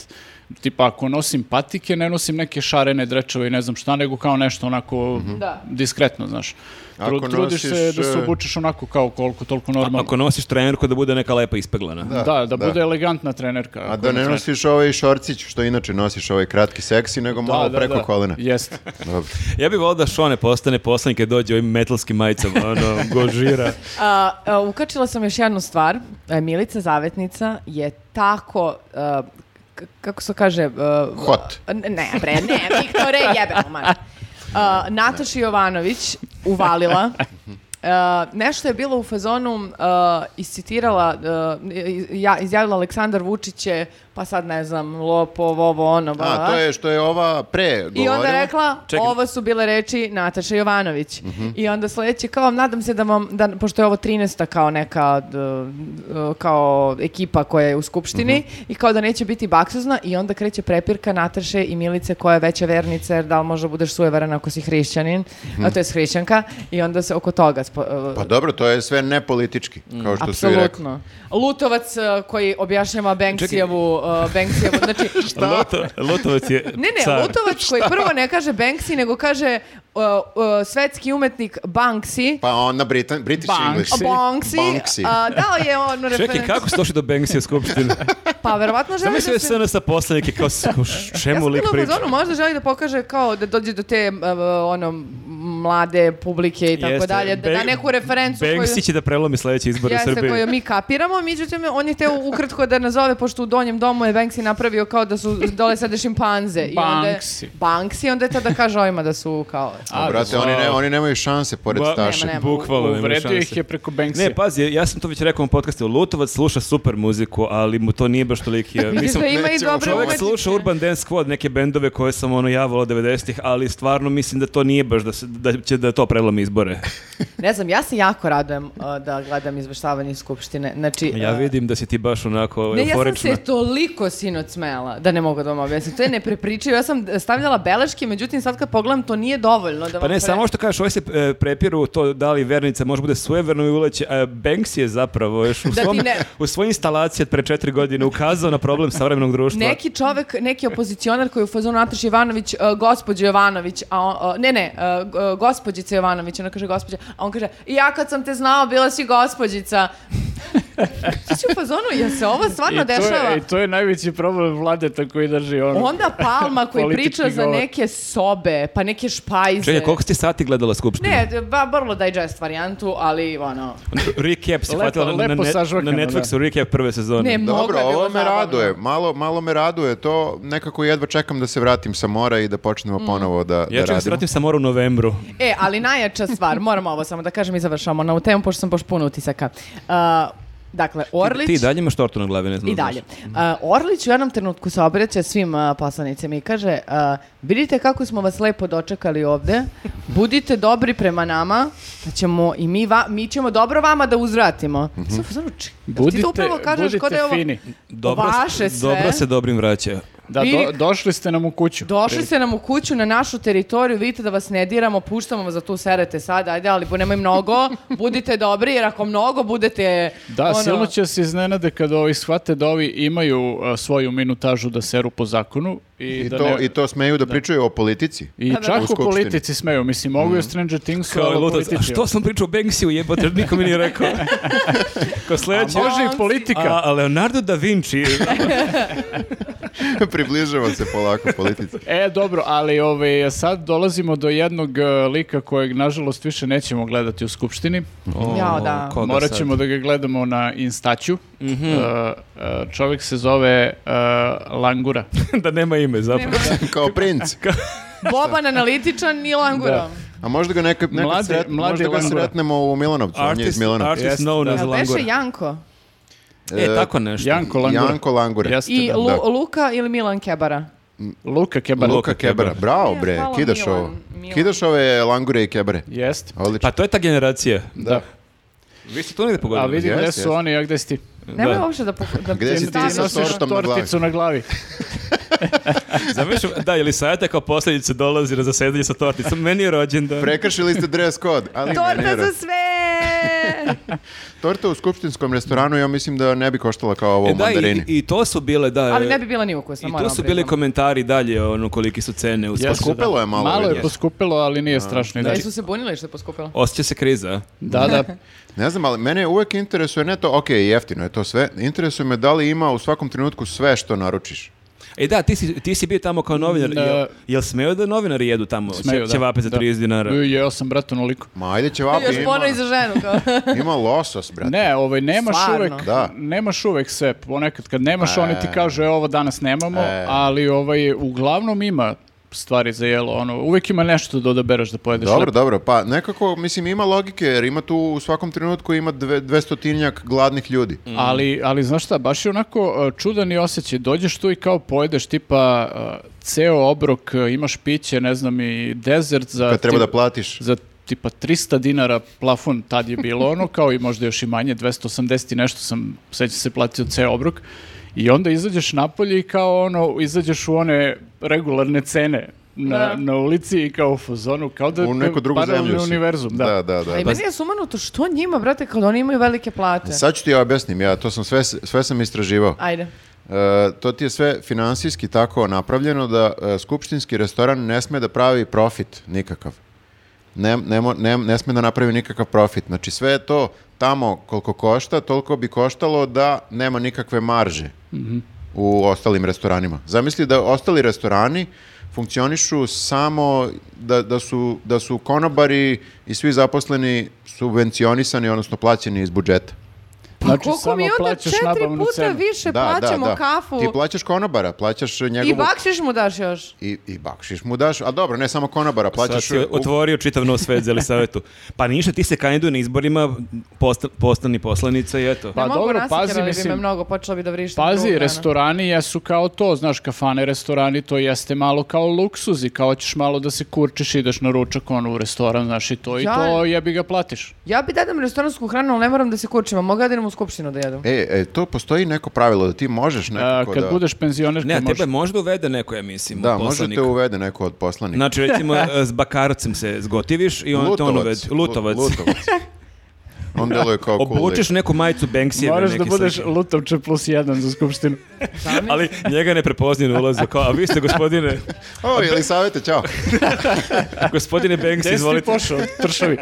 Speaker 2: tipa ako nosim patike, ne nosim neke šarene drečeve i ne znam šta, nego kao nešto onako
Speaker 4: Da.
Speaker 2: diskretno, znaš.
Speaker 3: Mhm. Ako
Speaker 2: Tru- trudiš se
Speaker 3: nosiš,
Speaker 2: da se
Speaker 3: e,
Speaker 2: obučeš onako kao koliko, toliko normalno.
Speaker 1: Ako nosiš trenerku da bude neka lepa ispeglana.
Speaker 2: da, da,
Speaker 3: da.
Speaker 2: bude elegantna trenerka.
Speaker 3: A
Speaker 2: ako
Speaker 3: da
Speaker 2: je
Speaker 3: ne
Speaker 2: trener.
Speaker 3: nosiš ovaj šorcić, što inače nosiš ovaj kratki seksi, nego
Speaker 2: Da,
Speaker 3: malo
Speaker 2: da,
Speaker 3: preko
Speaker 2: da.
Speaker 3: kolena.
Speaker 2: Jeste.
Speaker 3: Dobro.
Speaker 1: Ja bih volio da Šone postane poslanik kad dođe ovim metalskim majicama, ono, gožira.
Speaker 4: A, a, ukačila sam još jednu stvar. E, Milica Zavetnica je tako... e, k- kako se kaže... e,
Speaker 3: Hot.
Speaker 4: n- Ne, bre, ne, Viktore, jebemo, man. A, Nataša Jovanović uvalila... E, nešto je bilo u fazonu e, iscitirala e, i- ja, izjavila Aleksandar Vučić je pa sad ne znam, lopov, ovo, ono, bla, bla,
Speaker 3: A, to je što je ova pre
Speaker 4: I
Speaker 3: govorila.
Speaker 4: onda rekla,
Speaker 1: Čekaj.
Speaker 4: ovo su bile reči Nataša Jovanović. I onda sledeći, kao, nadam se da vam, da, pošto je ovo 13. kao neka od, e, kao ekipa koja je u skupštini i kao da neće biti baksuzna i onda kreće prepirka Nataše i Milice koja je veća vernica jer da li možda budeš sujevaran ako si hrišćanin, a to je hrišćanka i onda se oko toga spo, e,
Speaker 3: Pa dobro, to je sve nepolitički,
Speaker 1: Mm.
Speaker 3: kao Pa, što su i rekli.
Speaker 4: Apsolutno. Lutovac e, koji objašnjava Banksijevu, e, Banksijevu, znači
Speaker 1: Loto, Lotovac je
Speaker 4: ne, ne,
Speaker 1: car.
Speaker 4: Lutovac koji prvo ne kaže Banksy, nego kaže uh, uh, svetski umetnik Banksy.
Speaker 3: Pa onda Britan, British
Speaker 2: Banks.
Speaker 3: English.
Speaker 4: Banksy.
Speaker 3: Banksy.
Speaker 4: A, dao je on
Speaker 1: Čekaj,
Speaker 4: referen-
Speaker 1: kako ste došli do Banksija skupštine?
Speaker 4: Pa verovatno želi
Speaker 1: Zamisli sve
Speaker 4: da se...
Speaker 1: SNS-a poslanike, kao s- kao š-
Speaker 4: Ja
Speaker 1: čemu
Speaker 4: sam
Speaker 1: lik
Speaker 4: bila u
Speaker 1: priča?
Speaker 4: fazonu, možda želi da pokaže kao da dođe do te uh, ono mlade publike i tako
Speaker 1: Jeste,
Speaker 4: dalje, da, da
Speaker 1: Bank-
Speaker 4: neku referencu
Speaker 1: Banksy
Speaker 4: koju...
Speaker 1: će da prelomi sledeće izbore u
Speaker 4: Jeste,
Speaker 1: Srbiji.
Speaker 4: koju mi kapiramo, međutim, on je teo ukratko da nazove, pošto u donjem domu je Banksy napravio kao da su dole sede šimpanze. I onda je-
Speaker 2: Banksy.
Speaker 4: Banksy, onda je tada kaže ovima da su kao...
Speaker 3: A, brate, oni, ne, oni nemaju šanse pored
Speaker 1: Ba-
Speaker 3: Staše.
Speaker 4: Nema, nema.
Speaker 1: Bukvalno nema
Speaker 2: Uvredio
Speaker 1: šanse.
Speaker 2: ih je preko Banksija.
Speaker 1: Ne,
Speaker 3: pa-
Speaker 1: pazi, ja sam to već rekao u podcastu, Lutovac sluša super muziku, ali mu to nije baš toliko... Ja,
Speaker 4: Vidiš
Speaker 1: mislim,
Speaker 4: da ima i
Speaker 3: nećemo
Speaker 4: dobre
Speaker 1: čovjek
Speaker 3: umetničke.
Speaker 1: sluša Urban Dance Squad, neke bendove koje sam ono ja volao 90-ih, ali stvarno mislim da to nije baš da, se, da će da to prelomi izbore.
Speaker 4: Ne znam, ja se jako radujem uh, da gledam izveštavanje iz Skupštine. Znači,
Speaker 1: Ja
Speaker 4: uh,
Speaker 1: vidim da si ti baš onako ovaj,
Speaker 4: Ne, ja sam
Speaker 1: euforična.
Speaker 4: se toliko sinoć smela da ne mogu da vam objasnim. To je neprepričivo. Ja sam stavljala beleške, međutim sad kad pogledam to nije dovoljno.
Speaker 1: Pa
Speaker 4: Da vam
Speaker 1: ne,
Speaker 4: pre-
Speaker 1: samo što kažeš, ovaj se e, prepiru to da li vernica može bude sujeverno i uleće, a Banks je zapravo još u,
Speaker 4: Da ti
Speaker 1: svom,
Speaker 4: ne-
Speaker 1: u svojoj instalaciji od pre četiri godine ukazao na problem savremenog društva.
Speaker 4: Neki čovek, neki opozicionar koji je u fazonu Nataš Jovanović, uh, gospođo Jovanović, a on, uh, ne, ne, uh, g- uh, gospođica Jovanović, ona kaže gospođa, a on kaže, ja kad sam te znao, bila si gospođica. Ti si u fazonu, jel se ovo
Speaker 2: I
Speaker 4: stvarno
Speaker 2: to,
Speaker 4: dešava?
Speaker 2: je, I to je najveći problem vladeta koji drži ono.
Speaker 4: Onda Palma koji
Speaker 2: Politički
Speaker 4: priča za
Speaker 2: govor.
Speaker 4: neke sobe, pa neke špajze.
Speaker 1: Čekaj, koliko ste sati gledala skupštinu?
Speaker 4: Ne, d- ba, vrlo digest varijantu, ali ono...
Speaker 1: Recap si
Speaker 2: Lepo-
Speaker 1: hvatila na,
Speaker 2: lepo
Speaker 1: na,
Speaker 2: sažvakano,
Speaker 1: na Netflixu, recap prve sezone.
Speaker 4: Ne, mnogo
Speaker 3: Dobro,
Speaker 4: je bilo
Speaker 3: ovo me
Speaker 4: zabavno.
Speaker 3: raduje. Malo, malo me raduje to. Nekako jedva čekam da se vratim sa mora i da počnemo
Speaker 4: Mm.
Speaker 3: ponovo da, da
Speaker 1: ja ću se
Speaker 3: radimo.
Speaker 1: vratim sa mora u novembru.
Speaker 4: E, ali najjača stvar, moram ovo samo da kažem i završavamo na ovu temu, pošto sam baš puno utisaka. Uh, dakle, Orlić...
Speaker 1: Ti i dalje imaš tortu na glavi, ne znam.
Speaker 4: I
Speaker 1: znaš.
Speaker 4: dalje. Uh, Orlić u jednom trenutku se obraća svim uh, poslanicima i kaže uh, vidite kako smo vas lepo dočekali ovde, budite dobri prema nama, da ćemo i mi, va- mi ćemo dobro vama da uzvratimo. Mm ti
Speaker 2: Mhm. Budite-
Speaker 4: to upravo kažeš
Speaker 2: budite
Speaker 4: ko da je ovo
Speaker 2: fini.
Speaker 1: Dobro, se-
Speaker 4: vaše sve.
Speaker 1: dobro se dobrim vraća.
Speaker 2: Da,
Speaker 4: I-
Speaker 2: do- došli ste nam u kuću.
Speaker 4: Došli ste nam u kuću, na našu teritoriju, vidite da vas ne diramo, puštamo vas da tu serete sad, ajde, ali bu- nemoj mnogo, budite dobri, jer ako mnogo budete... ono,
Speaker 2: Da, silno će se iznenade kada ovi shvate da ovi imaju a, svoju minutažu da seru po zakonu i,
Speaker 3: I,
Speaker 2: da
Speaker 3: to,
Speaker 2: ne...
Speaker 3: I to smeju da, pričaju o politici.
Speaker 2: I
Speaker 4: Da, da.
Speaker 2: čak
Speaker 3: U
Speaker 2: u
Speaker 3: Skupštini. Mhm.
Speaker 2: politici smeju, mislim, mogu je o Stranger ono, Thingsu,
Speaker 1: Kao
Speaker 2: ali
Speaker 1: je
Speaker 2: o
Speaker 1: lutac. A
Speaker 2: politici-
Speaker 1: što sam pričao o Banksiju, jebote, niko mi nije rekao. Kao sledeće...
Speaker 2: A može
Speaker 4: Banksy.
Speaker 2: i politika.
Speaker 1: A, a Leonardo da Vinci,
Speaker 3: Približava se polako politici.
Speaker 2: E, dobro, ali ovaj, sad dolazimo do jednog e, lika kojeg, nažalost, više nećemo gledati u Skupštini.
Speaker 1: O,
Speaker 4: Jao, da.
Speaker 1: koga
Speaker 2: Morat
Speaker 1: Pa sad? Mhm.
Speaker 2: ćemo da ga gledamo na Instaću. E, e, čovjek se zove e, Langura.
Speaker 1: da nema ime zapravo.
Speaker 3: Kao princ.
Speaker 4: Boban analitičan i langura.
Speaker 3: A možda ga nekad, nekad
Speaker 2: Mladi-
Speaker 3: sret-
Speaker 2: mladi
Speaker 3: možda ga
Speaker 2: Langura.
Speaker 3: sretnemo u Milanovcu. on je iz
Speaker 1: Artist,
Speaker 3: Milanovca.
Speaker 1: artist
Speaker 2: Jeste,
Speaker 1: known
Speaker 2: da.
Speaker 1: as
Speaker 4: Jel beše
Speaker 1: Langora.
Speaker 4: Janko?
Speaker 1: E, tako nešto.
Speaker 2: Janko Langura.
Speaker 3: Janko Langura.
Speaker 2: Jeste,
Speaker 4: I
Speaker 2: da.
Speaker 4: Lu-
Speaker 3: da.
Speaker 4: Luka ili Milan Kebara?
Speaker 2: Luka Kebar.
Speaker 3: Luka Kebara. Bravo,
Speaker 4: Nije,
Speaker 3: bre.
Speaker 4: hvala,
Speaker 3: Kidaš
Speaker 4: Milan,
Speaker 3: ovo.
Speaker 4: Milan.
Speaker 3: Kidaš ove Langure i Kebare.
Speaker 2: Jeste,
Speaker 3: Odlično.
Speaker 1: Pa to je ta generacija.
Speaker 2: da.
Speaker 1: Vi ste to negde
Speaker 2: A
Speaker 1: pogodili.
Speaker 2: vidim
Speaker 3: Jeste,
Speaker 2: gde su
Speaker 3: jeste.
Speaker 2: oni, a gde si ti?
Speaker 4: Nemoj
Speaker 1: Da.
Speaker 4: uopšte da... poku- da
Speaker 3: Gde si ti
Speaker 4: stavljaš-
Speaker 3: sa
Speaker 2: nosiš
Speaker 3: tortom na glavi.
Speaker 2: torticu na glavi.
Speaker 1: Zamišljam, da, ili sajata kao posljedica dolazi na zasedanje sa torticom. Meni je rođendan. E,
Speaker 3: Prekršili ste dress code, ali
Speaker 4: Torta
Speaker 3: manira.
Speaker 4: za sve!
Speaker 3: Torta u skupštinskom restoranu, ja mislim da ne bi koštala kao ovo
Speaker 1: E,
Speaker 3: u
Speaker 1: da, i,
Speaker 3: mandarini.
Speaker 1: i to su bile, da.
Speaker 4: Ali ne bi ono
Speaker 1: e,
Speaker 4: bila ni ukusna,
Speaker 1: I
Speaker 4: moram
Speaker 1: tu
Speaker 4: vam
Speaker 1: su bili
Speaker 4: priznam.
Speaker 1: komentari dalje, ono, koliki su cene. u
Speaker 2: Jeste,
Speaker 1: svakom-
Speaker 3: Poskupelo
Speaker 2: da.
Speaker 3: je malo,
Speaker 2: Malo je
Speaker 3: vidim.
Speaker 2: poskupilo, ali nije strašno.
Speaker 4: Da
Speaker 2: Znači,
Speaker 4: su se bunili što je poskupilo?
Speaker 1: Osjeća se kriza.
Speaker 2: da, da.
Speaker 3: Ne znam, ali mene uvek interesuje, ne to, ok, jeftino je to sve, interesuje me da li ima u svakom trenutku sve što naručiš.
Speaker 1: E da, ti si, ti si bio tamo kao novinar.
Speaker 2: Da.
Speaker 1: Jel, jel smeju da novinari jedu tamo?
Speaker 2: Smeju, da.
Speaker 1: Ćevape za
Speaker 2: Da.
Speaker 1: 30 dinara.
Speaker 2: Ju, Jeo sam, brate, onoliko.
Speaker 3: Ma ajde će vapi,
Speaker 4: Još
Speaker 3: ima,
Speaker 4: pono i za ženu. Kao.
Speaker 3: ima losos, brate.
Speaker 2: Ne, ovaj, nemaš
Speaker 4: Stvarno?
Speaker 2: uvek,
Speaker 3: Da.
Speaker 2: nemaš uvek sve. "E,
Speaker 3: E.
Speaker 2: Ponekad kad nemaš, oni ti kažu, e, ovo danas nemamo, ali ovaj, uglavnom ima stvari za jelo, ono, uvijek ima nešto da odabereš da pojedeš.
Speaker 3: Dobro,
Speaker 2: lepo.
Speaker 3: dobro, pa nekako, mislim, ima logike, jer ima tu u svakom trenutku ima dve, dvestotinjak gladnih ljudi.
Speaker 2: Ali, ali znaš šta, baš je onako e, čudan i osjećaj. Dođeš tu i kao pojedeš tipa e, ceo obrok, e, imaš piće, ne znam, i dezert za...
Speaker 3: Kad treba
Speaker 2: ti-
Speaker 3: da platiš.
Speaker 2: Za tipa 300 dinara plafon tad je bilo ono, kao i možda još i manje, 280 i nešto sam, sećam se, platio ceo obrok. I onda izađeš napolje i kao ono, izađeš u one regularne cene na,
Speaker 4: Da.
Speaker 2: na ulici i kao u fazonu, kao da
Speaker 3: U neku drugu
Speaker 2: paralelni
Speaker 3: zemlju si.
Speaker 2: univerzum, da.
Speaker 3: da, da. da.
Speaker 4: A i E, meni je sumanuto što njima, brate, kad oni imaju velike plate.
Speaker 3: pa E, Sad ću ti ja objasnim, ja to sam sve, sve sam istraživao.
Speaker 4: Ajde.
Speaker 3: E, to ti je sve finansijski tako napravljeno da e, skupštinski restoran ne sme da pravi profit nikakav. Ne, ne, mo- ne, ne sme da napravi nikakav profit. Znači sve je to tamo koliko košta, toliko bi koštalo da nema nikakve marže u ostalim restoranima. Zamisli da ostali restorani funkcionišu samo da, da, su, da su konobari i svi zaposleni subvencionisani, odnosno plaćeni iz budžeta.
Speaker 2: Znači,
Speaker 4: Pa Koliko
Speaker 2: samo
Speaker 4: mi onda
Speaker 2: plaćaš
Speaker 4: četiri
Speaker 2: nabavnu
Speaker 4: puta
Speaker 2: cenu.
Speaker 4: više plaćamo kafu
Speaker 3: Ti plaćaš konobara, plaćaš njegovu...
Speaker 4: i bakšiš mu daš još.
Speaker 3: I, i bakšiš mu daš, a dobro, ne samo konobara,
Speaker 1: Sad
Speaker 3: plaćaš...
Speaker 1: si otvorio čitav nos svet za Elisavetu. Pa ništa, ti se kandiduj na izborima, posta- postani poslanica i eto.
Speaker 2: Pa
Speaker 4: ne mogu
Speaker 2: dobro,
Speaker 4: nasitjerali
Speaker 2: pazi,
Speaker 4: bi
Speaker 2: mislim-
Speaker 4: me mnogo, počela bi da vrištim. drugog
Speaker 2: Pazi,
Speaker 4: dana.
Speaker 2: restorani jesu kao to, znaš, kafane, restorani, to jeste malo kao luksuz i kao ćeš malo da se kurčiš, ideš na ručak, ono, u restoran, znaš, i to, i
Speaker 4: Ja-
Speaker 2: to jebi ga platiš.
Speaker 4: Ja bi dadam restoransku hranu, ali ne moram da se kurčim, a mogu ja da idem u skupštinu da jedem.
Speaker 3: E, e, to postoji neko pravilo da ti možeš
Speaker 2: A,
Speaker 3: nekako
Speaker 2: kad
Speaker 3: da...
Speaker 2: budeš penzioner,
Speaker 1: Ne, a
Speaker 2: možeš...
Speaker 1: tebe možda uvede neko, ja mislim,
Speaker 3: Da,
Speaker 1: u
Speaker 3: može
Speaker 1: poslanika.
Speaker 3: te uvede neko od poslanika.
Speaker 1: Znači, recimo, s bakarovcem se zgotiviš i on te on uvede.
Speaker 3: Lu-
Speaker 1: Lutovac.
Speaker 3: Lutovac. On deluje kao cool
Speaker 1: Obučeš neku majicu Banksijeve.
Speaker 2: Moraš da
Speaker 1: neki
Speaker 2: budeš
Speaker 1: sličan.
Speaker 2: lutovče plus jedan za skupštinu.
Speaker 1: Ali njega ne prepoznaje na ulazu. Kao, a vi ste gospodine,
Speaker 3: lik. O, ili savete, čao.
Speaker 1: gospodine Banks,
Speaker 2: Gde si ti
Speaker 1: izvolite.
Speaker 2: pošao, tršavi?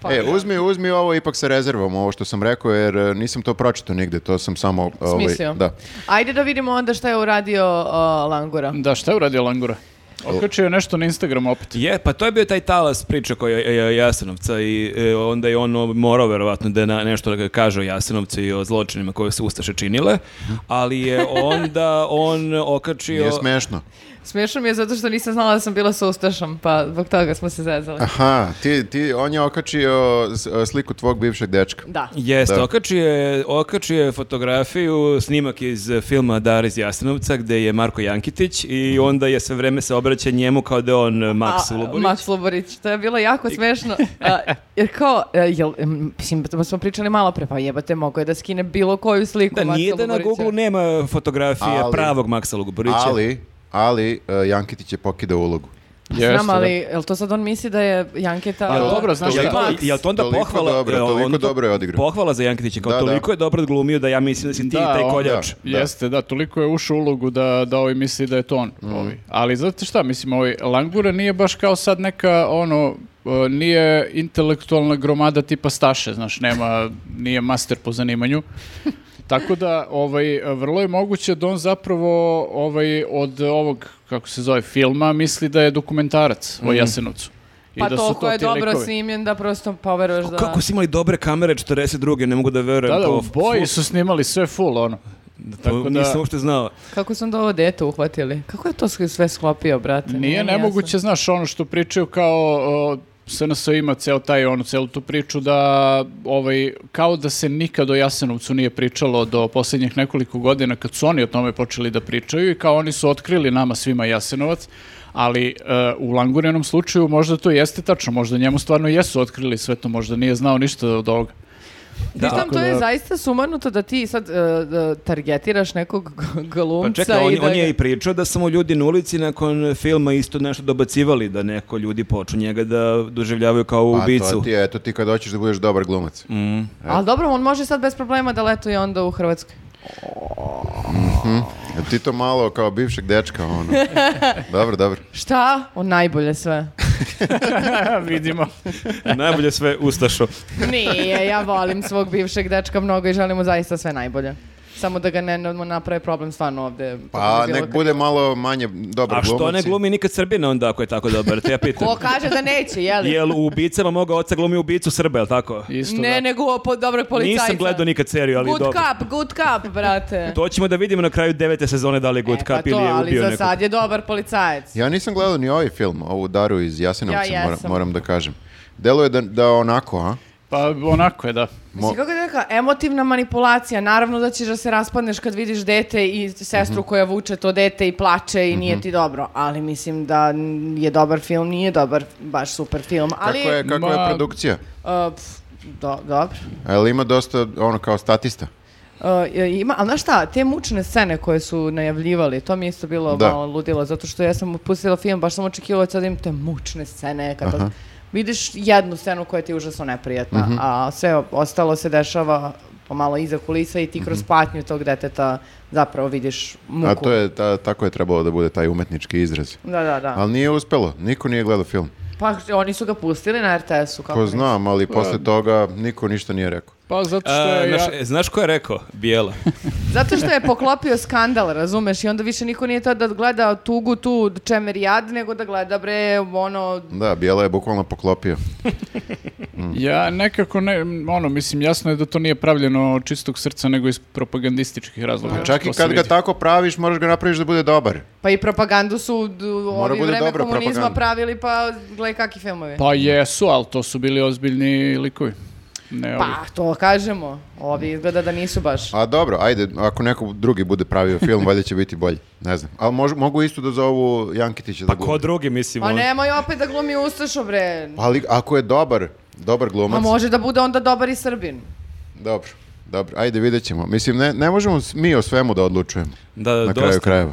Speaker 4: Pa
Speaker 3: e, uzmi, uzmi ovo ipak sa rezervom, ovo što sam rekao, jer e, nisam to pročito nigde, to sam samo... ovaj,
Speaker 4: Smislio.
Speaker 3: da.
Speaker 4: Ajde da vidimo onda šta je uradio o, Langura.
Speaker 2: Da, šta je uradio Langura? Okačio je nešto na Instagram opet.
Speaker 1: Je, pa to je bio taj talas priče koja je, je- Jasenovca i e, onda je on morao verovatno da na, nešto da kaže o Jasenovcu i o zločinima koje su Ustaše činile, ali je onda on okačio...
Speaker 3: Nije smešno.
Speaker 4: Smiješno mi je zato što nisam znala da sam bila sa Ustašom, pa zbog toga smo se
Speaker 3: Ah.
Speaker 4: zezali.
Speaker 3: Aha, ti, ti, on je okačio s- e, sliku tvog bivšeg dečka.
Speaker 4: Da.
Speaker 1: Jeste,
Speaker 3: Da.
Speaker 1: okačio je, okačio je fotografiju, snimak iz filma Dar iz Jasenovca gde je Marko Jankitić i
Speaker 3: Mhm.
Speaker 1: onda je sve vreme se obraća njemu kao da je on e, Max
Speaker 4: A,
Speaker 1: Luborić.
Speaker 4: Max Luborić, to je bilo jako smešno. a, jer kao, e, jel, em, mislim, to smo pričali malo pre, pa jebate, mogo je da skine bilo koju sliku
Speaker 1: Da
Speaker 4: Maxa
Speaker 1: nije da na
Speaker 4: Luborića.
Speaker 1: Google nema fotografije
Speaker 3: Ali-
Speaker 1: pravog Maxa Luborića.
Speaker 3: Ali, ali e, Jankitić je pokidao ulogu.
Speaker 4: Znam, ali jel to sad on misli da je Janketa...
Speaker 2: Pa dobro, znaš
Speaker 1: Jel
Speaker 2: šta?
Speaker 1: to, jel to onda
Speaker 3: Toliko
Speaker 1: pohvala?
Speaker 3: dobro,
Speaker 1: jel
Speaker 3: toliko
Speaker 1: onda
Speaker 3: dobro je odigrao.
Speaker 1: Pohvala za Jankitića, kao
Speaker 3: Da, da.
Speaker 1: toliko je dobro odglumio da ja mislim da si ti
Speaker 2: Da,
Speaker 1: taj
Speaker 2: on-
Speaker 1: koljač.
Speaker 3: Da.
Speaker 2: Jeste, da, toliko je ušao u ulogu da, da ovi misli da je to on. Ovi. Ali znate šta, mislim, ovaj Langura nije baš kao sad neka, ono, e, nije intelektualna gromada tipa Staše, znaš, nema, nije master po zanimanju. Tako da, ovaj, vrlo je moguće da on zapravo ovaj, od ovog, kako se zove, filma misli da je dokumentarac o Jasenovcu. I
Speaker 4: Pa
Speaker 2: da su
Speaker 4: toliko
Speaker 2: to
Speaker 4: je
Speaker 2: ti
Speaker 4: dobro
Speaker 2: likovi.
Speaker 4: snimljen da prosto poveruješ da...
Speaker 1: Kako si imali dobre kamere 42. Ne mogu da verujem.
Speaker 2: Da, da,
Speaker 1: to,
Speaker 2: u boji
Speaker 1: ful-
Speaker 2: su snimali sve full, ono.
Speaker 1: to
Speaker 2: tako da-
Speaker 1: Nisam uopšte znao.
Speaker 4: Kako sam da ovo dete uhvatili? Kako je to sve sklopio, brate?
Speaker 2: Nije
Speaker 4: mi Dakle, jasno.
Speaker 2: nemoguće, znaš, ono što pričaju kao o, SNS ima ceo taj, ono, celu tu priču da, ovaj, kao da se nikad o Jasenovcu nije pričalo do posljednjih nekoliko godina kad su oni o tome počeli da pričaju i kao oni su otkrili nama svima Jasenovac, ali e, u Langurinom slučaju možda to jeste tačno, možda njemu stvarno jesu otkrili sve to, možda nije znao ništa od ovoga.
Speaker 4: Pritom,
Speaker 2: Tako
Speaker 4: to je
Speaker 2: da-
Speaker 4: zaista sumanuto da ti sad e, da targetiraš nekog
Speaker 1: Pa
Speaker 4: g- glumca
Speaker 1: čekaj, on,
Speaker 4: i da...
Speaker 1: on je
Speaker 4: ga-
Speaker 1: i pričao da samo ljudi na ulici nakon filma isto nešto dobacivali, da neko ljudi poču njega da doživljavaju kao
Speaker 2: Pa,
Speaker 3: A Pa, to
Speaker 1: ubicu. Mm.
Speaker 3: ti je, eto ti kad hoćeš da budeš dobar glumac.
Speaker 4: Ali dobro, on može sad bez problema da letuje onda u Hrvatskoj.
Speaker 3: E, Ti to malo kao bivšeg dečka, ono. dobro, dobro.
Speaker 4: Šta? On najbolje sve.
Speaker 2: Vidimo.
Speaker 1: Najbolje sve Ustašo.
Speaker 4: Nije, ja volim svog bivšeg dečka mnogo i želim mu zaista sve najbolje. Samo da ga ne, ne naprave problem stvarno ovde.
Speaker 3: Pa
Speaker 4: To bi bilo
Speaker 3: nek
Speaker 4: kad-
Speaker 3: bude malo manje dobar
Speaker 1: A što ne
Speaker 3: glumac i-
Speaker 1: glumi nikad Srbina onda ako je tako dobar? Te ja pitam.
Speaker 4: Ko kaže da neće, jeli?
Speaker 1: Jel u ubicama moga oca glumi ubicu Srba, jel tako?
Speaker 2: Isto,
Speaker 4: ne,
Speaker 2: da.
Speaker 4: nego ovo po dobrog policajca.
Speaker 1: Nisam gledao nikad seriju, ali
Speaker 4: Good
Speaker 1: dobro.
Speaker 4: cup, good cup, brate.
Speaker 1: To ćemo da vidimo na kraju devete sezone da li je Good
Speaker 4: E,
Speaker 1: Cup ili je
Speaker 4: ali
Speaker 1: ubio
Speaker 4: za
Speaker 1: nekog.
Speaker 4: sad je dobar policajac.
Speaker 3: Ja nisam gledao ni ovaj film, ovu Daru iz Jasenovca,
Speaker 4: Ja
Speaker 3: moram,
Speaker 4: jesam.
Speaker 3: moram da kažem. Delo je da, da onako, a?
Speaker 2: Pa onako je, da.
Speaker 3: Mo-
Speaker 4: Mislim, kako da neka emotivna manipulacija, naravno da ćeš da se raspadneš kad vidiš dete i sestru
Speaker 3: Mhm.
Speaker 4: koja vuče to dete i plače i nije ti dobro, ali mislim da n- je dobar film, nije dobar, baš super film,
Speaker 3: Kako,
Speaker 4: ali...
Speaker 3: je, kako je
Speaker 2: Ma-
Speaker 3: produkcija?
Speaker 4: Uh, pf, do, dobro.
Speaker 3: Jel ima dosta, ono, kao statista?
Speaker 4: Uh, je- ima, ali znaš šta, te mučne scene koje su najavljivali, to mi je isto bilo
Speaker 3: Da.
Speaker 4: malo ludilo, zato što ja sam pustila film, baš sam očekivala sad da imam te mučne scene, kada vidiš jednu scenu koja ti je užasno neprijatna,
Speaker 3: Mhm.
Speaker 4: a sve o- ostalo se dešava pomalo iza kulisa i ti kroz patnju tog deteta zapravo vidiš muku.
Speaker 3: Mhm. A to je, ta, tako je trebalo da bude taj umetnički izraz.
Speaker 4: Da, da, da.
Speaker 3: Ali nije uspelo, niko nije gledao film.
Speaker 4: Pa oni su ga pustili na RTS-u. kako
Speaker 3: Ko
Speaker 4: ne?
Speaker 3: znam, ali posle toga niko ništa nije rekao.
Speaker 2: Pa zato što
Speaker 1: A,
Speaker 2: je...
Speaker 1: znaš,
Speaker 2: ja-
Speaker 1: e, znaš ko je rekao? Bijela.
Speaker 4: Zato što je poklopio skandal, razumeš, i onda više niko nije to da gleda tugu tu čemer jad, nego da gleda bre ono
Speaker 3: Da, Bijela je bukvalno poklopio.
Speaker 2: Ja nekako ne, ono, mislim, jasno je da to nije pravljeno od čistog srca, nego iz propagandističkih razloga.
Speaker 3: Pa čak i
Speaker 2: To se
Speaker 3: kad ga
Speaker 2: vidi.
Speaker 3: tako praviš, moraš ga napraviš da bude dobar.
Speaker 4: Pa i propagandu su d- u
Speaker 3: Mora
Speaker 4: ovi
Speaker 3: bude
Speaker 4: vreme
Speaker 3: dobra
Speaker 4: komunizma
Speaker 3: propaganda.
Speaker 4: pravili, pa gle kakvi filmovi. Pa,
Speaker 2: Pa jesu, ali to su bili ozbiljni likovi. Ne, ovi.
Speaker 4: Pa, to kažemo. Ovi izgleda da nisu baš.
Speaker 3: A dobro, ajde, ako neko drugi bude pravio film, valjda će biti bolji. Ne znam. Ali mož- mogu isto da zovu Jankitića
Speaker 1: Pa
Speaker 3: da
Speaker 1: ko
Speaker 3: glumi.
Speaker 1: drugi, mislim.
Speaker 4: Pa
Speaker 1: on-
Speaker 4: nemoj opet da glumi Ustašo, bre.
Speaker 1: Pa,
Speaker 3: Ali ako je dobar, dobar
Speaker 4: Ma
Speaker 3: glumac,
Speaker 4: može da bude onda dobar i Srbin.
Speaker 3: dobro. Dobro, ajde vidjet ćemo. Mislim, ne, ne možemo s- mi o svemu da odlučujemo
Speaker 1: Da, da,
Speaker 3: na
Speaker 1: dosta.
Speaker 3: kraju krajeva.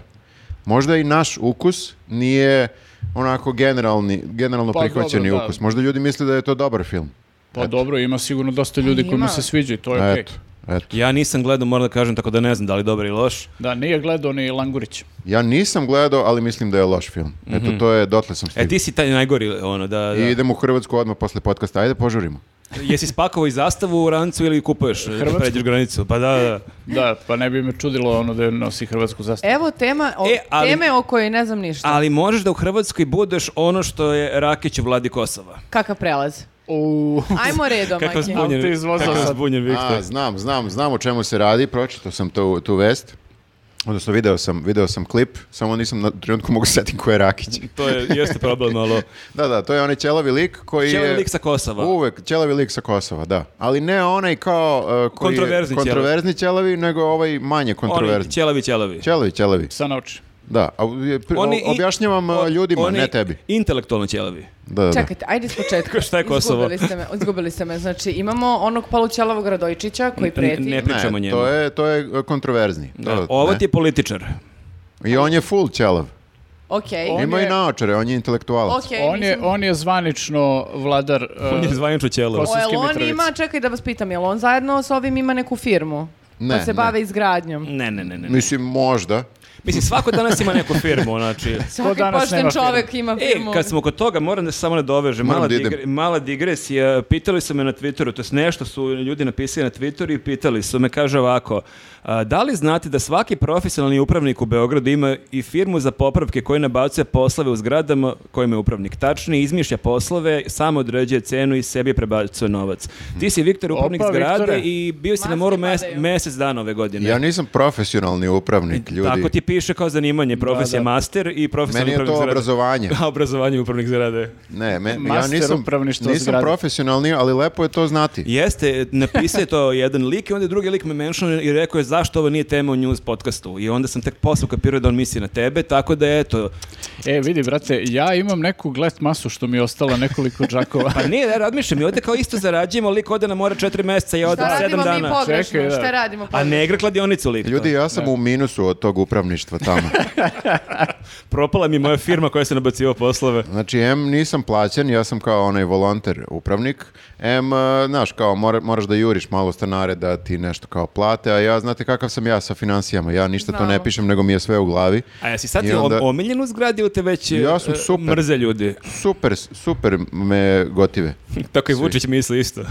Speaker 3: Možda i naš ukus nije onako generalni, generalno
Speaker 2: Pa
Speaker 3: prihvaćeni
Speaker 2: dobro, da.
Speaker 3: ukus. Možda ljudi misle da je to dobar film.
Speaker 2: Pa dobro, ima sigurno dosta ljudi
Speaker 4: Pa Ima.
Speaker 2: kojima se sviđa i to je okej.
Speaker 3: Eto, eto.
Speaker 1: Ja nisam gledao, moram da kažem, tako da ne znam da li dobar ili loš. E,
Speaker 2: Da, nije gledao ni Langurić.
Speaker 3: Ja nisam gledao, ali mislim da je loš film. Eto, to je, dotle sam
Speaker 1: E,
Speaker 3: stigao.
Speaker 1: ti si taj najgori, ono, da... da.
Speaker 3: I idem u Hrvatsku odmah posle podcasta. Ajde, požurimo.
Speaker 1: Jesi spakovao i zastavu u rancu ili kupuješ?
Speaker 2: Hrvatsku?
Speaker 1: Pređeš granicu. Pa da, da.
Speaker 2: Da, pa ne bi me čudilo ono da nosi hrvatsku zastavu.
Speaker 4: Evo tema o,
Speaker 1: E, ali-
Speaker 4: teme o kojoj ne znam ništa.
Speaker 1: Ali možeš da u Hrvatskoj budeš ono što je Rakić u vladi Kosova.
Speaker 4: Kakav prelaz?
Speaker 2: U,
Speaker 4: Ajmo redom,
Speaker 1: Kakav
Speaker 4: Maki.
Speaker 1: zbunjen,
Speaker 2: Auto iz voza
Speaker 1: kakav
Speaker 2: sad.
Speaker 1: zbunjen Viktor.
Speaker 3: A, znam, znam, znam o čemu se radi, pročitao sam tu, tu vest. Odnosno, video sam, video sam klip, samo nisam na trenutku mogu setim ko je Rakić.
Speaker 1: To je, jeste problem, ali...
Speaker 3: Da, da, to je onaj ćelavi lik koji
Speaker 1: Čeo
Speaker 3: je...
Speaker 1: je lik sa Kosova.
Speaker 3: Uvek, ćelavi lik sa Kosova, da. Ali ne onaj kao... uh, koji je
Speaker 1: Kontroverzni ćelavi.
Speaker 3: kontroverzni ćelavi, nego ovaj manje
Speaker 1: Oni,
Speaker 3: kontroverzni.
Speaker 1: ćelavi, ćelavi.
Speaker 3: Ćelavi, ćelavi,
Speaker 2: sa naoči.
Speaker 3: da. A, je, pri-
Speaker 1: Oni i-
Speaker 3: objašnjavam uh,
Speaker 1: o-
Speaker 3: ljudima,
Speaker 1: oni
Speaker 3: ne tebi.
Speaker 1: Intelektualno ćelavi.
Speaker 3: Da, da, da.
Speaker 4: Čekajte, ajde iz početka.
Speaker 1: Šta je Kosovo?
Speaker 4: Izgubili ste me, izgubili ste me. Znači, imamo onog palućalavog Radojčića koji preti.
Speaker 1: Ne pričamo o
Speaker 3: Ne,
Speaker 1: njemu.
Speaker 3: to je, to je uh, kontroverzni. To,
Speaker 1: Da, Ovo
Speaker 3: ne.
Speaker 1: ti je političar.
Speaker 3: I on je full ćelav.
Speaker 4: Okej.
Speaker 2: On
Speaker 3: Ima i
Speaker 2: je-
Speaker 3: naočare, on je intelektualac.
Speaker 4: Okej,
Speaker 2: on, je,
Speaker 4: mislim-
Speaker 2: on je zvanično vladar... uh,
Speaker 1: On je zvanično ćelavi.
Speaker 2: Kosova.
Speaker 4: O,
Speaker 2: Kosovske
Speaker 4: jel on
Speaker 2: Mitrovice.
Speaker 4: ima, čekaj da vas pitam, jel on zajedno s ovim ima neku firmu?
Speaker 3: Ne,
Speaker 4: pa
Speaker 3: ne.
Speaker 4: se bave izgradnjom.
Speaker 1: Ne, ne, ne, ne. ne.
Speaker 3: Mislim, možda.
Speaker 1: Mislim, svako danas ima neku firmu, znači...
Speaker 4: Svaki
Speaker 2: danas
Speaker 4: pošten
Speaker 2: nema
Speaker 4: čovek ima
Speaker 1: E,
Speaker 4: firmu.
Speaker 1: kad smo kod toga, moram da se samo nadovežem.
Speaker 3: Moram
Speaker 1: Mala,
Speaker 3: da idem.
Speaker 1: digre- mala digresija. Pitali su me na Twitteru, to jest nešto su ljudi napisali na Twitteru i pitali su me, kaže ovako, a, da li znate da svaki profesionalni upravnik u Beogradu ima i firmu za popravke koji nabacuje poslove u zgradama kojima je upravnik tačni, izmišlja poslove, sam određuje cenu i sebi prebacuje novac.
Speaker 3: Mhm.
Speaker 1: Ti si Viktor upravnik
Speaker 2: Opa,
Speaker 1: zgrade
Speaker 2: Viktore.
Speaker 1: i bio si na
Speaker 4: Maske
Speaker 1: moru mes-
Speaker 4: padaju.
Speaker 1: mesec dana ove godine.
Speaker 3: Ja nisam profesionalni upravnik, ljudi.
Speaker 1: Tako ti piše kao zanimanje, profesija
Speaker 2: da.
Speaker 1: master i
Speaker 3: Meni
Speaker 1: profesionalni
Speaker 3: je
Speaker 1: upravnik
Speaker 3: to
Speaker 1: zgrade.
Speaker 3: obrazovanje.
Speaker 1: A, obrazovanje upravnik zgrade.
Speaker 3: Ne, me, ja
Speaker 2: Master
Speaker 3: nisam,
Speaker 2: upravništva
Speaker 3: nisam
Speaker 2: zgrade.
Speaker 3: profesionalni, ali lepo je to znati.
Speaker 1: Jeste, napisao je to jedan lik i onda je drugi lik me menšao i rekao je zašto ovo nije tema u news podcastu. I onda sam tek posle kapirao da on misli na tebe, tako da eto.
Speaker 2: E, vidi, brate, ja imam neku glet masu što mi je ostala nekoliko džakova.
Speaker 1: Pa nije, ja razmišljam, mi ovde kao isto zarađujemo, lik ode na mora četiri meseca, ja odem
Speaker 4: Šta radimo
Speaker 1: sedam
Speaker 4: mi
Speaker 1: dana.
Speaker 4: pogrešno?
Speaker 2: Čekaj, da.
Speaker 4: Šta radimo
Speaker 1: A
Speaker 4: pogrešno?
Speaker 1: ne igra kladionicu lik.
Speaker 3: Ljudi, ja sam u minusu od tog upravništva tamo.
Speaker 1: Propala mi moja firma koja se nabaciva poslove.
Speaker 3: Znači, em nisam plaćen, ja sam kao onaj volonter upravnik. Em, e, znaš, kao mora, moraš da juriš malo stanare da ti nešto kao plate, a ja, znate kakav sam ja sa financijama, ja ništa to ne
Speaker 4: Znamo.
Speaker 3: pišem, nego mi je sve u glavi.
Speaker 1: A jesi sad
Speaker 3: I
Speaker 1: ti om-
Speaker 3: onda-
Speaker 1: omiljen u zgradi ili te već e,
Speaker 3: Ja sam
Speaker 1: e,
Speaker 3: super.
Speaker 1: mrze ljudi?
Speaker 3: Super, super me gotive.
Speaker 1: Tako i Vučić misli isto.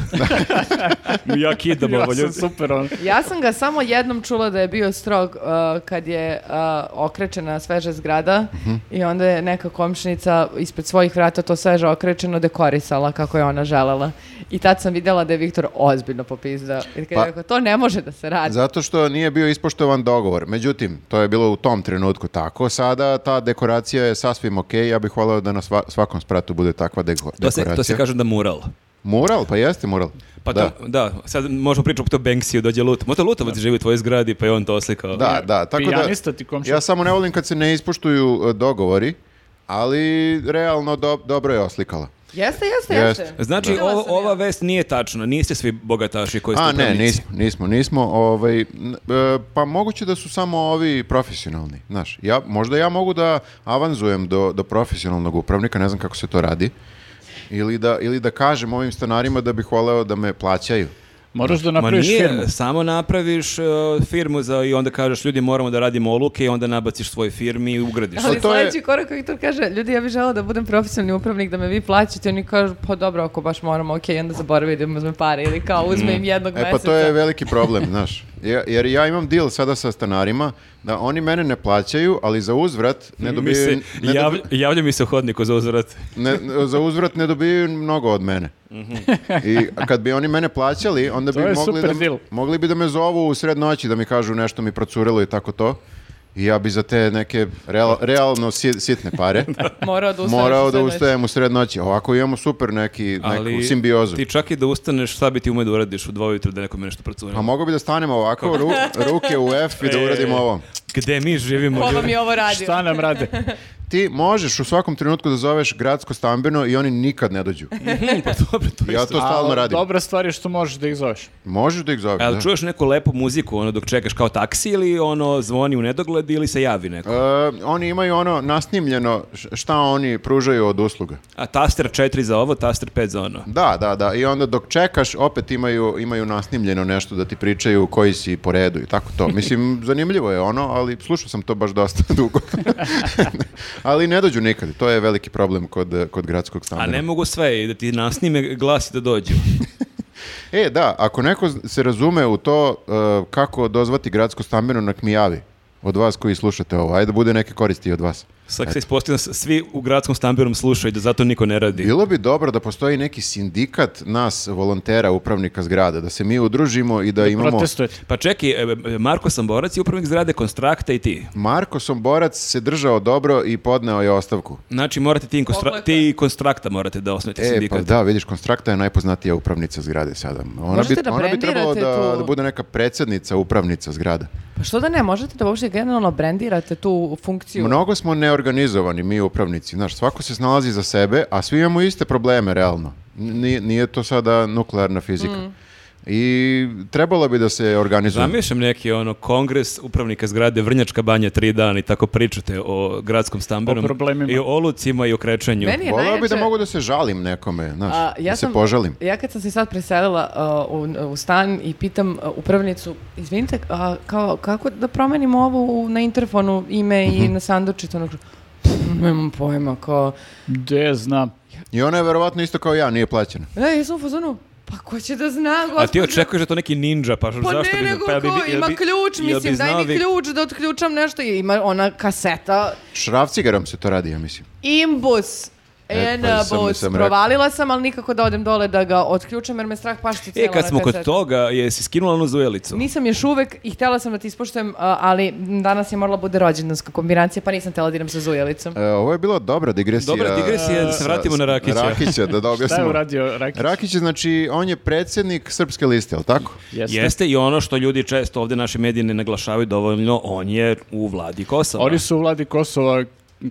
Speaker 1: ja kidam
Speaker 2: ja
Speaker 1: ovo
Speaker 2: sam
Speaker 1: ljudi.
Speaker 2: super ono. on.
Speaker 4: Ja sam sam ga samo jednom čula da je bio strog uh, kad je uh, okrečena sveža zgrada
Speaker 3: Mhm.
Speaker 4: i onda je neka komšnica ispred svojih vrata to sveže okrečeno dekorisala kako je ona želela. I tad sam vidjela da je Viktor ozbiljno popizdao. I kad
Speaker 3: Pa-
Speaker 4: je rekao, to ne može da se radi.
Speaker 3: Zato što nije bio ispoštovan dogovor. Međutim, to je bilo u tom trenutku tako. Sada ta dekoracija je sasvim okej. Ja bih voleo da na sva- svakom spratu bude takva deko-
Speaker 1: To se,
Speaker 3: dekoracija.
Speaker 1: to se kaže da mural.
Speaker 3: Mural, pa jeste mural.
Speaker 1: Pa
Speaker 3: da.
Speaker 1: da. To, da, sad možemo pričati to Banksiju dođe Lut. Možda Lutovac živi u tvojoj zgradi pa je on to oslikao.
Speaker 3: Da, da, tako
Speaker 2: Pijanista
Speaker 3: da,
Speaker 2: ti komšija.
Speaker 3: ja samo ne volim kad se ne ispoštuju e, dogovori, ali realno do- dobro je oslikala.
Speaker 4: Jeste, jeste,
Speaker 3: Jeste.
Speaker 4: jeste.
Speaker 1: Znači,
Speaker 4: Videla
Speaker 1: ovo-
Speaker 4: sam ja.
Speaker 1: ova vest nije tačna, niste svi bogataši koji ste
Speaker 3: A ne,
Speaker 1: upravnici.
Speaker 3: nismo, nismo, nismo. Ovaj, n- e, pa moguće da su samo ovi profesionalni, znaš. Ja, možda ja mogu da avanzujem do, do profesionalnog upravnika, ne znam kako se to radi. Ili da, ili da kažem ovim stanarima da bih voleo da me plaćaju.
Speaker 2: Moraš da
Speaker 1: Ma
Speaker 2: napraviš
Speaker 1: nije,
Speaker 2: firmu.
Speaker 1: samo napraviš e, firmu za, i onda kažeš ljudi moramo da radimo oluke i onda nabaciš svoj firmi i ugradiš.
Speaker 3: Ali
Speaker 4: Ali
Speaker 3: to je-
Speaker 4: sledeći korak Viktor kaže, ljudi, ja bih žela da budem profesionalni upravnik, da me vi plaćate. Oni kažu, pa dobro, ako baš moramo, ok, onda zaboravi da im uzme pare ili kao uzme im jednog
Speaker 3: E
Speaker 4: meseca.
Speaker 3: pa to je veliki problem, znaš. Ja- Jer ja imam deal sada sa stanarima da oni mene ne plaćaju, ali za uzvrat
Speaker 1: Mi
Speaker 3: ne
Speaker 1: se
Speaker 3: dobiju... ne
Speaker 1: jav-
Speaker 3: dobi-
Speaker 1: javlja mi se u hodniku za uzvrat.
Speaker 3: ne, za uzvrat ne dobiju mnogo od mene. I kad bi oni mene plaćali, onda
Speaker 2: To
Speaker 3: bi
Speaker 2: je
Speaker 3: mogli
Speaker 2: super
Speaker 3: da,
Speaker 2: deal.
Speaker 3: mogli bi da me zovu u sred noći da mi kažu nešto mi procurilo i tako to. I ja bi za te neke real- realno si- sitne pare
Speaker 4: Morao da ustaneš
Speaker 3: morao da
Speaker 4: u sred noći.
Speaker 3: ustajem u sred noći. Ovako imamo super neki, neku
Speaker 1: Ali
Speaker 3: simbiozu.
Speaker 1: ti čak i da ustaneš, šta bi ti umeo da uradiš u dva ujutru da nekome nešto procuri?
Speaker 3: Pa mogao bi da stanem ovako, ru- ruke u F i da
Speaker 1: E.
Speaker 3: uradim ovo.
Speaker 1: Gde mi živimo?
Speaker 4: Ko vam
Speaker 1: ljudi?
Speaker 4: je ovo radio?
Speaker 2: Šta nam rade?
Speaker 3: Ti možeš u svakom trenutku da zoveš gradsko stambeno i oni nikad ne dođu.
Speaker 1: Mhm, pa dobro, to je
Speaker 3: Ja
Speaker 1: isto.
Speaker 3: to stalno
Speaker 2: A,
Speaker 3: radim.
Speaker 2: Dobra stvar je što možeš da ih zoveš.
Speaker 3: Možeš da ih zoveš.
Speaker 1: A jel
Speaker 3: da.
Speaker 1: čuješ neku lepu muziku ono dok čekaš kao taksi ili ono zvoni u nedogled ili se javi neko?
Speaker 3: E, oni imaju ono nasnimljeno š- šta oni pružaju od usluga.
Speaker 1: A taster 4 za ovo, taster 5 za ono.
Speaker 3: Da, da, da. I onda dok čekaš, opet imaju, imaju nasnimljeno nešto da ti pričaju koji si po redu i tako to. Mislim, zanimljivo je ono, ali slušao sam to baš dosta dugo. ali ne dođu nikad. To je veliki problem kod, e, kod
Speaker 1: A
Speaker 3: gradskog
Speaker 1: ne
Speaker 3: stambena.
Speaker 1: mogu sve, i da ti nasnime glas i da dođu.
Speaker 3: E, da, ako neko z- se razume u to e, kako dozvati gradsko stambeno, nek mi javi od vas koji slušate ovo. Ajde da bude neke koristi i od vas.
Speaker 1: Sad se ispostavlja da s- svi u gradskom stambenom slušaju da zato niko ne radi.
Speaker 3: Bilo bi dobro da postoji neki sindikat nas volontera upravnika zgrada, da se mi udružimo i da, imamo...
Speaker 2: Protestujete.
Speaker 1: Pa čekaj, e, e, Marko Samborac je upravnik zgrade Konstrakta i ti.
Speaker 3: Marko Somborac se držao dobro i podneo je ostavku.
Speaker 1: Znači morate ti, i Konstra-
Speaker 4: Oblaka.
Speaker 1: ti i Konstrakta morate da osnovite
Speaker 3: E, pa
Speaker 1: sindikat.
Speaker 3: da, vidiš, Konstrakta je najpoznatija upravnica zgrade sada. Ona
Speaker 4: Možete
Speaker 3: bi,
Speaker 4: da
Speaker 3: ona bi trebalo
Speaker 4: brendirate
Speaker 3: da,
Speaker 4: tu.
Speaker 3: da bude neka predsjednica upravnica zgrada.
Speaker 4: Pa što da ne, možete da uopšte generalno brendirate tu funkciju.
Speaker 3: Mnogo smo neorganizovani mi upravnici. Znaš, svako se snalazi za sebe, a svi imamo iste probleme, realno. Nije, nije to sada nuklearna fizika.
Speaker 4: Mm.
Speaker 3: I trebalo bi da se organizujemo.
Speaker 1: Zamišljam neki ono kongres upravnika zgrade Vrnjačka banja tri dana i tako pričate o gradskom stambenom
Speaker 2: O problemima.
Speaker 1: i o olucima i o krećenju.
Speaker 4: Meni je
Speaker 3: Voleo bi da
Speaker 4: najjače-
Speaker 3: mogu da se žalim nekome, znaš,
Speaker 4: A, ja
Speaker 3: da se
Speaker 4: sam-
Speaker 3: požalim.
Speaker 4: Ja kad sam se sad preselila uh, u, u stan i pitam uh, upravnicu, izvinite, a, kao, kako da promenim ovo u- na interfonu ime
Speaker 3: Mhm.
Speaker 4: i na sandučicu? Ono, kaže, "Pff, nemam pojma, kao,
Speaker 2: Gde znam.
Speaker 3: I ona je verovatno isto kao ja, nije plaćena.
Speaker 4: E, ja sam u fazonu, pa ko će da zna, gospodin?
Speaker 1: A ti očekuješ da je to neki ninja, pa,
Speaker 4: Pa
Speaker 1: zašto
Speaker 4: ne,
Speaker 1: bi...
Speaker 4: nego
Speaker 1: pa jel bi-
Speaker 4: kao,
Speaker 1: jel
Speaker 4: ima
Speaker 1: bi-
Speaker 4: ključ,
Speaker 1: jel bi
Speaker 4: mislim, daj
Speaker 1: znao
Speaker 4: mi
Speaker 1: vi-
Speaker 4: ključ da otključam nešto. I ima ona kaseta,
Speaker 3: Šrafcigerom se to radi, ja mislim.
Speaker 4: imbus.
Speaker 3: E, pa sam-
Speaker 4: Enabus,
Speaker 3: sam rekao.
Speaker 4: provalila sam, ali nikako da odem dole da ga otključam jer me strah pašti
Speaker 1: E,
Speaker 4: cijela
Speaker 1: kad
Speaker 4: ona
Speaker 1: smo
Speaker 4: kaseta.
Speaker 1: kod toga, jesi skinula onu zujelicu?
Speaker 4: Nisam još uvek i htjela sam da ti ispoštujem, a, ali danas je morala bude rođendanska kombinacija, pa nisam htjela da idem sa zujelicom.
Speaker 3: E, ovo je bila dobra digresija.
Speaker 1: Dobra digresija, da se
Speaker 3: sa-
Speaker 1: vratimo na Rakića.
Speaker 3: Rakića, da, da
Speaker 2: Šta je
Speaker 3: objasnimo.
Speaker 2: uradio Rakić?
Speaker 3: Rakić je, znači, on je predsjednik Srpske liste, jel tako?
Speaker 2: Jeste.
Speaker 1: Jeste i ono što ljudi često ovdje naši mediji ne naglašavaju dovoljno, on je u vladi Kosova.
Speaker 2: Oni su u vladi Kosova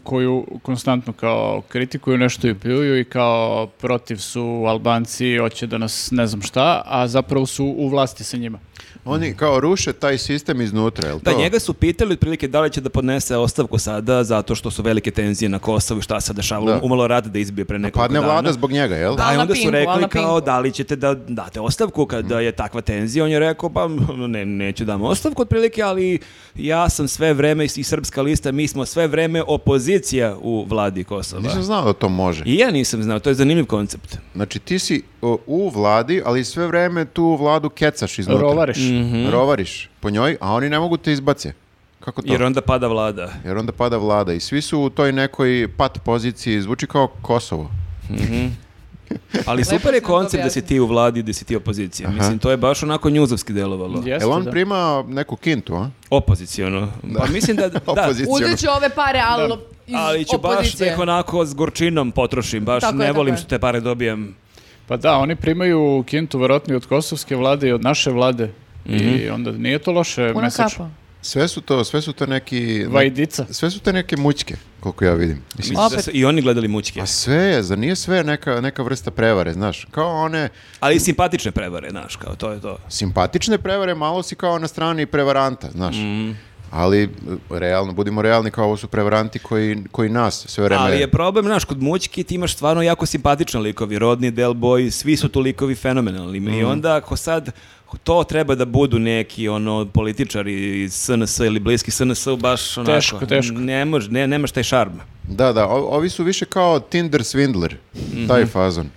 Speaker 2: koju konstantno kao kritikuju, nešto i pljuju i kao protiv su Albanci, hoće da nas ne znam šta, a zapravo su u vlasti sa njima.
Speaker 3: Oni kao ruše taj sistem iznutra, jel
Speaker 1: Da,
Speaker 3: to?
Speaker 1: njega su pitali otprilike da li će da podnese ostavku sada zato što su velike tenzije na Kosovu i šta se dešava,
Speaker 3: Da.
Speaker 1: umalo rada da izbije pre nekoliko
Speaker 3: Padne
Speaker 1: dana.
Speaker 3: Pa vlada zbog njega, jel?
Speaker 1: Da,
Speaker 4: Al
Speaker 1: i
Speaker 4: na
Speaker 1: onda su
Speaker 4: pinku, al
Speaker 1: rekli
Speaker 4: na
Speaker 1: kao
Speaker 4: pinku.
Speaker 1: da li ćete da date ostavku kada je takva tenzija. On je rekao pa ne, neću dam ostavku otprilike, ali ja sam sve vreme i Srpska lista, mi smo sve vreme opozicija u vladi Kosova.
Speaker 3: Nisam znao da to može.
Speaker 1: I ja nisam znao, to je zanimljiv koncept.
Speaker 3: Znači, ti si o, u vladi, ali sve vreme tu vladu kecaš iznutra.
Speaker 2: Rovareš.
Speaker 1: Mhm.
Speaker 3: rovariš po njoj, a oni ne mogu te izbace. Kako to?
Speaker 1: Jer onda pada vlada.
Speaker 3: Jer onda pada vlada i svi su u toj nekoj pat poziciji, zvuči kao Kosovo.
Speaker 1: Ali
Speaker 4: Lepo
Speaker 1: super je
Speaker 4: ste nam to
Speaker 1: koncept da si ti u vladi, da si ti opozicija. Mislim, to je baš onako njuzovski delovalo.
Speaker 2: Jeste,
Speaker 3: Jel on
Speaker 2: da.
Speaker 3: prima neku kintu, a?
Speaker 1: Opoziciono. Pa mislim da... da
Speaker 3: Opoziciono.
Speaker 4: Uzet ću ove pare, ali iz
Speaker 1: ono- ali ću baš da
Speaker 4: opozicije.
Speaker 1: ih onako s gorčinom potrošim, baš
Speaker 4: Tako je,
Speaker 1: ne
Speaker 4: tako
Speaker 1: volim
Speaker 4: je.
Speaker 1: što te pare dobijem.
Speaker 2: Pa da, oni primaju kintu verovatno i od kosovske vlade i od naše vlade. I
Speaker 1: Mhm.
Speaker 2: onda nije to loše
Speaker 4: Puna
Speaker 2: mesečno.
Speaker 4: kapa.
Speaker 3: Sve su to, sve su to neki...
Speaker 2: Vajdica.
Speaker 3: Sve su te neke mućke, koliko ja vidim. Mislim,
Speaker 1: Mislim da su I oni gledali mučke.
Speaker 3: a sve je, zar nije sve neka, neka vrsta prevare, znaš? Kao one
Speaker 1: Ali i simpatične prevare, znaš, kao to je to.
Speaker 3: simpatične prevare, malo si kao na strani prevaranta, znaš?
Speaker 2: Mhm.
Speaker 3: Ali, e, realno, budimo realni, kao ovo su prevaranti koji, koji nas sve vreme...
Speaker 1: Ali je problem, znaš, kod mučki ti imaš stvarno jako simpatične likovi, rodni, del boy, svi su tu likovi fenomenalni. I
Speaker 3: Mhm.
Speaker 1: onda ako sad to treba da budu neki ono političari iz SNS ili bliski SNS baš onako
Speaker 2: Teško, teško.
Speaker 1: ne mož, ne nemaš taj šarm.
Speaker 3: Da, da, o- ovi su više kao Tinder svindler,
Speaker 1: Mhm.
Speaker 3: taj fazon.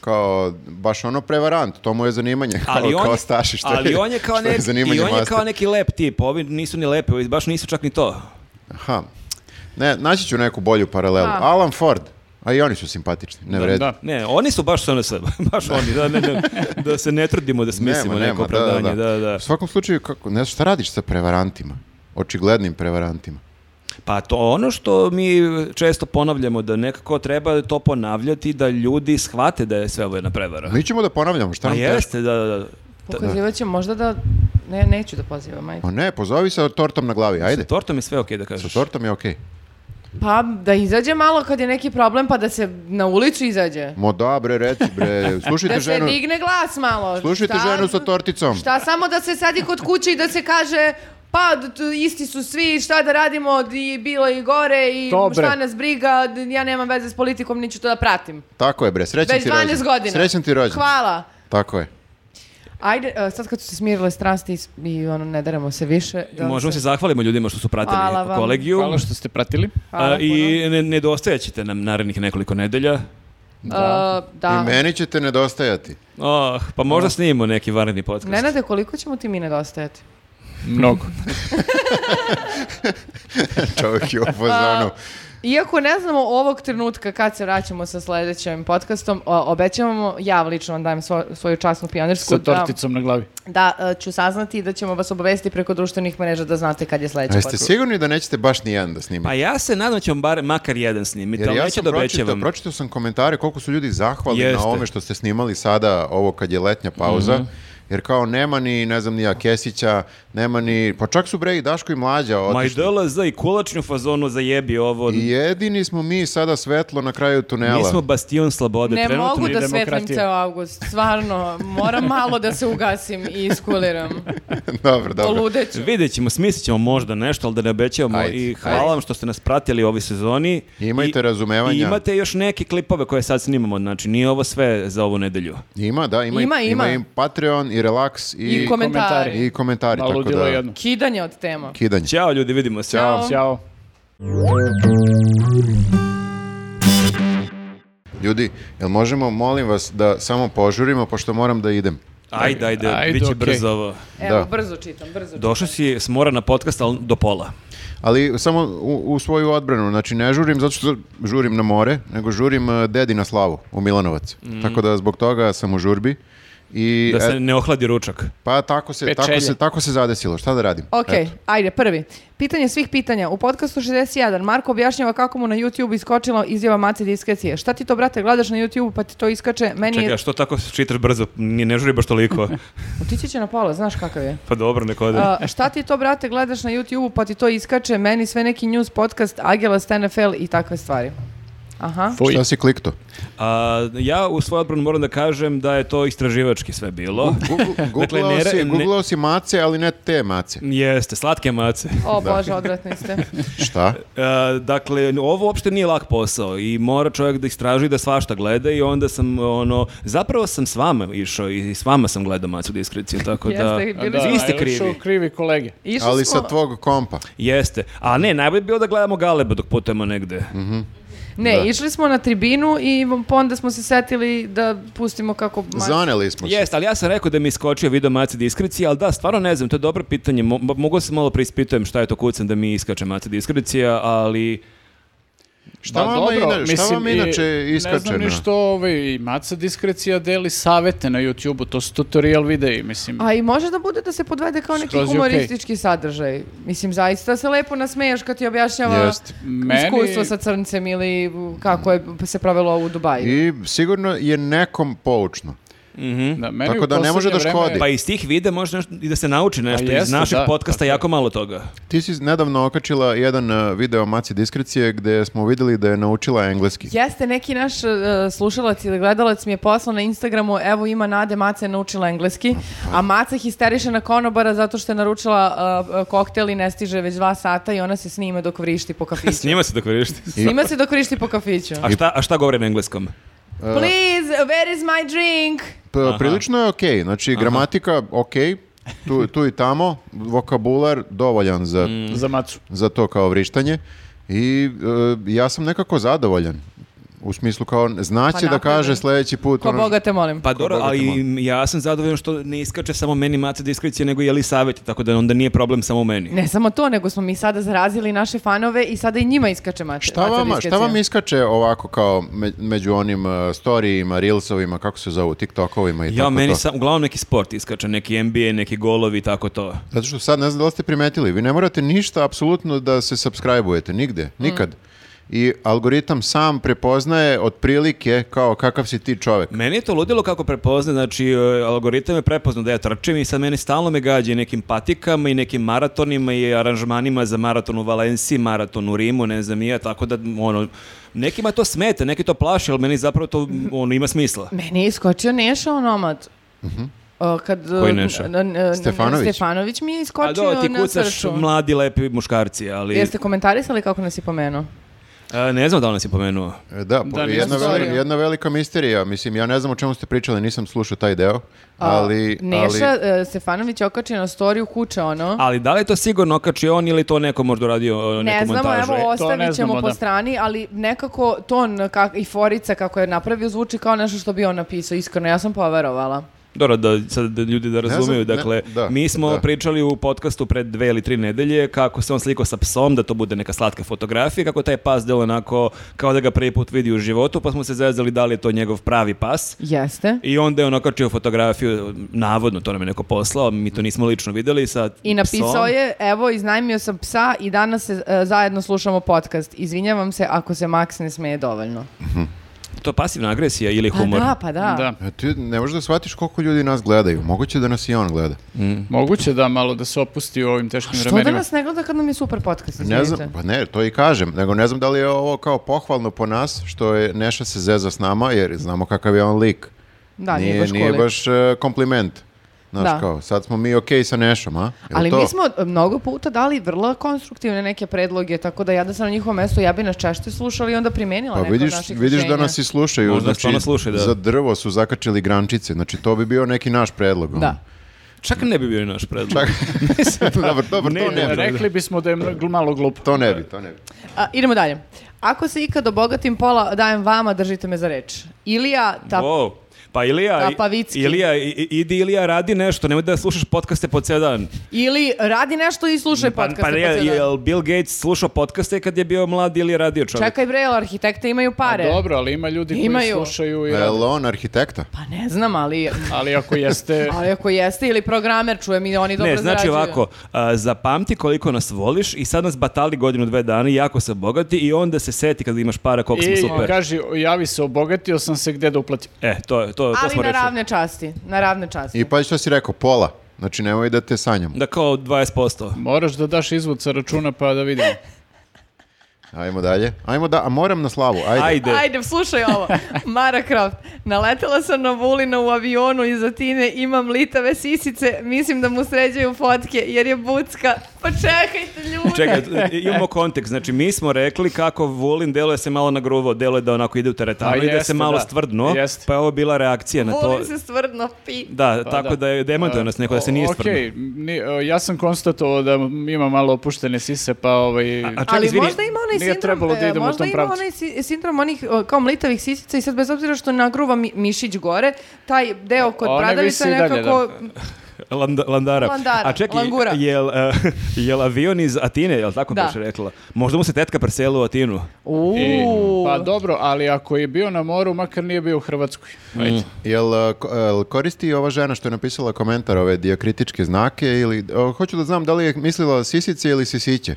Speaker 3: Kao, baš ono prevarant, to mu je zanimanje, kao,
Speaker 1: Ali on,
Speaker 3: kao Staši, što
Speaker 1: ali
Speaker 3: je,
Speaker 1: on je kao
Speaker 3: što je
Speaker 1: neki, i
Speaker 3: zanimanje
Speaker 1: on je
Speaker 3: master.
Speaker 1: kao neki lep tip, ovi nisu ni lepi, ovi baš nisu čak ni to.
Speaker 3: Aha. Ne, naći ću neku bolju paralelu.
Speaker 4: Ha.
Speaker 3: Alan Ford, a i oni su simpatični, ne vredi.
Speaker 2: Da.
Speaker 1: Ne, oni su baš SNS, baš oni, da, ne, ne, da se ne trudimo da smislimo
Speaker 3: Nema,
Speaker 1: neko
Speaker 3: nema, da, da,
Speaker 1: opravdanje, da,
Speaker 3: da.
Speaker 1: da.
Speaker 3: U svakom slučaju, kako, ne, znam, šta radiš sa prevarantima? Očiglednim prevarantima.
Speaker 1: Pa to ono što mi često ponavljamo, da nekako treba to ponavljati, da ljudi shvate da je sve ovo jedna prevara.
Speaker 3: Mi ćemo da ponavljamo, šta
Speaker 1: Pa
Speaker 3: nam teško?
Speaker 1: jeste, da, da, da.
Speaker 4: Pokazivat će možda da... Ne, neću da pozivam, ajde.
Speaker 3: O ne, pozovi sa tortom na glavi, ajde.
Speaker 1: Sa tortom je sve okej da kažeš.
Speaker 3: Sa tortom je okej.
Speaker 4: Pa da izađe malo kad je neki problem, pa da se na ulicu izađe.
Speaker 3: Mo da, bre, reci, bre, slušajte
Speaker 4: Da se
Speaker 3: ženu.
Speaker 4: digne glas malo.
Speaker 3: Slušajte
Speaker 4: Šta-
Speaker 3: ženu sa torticom.
Speaker 4: Šta samo da se sadi kod kuće i da se kaže pa d- t- isti su svi, šta da radimo, i bilo i gore i
Speaker 2: Dobre.
Speaker 4: šta nas briga, d- ja nemam veze s politikom, niću to da pratim.
Speaker 3: Tako je, bre, srećan
Speaker 4: Već
Speaker 3: ti rođen.
Speaker 4: 12 godina.
Speaker 3: Srećan ti rođen.
Speaker 4: Hvala.
Speaker 3: Tako je.
Speaker 4: Ajde, e, sad kad su se smirile strasti i s- i ono, ne daramo se više. da vam
Speaker 1: Možemo
Speaker 4: se-
Speaker 1: se zahvalimo ljudima što su pratili
Speaker 4: Hvala vam.
Speaker 1: kolegiju.
Speaker 2: Hvala što ste pratili.
Speaker 4: Hvala
Speaker 1: A, e, I ne, nedostajat ćete nam narednih nekoliko nedelja.
Speaker 4: puno. E, da.
Speaker 3: I meni ćete nedostajati.
Speaker 1: Oh, pa možda snimimo neki vanredni podcast.
Speaker 4: Nenade, koliko ćemo ti mi nedostajati?
Speaker 2: Mnogo.
Speaker 4: Mm,
Speaker 3: Čovjek je u fazonu.
Speaker 4: Iako ne znamo ovog trenutka kad se vraćamo sa sljedećim podcastom, o- obećavamo, ja lično vam dajem svo- svoju časnu pionirsku
Speaker 2: Sa
Speaker 4: da,
Speaker 2: torticom na glavi.
Speaker 4: da e, ću saznati i da ćemo vas obavestiti preko društvenih mreža da znate kad je
Speaker 3: A
Speaker 4: sljedeći
Speaker 3: Pa jeste
Speaker 4: podcast.
Speaker 3: sigurni da nećete baš ni jedan da snimate?
Speaker 1: Pa ja se nadam da ćemo bar, makar jedan snimiti,
Speaker 3: Jer
Speaker 1: ali
Speaker 3: ja
Speaker 1: neću
Speaker 3: sam
Speaker 1: da
Speaker 3: pročitao,
Speaker 1: obećavam.
Speaker 3: pročitao sam komentare koliko su ljudi zahvali na
Speaker 1: Jeste. Mhm.
Speaker 3: ovome što ste snimali sada, ovo kad je letnja pauza, jer kao nema ni, ne znam, ni ja Kesića, nema ni, pa čak su bre i Daško i Mlađa
Speaker 1: Ma i
Speaker 3: otišli.
Speaker 1: DLZ i kulačnju fazonu zajebi ovo.
Speaker 3: I jedini smo mi sada svetlo na kraju tunela.
Speaker 1: Mi smo bastion slobode.
Speaker 4: Ne
Speaker 1: trenutno.
Speaker 4: mogu da
Speaker 2: demokratija.
Speaker 4: svetlim ceo avgust, stvarno, moram malo da se ugasim i iskuliram,
Speaker 3: dobro, dobro.
Speaker 4: poludeću.
Speaker 1: Vidjet ćemo, smislit ćemo možda nešto, ali da ne obećavamo.
Speaker 3: Ajde,
Speaker 1: I hvala vam što ste nas pratili ove sezoni.
Speaker 3: Imajte
Speaker 1: I-
Speaker 3: razumevanja.
Speaker 1: I imate još neke klipove koje sad snimamo, znači nije ovo sve za ovu nedelju.
Speaker 3: Ima, da, ima, i-
Speaker 4: Ima,
Speaker 3: ima
Speaker 4: ima.
Speaker 3: i Patreon i Relax i,
Speaker 4: I komentari.
Speaker 3: i komentari,
Speaker 2: Malo
Speaker 3: tako da,
Speaker 2: ludilo jedno.
Speaker 4: Kidanje od tema.
Speaker 3: kidanje.
Speaker 1: Ćao ljudi, vidimo se.
Speaker 4: Ćao.
Speaker 2: Ćao.
Speaker 3: Ljudi, jel možemo, molim vas, da samo požurimo, pošto moram da idem.
Speaker 1: Ajde, ajde,
Speaker 2: Ajde,
Speaker 1: bit će
Speaker 2: okej.
Speaker 1: brzo ovo.
Speaker 4: Evo,
Speaker 3: Da.
Speaker 4: brzo čitam, brzo čitam.
Speaker 1: Došao si s mora na podcast, ali do pola.
Speaker 3: Ali samo u, u svoju odbranu, znači ne žurim zato što žurim na more, nego žurim eh, dedi na slavu u Milanovac. Tako da zbog toga sam u žurbi. I,
Speaker 1: Mm. Da se
Speaker 3: e,
Speaker 1: ne ohladi ručak.
Speaker 3: pa tako se, tako,
Speaker 2: Pečelje.
Speaker 3: se, tako se zadesilo, šta da radim? E,
Speaker 4: Ok,
Speaker 3: Eto.
Speaker 4: ajde, prvi. Pitanje svih pitanja. U podcastu 61 Marko objašnjava kako mu na YouTube iskočila izjava Mace diskrecije. Šta ti to, brate, gledaš na YouTube pa ti to iskače? Meni
Speaker 1: Čekaj, a
Speaker 4: je...
Speaker 1: što tako čitaš brzo? Ni ne žuri baš toliko.
Speaker 4: Otići će na pola, znaš kakav je.
Speaker 1: Pa dobro, neko ode.
Speaker 4: A, šta ti to, brate, gledaš na YouTube pa ti to iskače? Meni sve neki news podcast, Agela, NFL i takve stvari. Aha.
Speaker 2: Fuj.
Speaker 3: Šta si klikto?
Speaker 1: A, ja u svoj odbranu moram da kažem da je to istraživački sve bilo.
Speaker 3: Google-
Speaker 1: Dakle,
Speaker 3: Googlao
Speaker 1: ne ra-
Speaker 3: si,
Speaker 1: ne-
Speaker 3: googlao si mace, ali ne te mace.
Speaker 1: Jeste, slatke mace.
Speaker 4: O, Bože, odvratni ste.
Speaker 3: Šta?
Speaker 1: E, dakle, ovo uopšte nije lak posao i mora čovjek da istraži i da svašta gleda i onda sam, ono, zapravo sam s vama išao i s vama sam gledao Macu diskreciju, tako da...
Speaker 4: Jeste, bili
Speaker 2: Da,
Speaker 4: ste-
Speaker 1: Vi ste
Speaker 2: ali
Speaker 1: krivi.
Speaker 2: su krivi kolege.
Speaker 4: Išli
Speaker 3: Ali
Speaker 4: smo-
Speaker 3: sa tvog kompa.
Speaker 2: Mm,
Speaker 1: Jeste. A ne, najbolje bi bilo da gledamo Galeba dok putujemo negde.
Speaker 4: Ne, išli smo na tribinu i onda smo se setili da pustimo kako... Mac-
Speaker 3: Zaneli smo se.
Speaker 1: Jeste, ali ja sam rekao da mi je iskočio video maci diskrecija, ali da, stvarno ne znam, to je dobro pitanje. Mo- mo- mogu se malo preispitujem šta je to kucam da mi iskače maci diskrecija, ali...
Speaker 3: Šta vama ina- šta vama
Speaker 2: i-
Speaker 3: inače
Speaker 2: Ne
Speaker 3: iskače
Speaker 2: znam
Speaker 3: na-
Speaker 2: ništa, ovaj, i Maca Diskrecija deli savete na YouTube-u, to su tutorial videi, mislim.
Speaker 4: A i može da bude da se podvede kao neki
Speaker 2: Skroz je
Speaker 4: humoristički sadržaj. Mislim, zaista se lepo nasmeješ kad ti objašnjava
Speaker 3: Jest.
Speaker 2: Meni-
Speaker 4: iskustvo sa crncem ili kako je se provelo u Dubaju.
Speaker 3: I sigurno je nekom poučno.
Speaker 2: Da, meni
Speaker 3: Tako
Speaker 2: u
Speaker 3: da ne može da
Speaker 2: poslednje vreme-
Speaker 3: škodi.
Speaker 1: Pa iz tih videa može nešto, i da se nauči nešto. iz
Speaker 2: E. Pa jeste,
Speaker 1: našeg
Speaker 2: da,
Speaker 1: podcasta
Speaker 2: tako je.
Speaker 1: jako malo toga.
Speaker 3: Ti si nedavno okačila jedan e, video Maci Diskrecije gde smo videli da je naučila engleski.
Speaker 4: Jeste, neki naš e, slušalac ili gledalac mi je poslao na Instagramu, evo ima Nade, Maca je naučila engleski, a Maca histeriše na konobara zato što je naručila e, e, koktel i ne stiže već dva sata i ona se snima dok vrišti po
Speaker 1: S
Speaker 4: kafiću.
Speaker 1: njima se tako rišti.
Speaker 4: Snima se dok vrišti po kafiću.
Speaker 1: A šta, a šta govore na engleskom?
Speaker 4: Please, where is my drink?
Speaker 3: P- prilično je okej, znači gramatika okej, tu, tu i tamo, vokabular dovoljan za,
Speaker 1: Mm.
Speaker 2: Za Macu.
Speaker 3: za to kao vrištanje i e, ja sam nekako zadovoljan. U smislu kao znaće da
Speaker 4: napreduje.
Speaker 3: kaže sledeći put.
Speaker 4: Pa Ko
Speaker 3: ono-
Speaker 4: Boga te molim.
Speaker 1: Pa dobro,
Speaker 3: Boga te
Speaker 1: ali ja sam zadovoljan što ne iskače samo meni maca diskrecija, nego i ali savjeti, tako da onda nije problem samo meni.
Speaker 4: Ne samo to, nego smo mi sada zarazili naše fanove i sada i njima iskače Maca.
Speaker 3: Šta
Speaker 4: Maca
Speaker 3: vama, šta
Speaker 4: diskrecija.
Speaker 3: vam iskače ovako kao me- među onim uh, storijima, reelsovima, kako se zovu, tiktokovima i
Speaker 1: Ja,
Speaker 3: tako
Speaker 1: meni
Speaker 3: to?
Speaker 1: sam, uglavnom neki sport iskače, neki NBA, neki golovi, tako to.
Speaker 3: Zato što sad ne znam da li ste primetili, vi ne morate ništa apsolutno da se subscribe-ujete, nigde, nikad. I algoritam sam prepoznaje otprilike kao kakav si ti čovek. E,
Speaker 1: Meni je to ludilo kako prepozna, znači e, algoritam je prepoznao da ja trčim i sad meni stalno me gađa i nekim patikama i nekim maratonima i aranžmanima za maraton u Valenciji, maraton u Rimu, ne znam i ja, tako da ono, nekima to smeta, neki to plaše, ali meni zapravo to ono, ima smisla.
Speaker 4: Meni je iskočio Neša onomad. O, kad,
Speaker 1: Koji Neša?
Speaker 4: n- n- n-
Speaker 3: Mhm. Stefanović?
Speaker 4: Stefanović mi je
Speaker 1: A
Speaker 4: iskočio
Speaker 1: do, ti
Speaker 4: na
Speaker 1: kucaš
Speaker 4: srču.
Speaker 1: mladi, lepi muškarci, ali
Speaker 4: Jeste komentarisali kako nas je pomenuo?
Speaker 1: e, ne znam da li nas je pomenuo.
Speaker 3: E, Da, po-
Speaker 2: Da, nisam
Speaker 3: jedna,
Speaker 4: storio.
Speaker 3: velika, jedna velika misterija. Mislim, ja ne znam o čemu ste pričali, nisam slušao taj deo, ali... ali-
Speaker 4: Neša e, Stefanović je okačio na storiju kuće ono.
Speaker 1: Ali da li je to sigurno okačio on ili je to neko možda uradio e,
Speaker 4: ne
Speaker 1: neku
Speaker 4: znamo,
Speaker 1: montažu?
Speaker 4: evo
Speaker 2: To ne
Speaker 4: ostavit ćemo
Speaker 2: znamo,
Speaker 4: po
Speaker 2: da.
Speaker 4: strani, ali nekako ton kak, i forica kako je napravio zvuči kao nešto što bi on napisao, iskreno, ja sam poverovala.
Speaker 1: E, Dobro, da sad da ljudi da
Speaker 3: znam,
Speaker 1: razumiju,
Speaker 3: ne,
Speaker 1: dakle,
Speaker 3: da,
Speaker 1: mi smo
Speaker 3: da.
Speaker 1: pričali u podcastu pred dve ili tri nedelje kako se on slikao sa psom, da to bude neka slatka fotografija, kako taj pas delo onako kao da ga prvi put vidi u životu, pa smo se zezali da li je to njegov pravi pas.
Speaker 4: Jeste.
Speaker 1: I onda je on okačio fotografiju, navodno, to nam je neko poslao, mi to nismo lično videli sa
Speaker 4: I napisao
Speaker 1: psom.
Speaker 4: je, evo, iznajmio sam psa i danas se, e, zajedno slušamo podcast. Izvinjavam se ako se Max ne smeje dovoljno.
Speaker 1: To je pasivna agresija ili
Speaker 4: Pa
Speaker 1: humor.
Speaker 4: da, pa da.
Speaker 2: Da.
Speaker 3: E, Ti ne možeš da shvatiš koliko ljudi nas gledaju. Moguće da nas i on gleda.
Speaker 2: Moguće da malo da se opusti u ovim teškim
Speaker 4: Što da
Speaker 2: vremenima.
Speaker 4: nas ne gleda kad nam je super podcast,
Speaker 3: Ne
Speaker 4: izvinite?
Speaker 3: znam, pa ne, to i kažem, nego ne znam da li je ovo kao pohvalno po nas što je Neša se zeza s nama jer znamo kakav je on lik.
Speaker 4: Da, nije, baš
Speaker 3: nije
Speaker 4: cool.
Speaker 3: baš, e, kompliment. Znaš
Speaker 4: Da.
Speaker 3: kao, sad smo mi okej sa Nešom, a? Je li
Speaker 4: Ali
Speaker 3: to?
Speaker 4: mi smo e, mnogo puta dali vrlo konstruktivne neke predloge, tako da ja da sam na njihovom mestu, ja bi nas češće slušala i onda primijenila
Speaker 3: Pa
Speaker 4: neko
Speaker 3: vidiš,
Speaker 4: od naših
Speaker 3: vidiš da
Speaker 4: rješenja.
Speaker 3: nas i slušaju.
Speaker 1: Možda
Speaker 3: znači,
Speaker 1: stvarno slušaju, da.
Speaker 3: Za drvo su zakačili grančice, znači to bi bio neki naš predlog. ono.
Speaker 4: Da.
Speaker 1: Čak ne bi bio i naš predlog.
Speaker 3: Čak- Dobar, dobar,
Speaker 1: Ne,
Speaker 3: to Pa ne
Speaker 1: ne,
Speaker 3: bi.
Speaker 1: ne.
Speaker 2: Rekli bismo da je mno- malo glupo.
Speaker 3: To ne bi, to ne bi.
Speaker 4: A, idemo dalje. Ako se ikad obogatim pola, dajem vama, držite me za reč. Ilija, ta...
Speaker 1: Wow. Pa Ilija,
Speaker 4: Tapavicki.
Speaker 1: Ilija, i- i- idi Ilija, radi nešto, nemoj da slušaš podcaste po cijel dan.
Speaker 4: Ili radi nešto i slušaj
Speaker 1: Pa,
Speaker 4: podcast.
Speaker 1: pa je, jel Bill Gates slušao podcaste kad je bio mlad ili je radio čovjek?
Speaker 4: Čekaj bre, jel arhitekte imaju
Speaker 2: A
Speaker 4: pare.
Speaker 2: dobro, ali ima ljudi
Speaker 4: Imaju.
Speaker 2: koji slušaju i...
Speaker 3: A je li on arhitekta?
Speaker 4: Pa ne znam, ali,
Speaker 2: Ali ako jeste...
Speaker 4: ali ako jeste ili programer, čujem i oni dobro
Speaker 1: ne, znači
Speaker 4: zarađuju.
Speaker 1: ovako, a, zapamti koliko nas voliš i sad nas batali godinu, dve dana i jako se bogati i onda se seti kad imaš para koliko smo
Speaker 2: I
Speaker 1: super.
Speaker 2: kaži, javi se, obogatio sam se gde da uplatim.
Speaker 1: E, to, je- to, to
Speaker 4: Ali
Speaker 1: smo
Speaker 4: na
Speaker 1: rešili.
Speaker 4: ravne časti, na ravne časti.
Speaker 3: I pa što si rekao, pola. Znači nemoj da te sanjam.
Speaker 1: Da kao 20%.
Speaker 2: Moraš da daš izvod sa računa pa da vidimo.
Speaker 3: Ajmo dalje. Ajmo da, a moram na slavu, ajde.
Speaker 1: Ajde.
Speaker 4: Ajde, slušaj ovo. Mara Croft. Naletela sam na Vulina u avionu iza Tine, imam litave sisice, mislim da mu sređaju fotke jer je bucka. Pa čekajte ljudi.
Speaker 1: Čekaj, imamo kontekst. Znači, mi smo rekli kako Vulin deluje se malo nagruvao, deluje da onako ide u teretanu,
Speaker 2: A,
Speaker 1: ide se
Speaker 2: Pa jeste,
Speaker 1: malo
Speaker 2: da.
Speaker 1: stvrdno,
Speaker 2: Jeste.
Speaker 1: pa je ovo bila reakcija na to.
Speaker 4: Volim se stvrdno pi.
Speaker 1: Da,
Speaker 2: Pa
Speaker 1: tako da, je demantuje nas neko da se nije
Speaker 2: O-
Speaker 1: stvrdno.
Speaker 2: okej, ni- e, ja sam konstatovao da ima malo opuštene sise, pa ovaj...
Speaker 1: A- a čekaj,
Speaker 4: Ali
Speaker 1: izvini,
Speaker 4: možda ima onaj
Speaker 2: nije
Speaker 4: sindrom,
Speaker 2: trebalo da
Speaker 4: e,
Speaker 2: idemo u
Speaker 4: možda
Speaker 2: tom
Speaker 4: ima
Speaker 2: pravcu.
Speaker 4: onaj si- sindrom onih e, kao mlitavih sisica i sad bez obzira što nagruva mi- mišić gore, taj deo kod
Speaker 2: One
Speaker 4: bradavica
Speaker 2: vise i dalje,
Speaker 4: nekako...
Speaker 1: Landa- landara.
Speaker 4: Landara,
Speaker 1: A čekaj,
Speaker 4: langura.
Speaker 1: Jel, e, jel avion iz Atine, jel tako
Speaker 4: Da.
Speaker 1: baš rekla? Možda mu se tetka preselila u Atinu.
Speaker 2: I-
Speaker 4: Uuu.
Speaker 2: pa dobro, ali ako je bio na moru, makar nije bio u Hrvatskoj.
Speaker 1: Mm.
Speaker 3: Jel, e, ko- jel koristi ova žena što je napisala komentar ove dijakritičke znake ili o, hoću da znam da li je mislila sisice ili sisiće?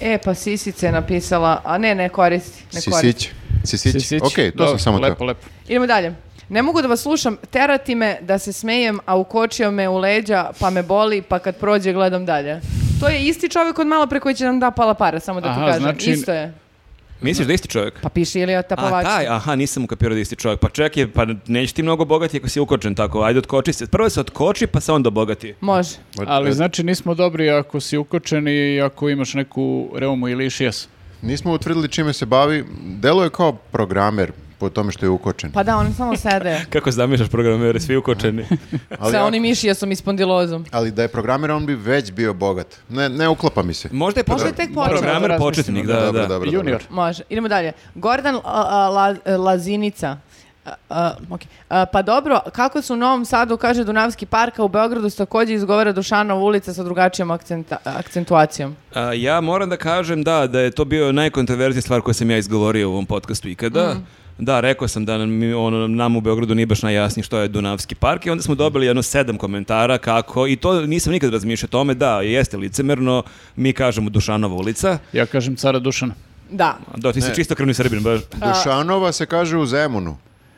Speaker 4: E, pa sisice je napisala, a ne, ne koristi. Ne koristi.
Speaker 3: Sisiće. Sisiće.
Speaker 2: Sisić.
Speaker 3: Ok, to
Speaker 2: Dobro,
Speaker 3: sam samo
Speaker 2: lepo,
Speaker 3: teo.
Speaker 2: Lepo,
Speaker 4: Idemo dalje. Ne mogu da vas slušam, terati me da se smejem, a ukočio me u leđa, pa me boli, pa kad prođe gledam dalje. To je isti čovjek od malo pre koji će nam da pala para, samo da ti
Speaker 2: Aha,
Speaker 4: kažem.
Speaker 2: znači-
Speaker 4: Isto je.
Speaker 1: Misliš da isti čovjek?
Speaker 4: Pa piše Ilija
Speaker 1: A
Speaker 4: Tapovački.
Speaker 1: taj, aha, nisam ukapirao da je isti čovjek. Pa čekaj, pa neće ti mnogo bogati ako si ukočen tako. Ajde, otkoči se. Prvo se otkoči, pa se onda bogati.
Speaker 4: Može.
Speaker 3: e.
Speaker 2: Ali znači nismo dobri ako si ukočen i ako imaš neku reumu ili šijas.
Speaker 3: Nismo utvrdili čime se bavi. Deluje kao programer po tome što je ukočen.
Speaker 4: Pa da, oni samo sede.
Speaker 1: Kako zamišljaš programere, svi ukočeni.
Speaker 3: Ali,
Speaker 4: Sa
Speaker 3: ako-
Speaker 4: onim mišijasom i spondilozom.
Speaker 3: ali da je programer, on bi već bio bogat. Ne, ne uklapa mi se.
Speaker 1: Možda je
Speaker 4: Možda
Speaker 1: početnik.
Speaker 4: je tek počeo.
Speaker 2: Moram-
Speaker 1: Programer
Speaker 2: Razmislimo,
Speaker 1: početnik, da,
Speaker 2: da,
Speaker 1: da.
Speaker 3: dobro, dobro,
Speaker 2: Junior.
Speaker 4: Može. Idemo dalje. Gordan a, a, La- Lazinica. A, a, ok. A, pa dobro, kako su u Novom Sadu, kaže Dunavski park, a u Beogradu se također izgovara Dušanova ulica sa drugačijom akcenta- akcentuacijom.
Speaker 1: A, ja moram da kažem da, da je to bio najkontroverznija stvar koju sam ja izgovorio u ovom podcastu ikada. Da, rekao sam da nam, mi- ono, nam u Beogradu nije baš najjasnije što je Dunavski park i onda smo dobili jedno sedam komentara kako, i to nisam nikad razmišljao o tome, da, jeste licemerno, mi kažemo Dušanova ulica,
Speaker 2: Ja kažem cara Dušana.
Speaker 4: Da.
Speaker 1: da, ti si čisto krvni srbin, baš.
Speaker 3: Pa, Dušanova se kaže u Zemunu.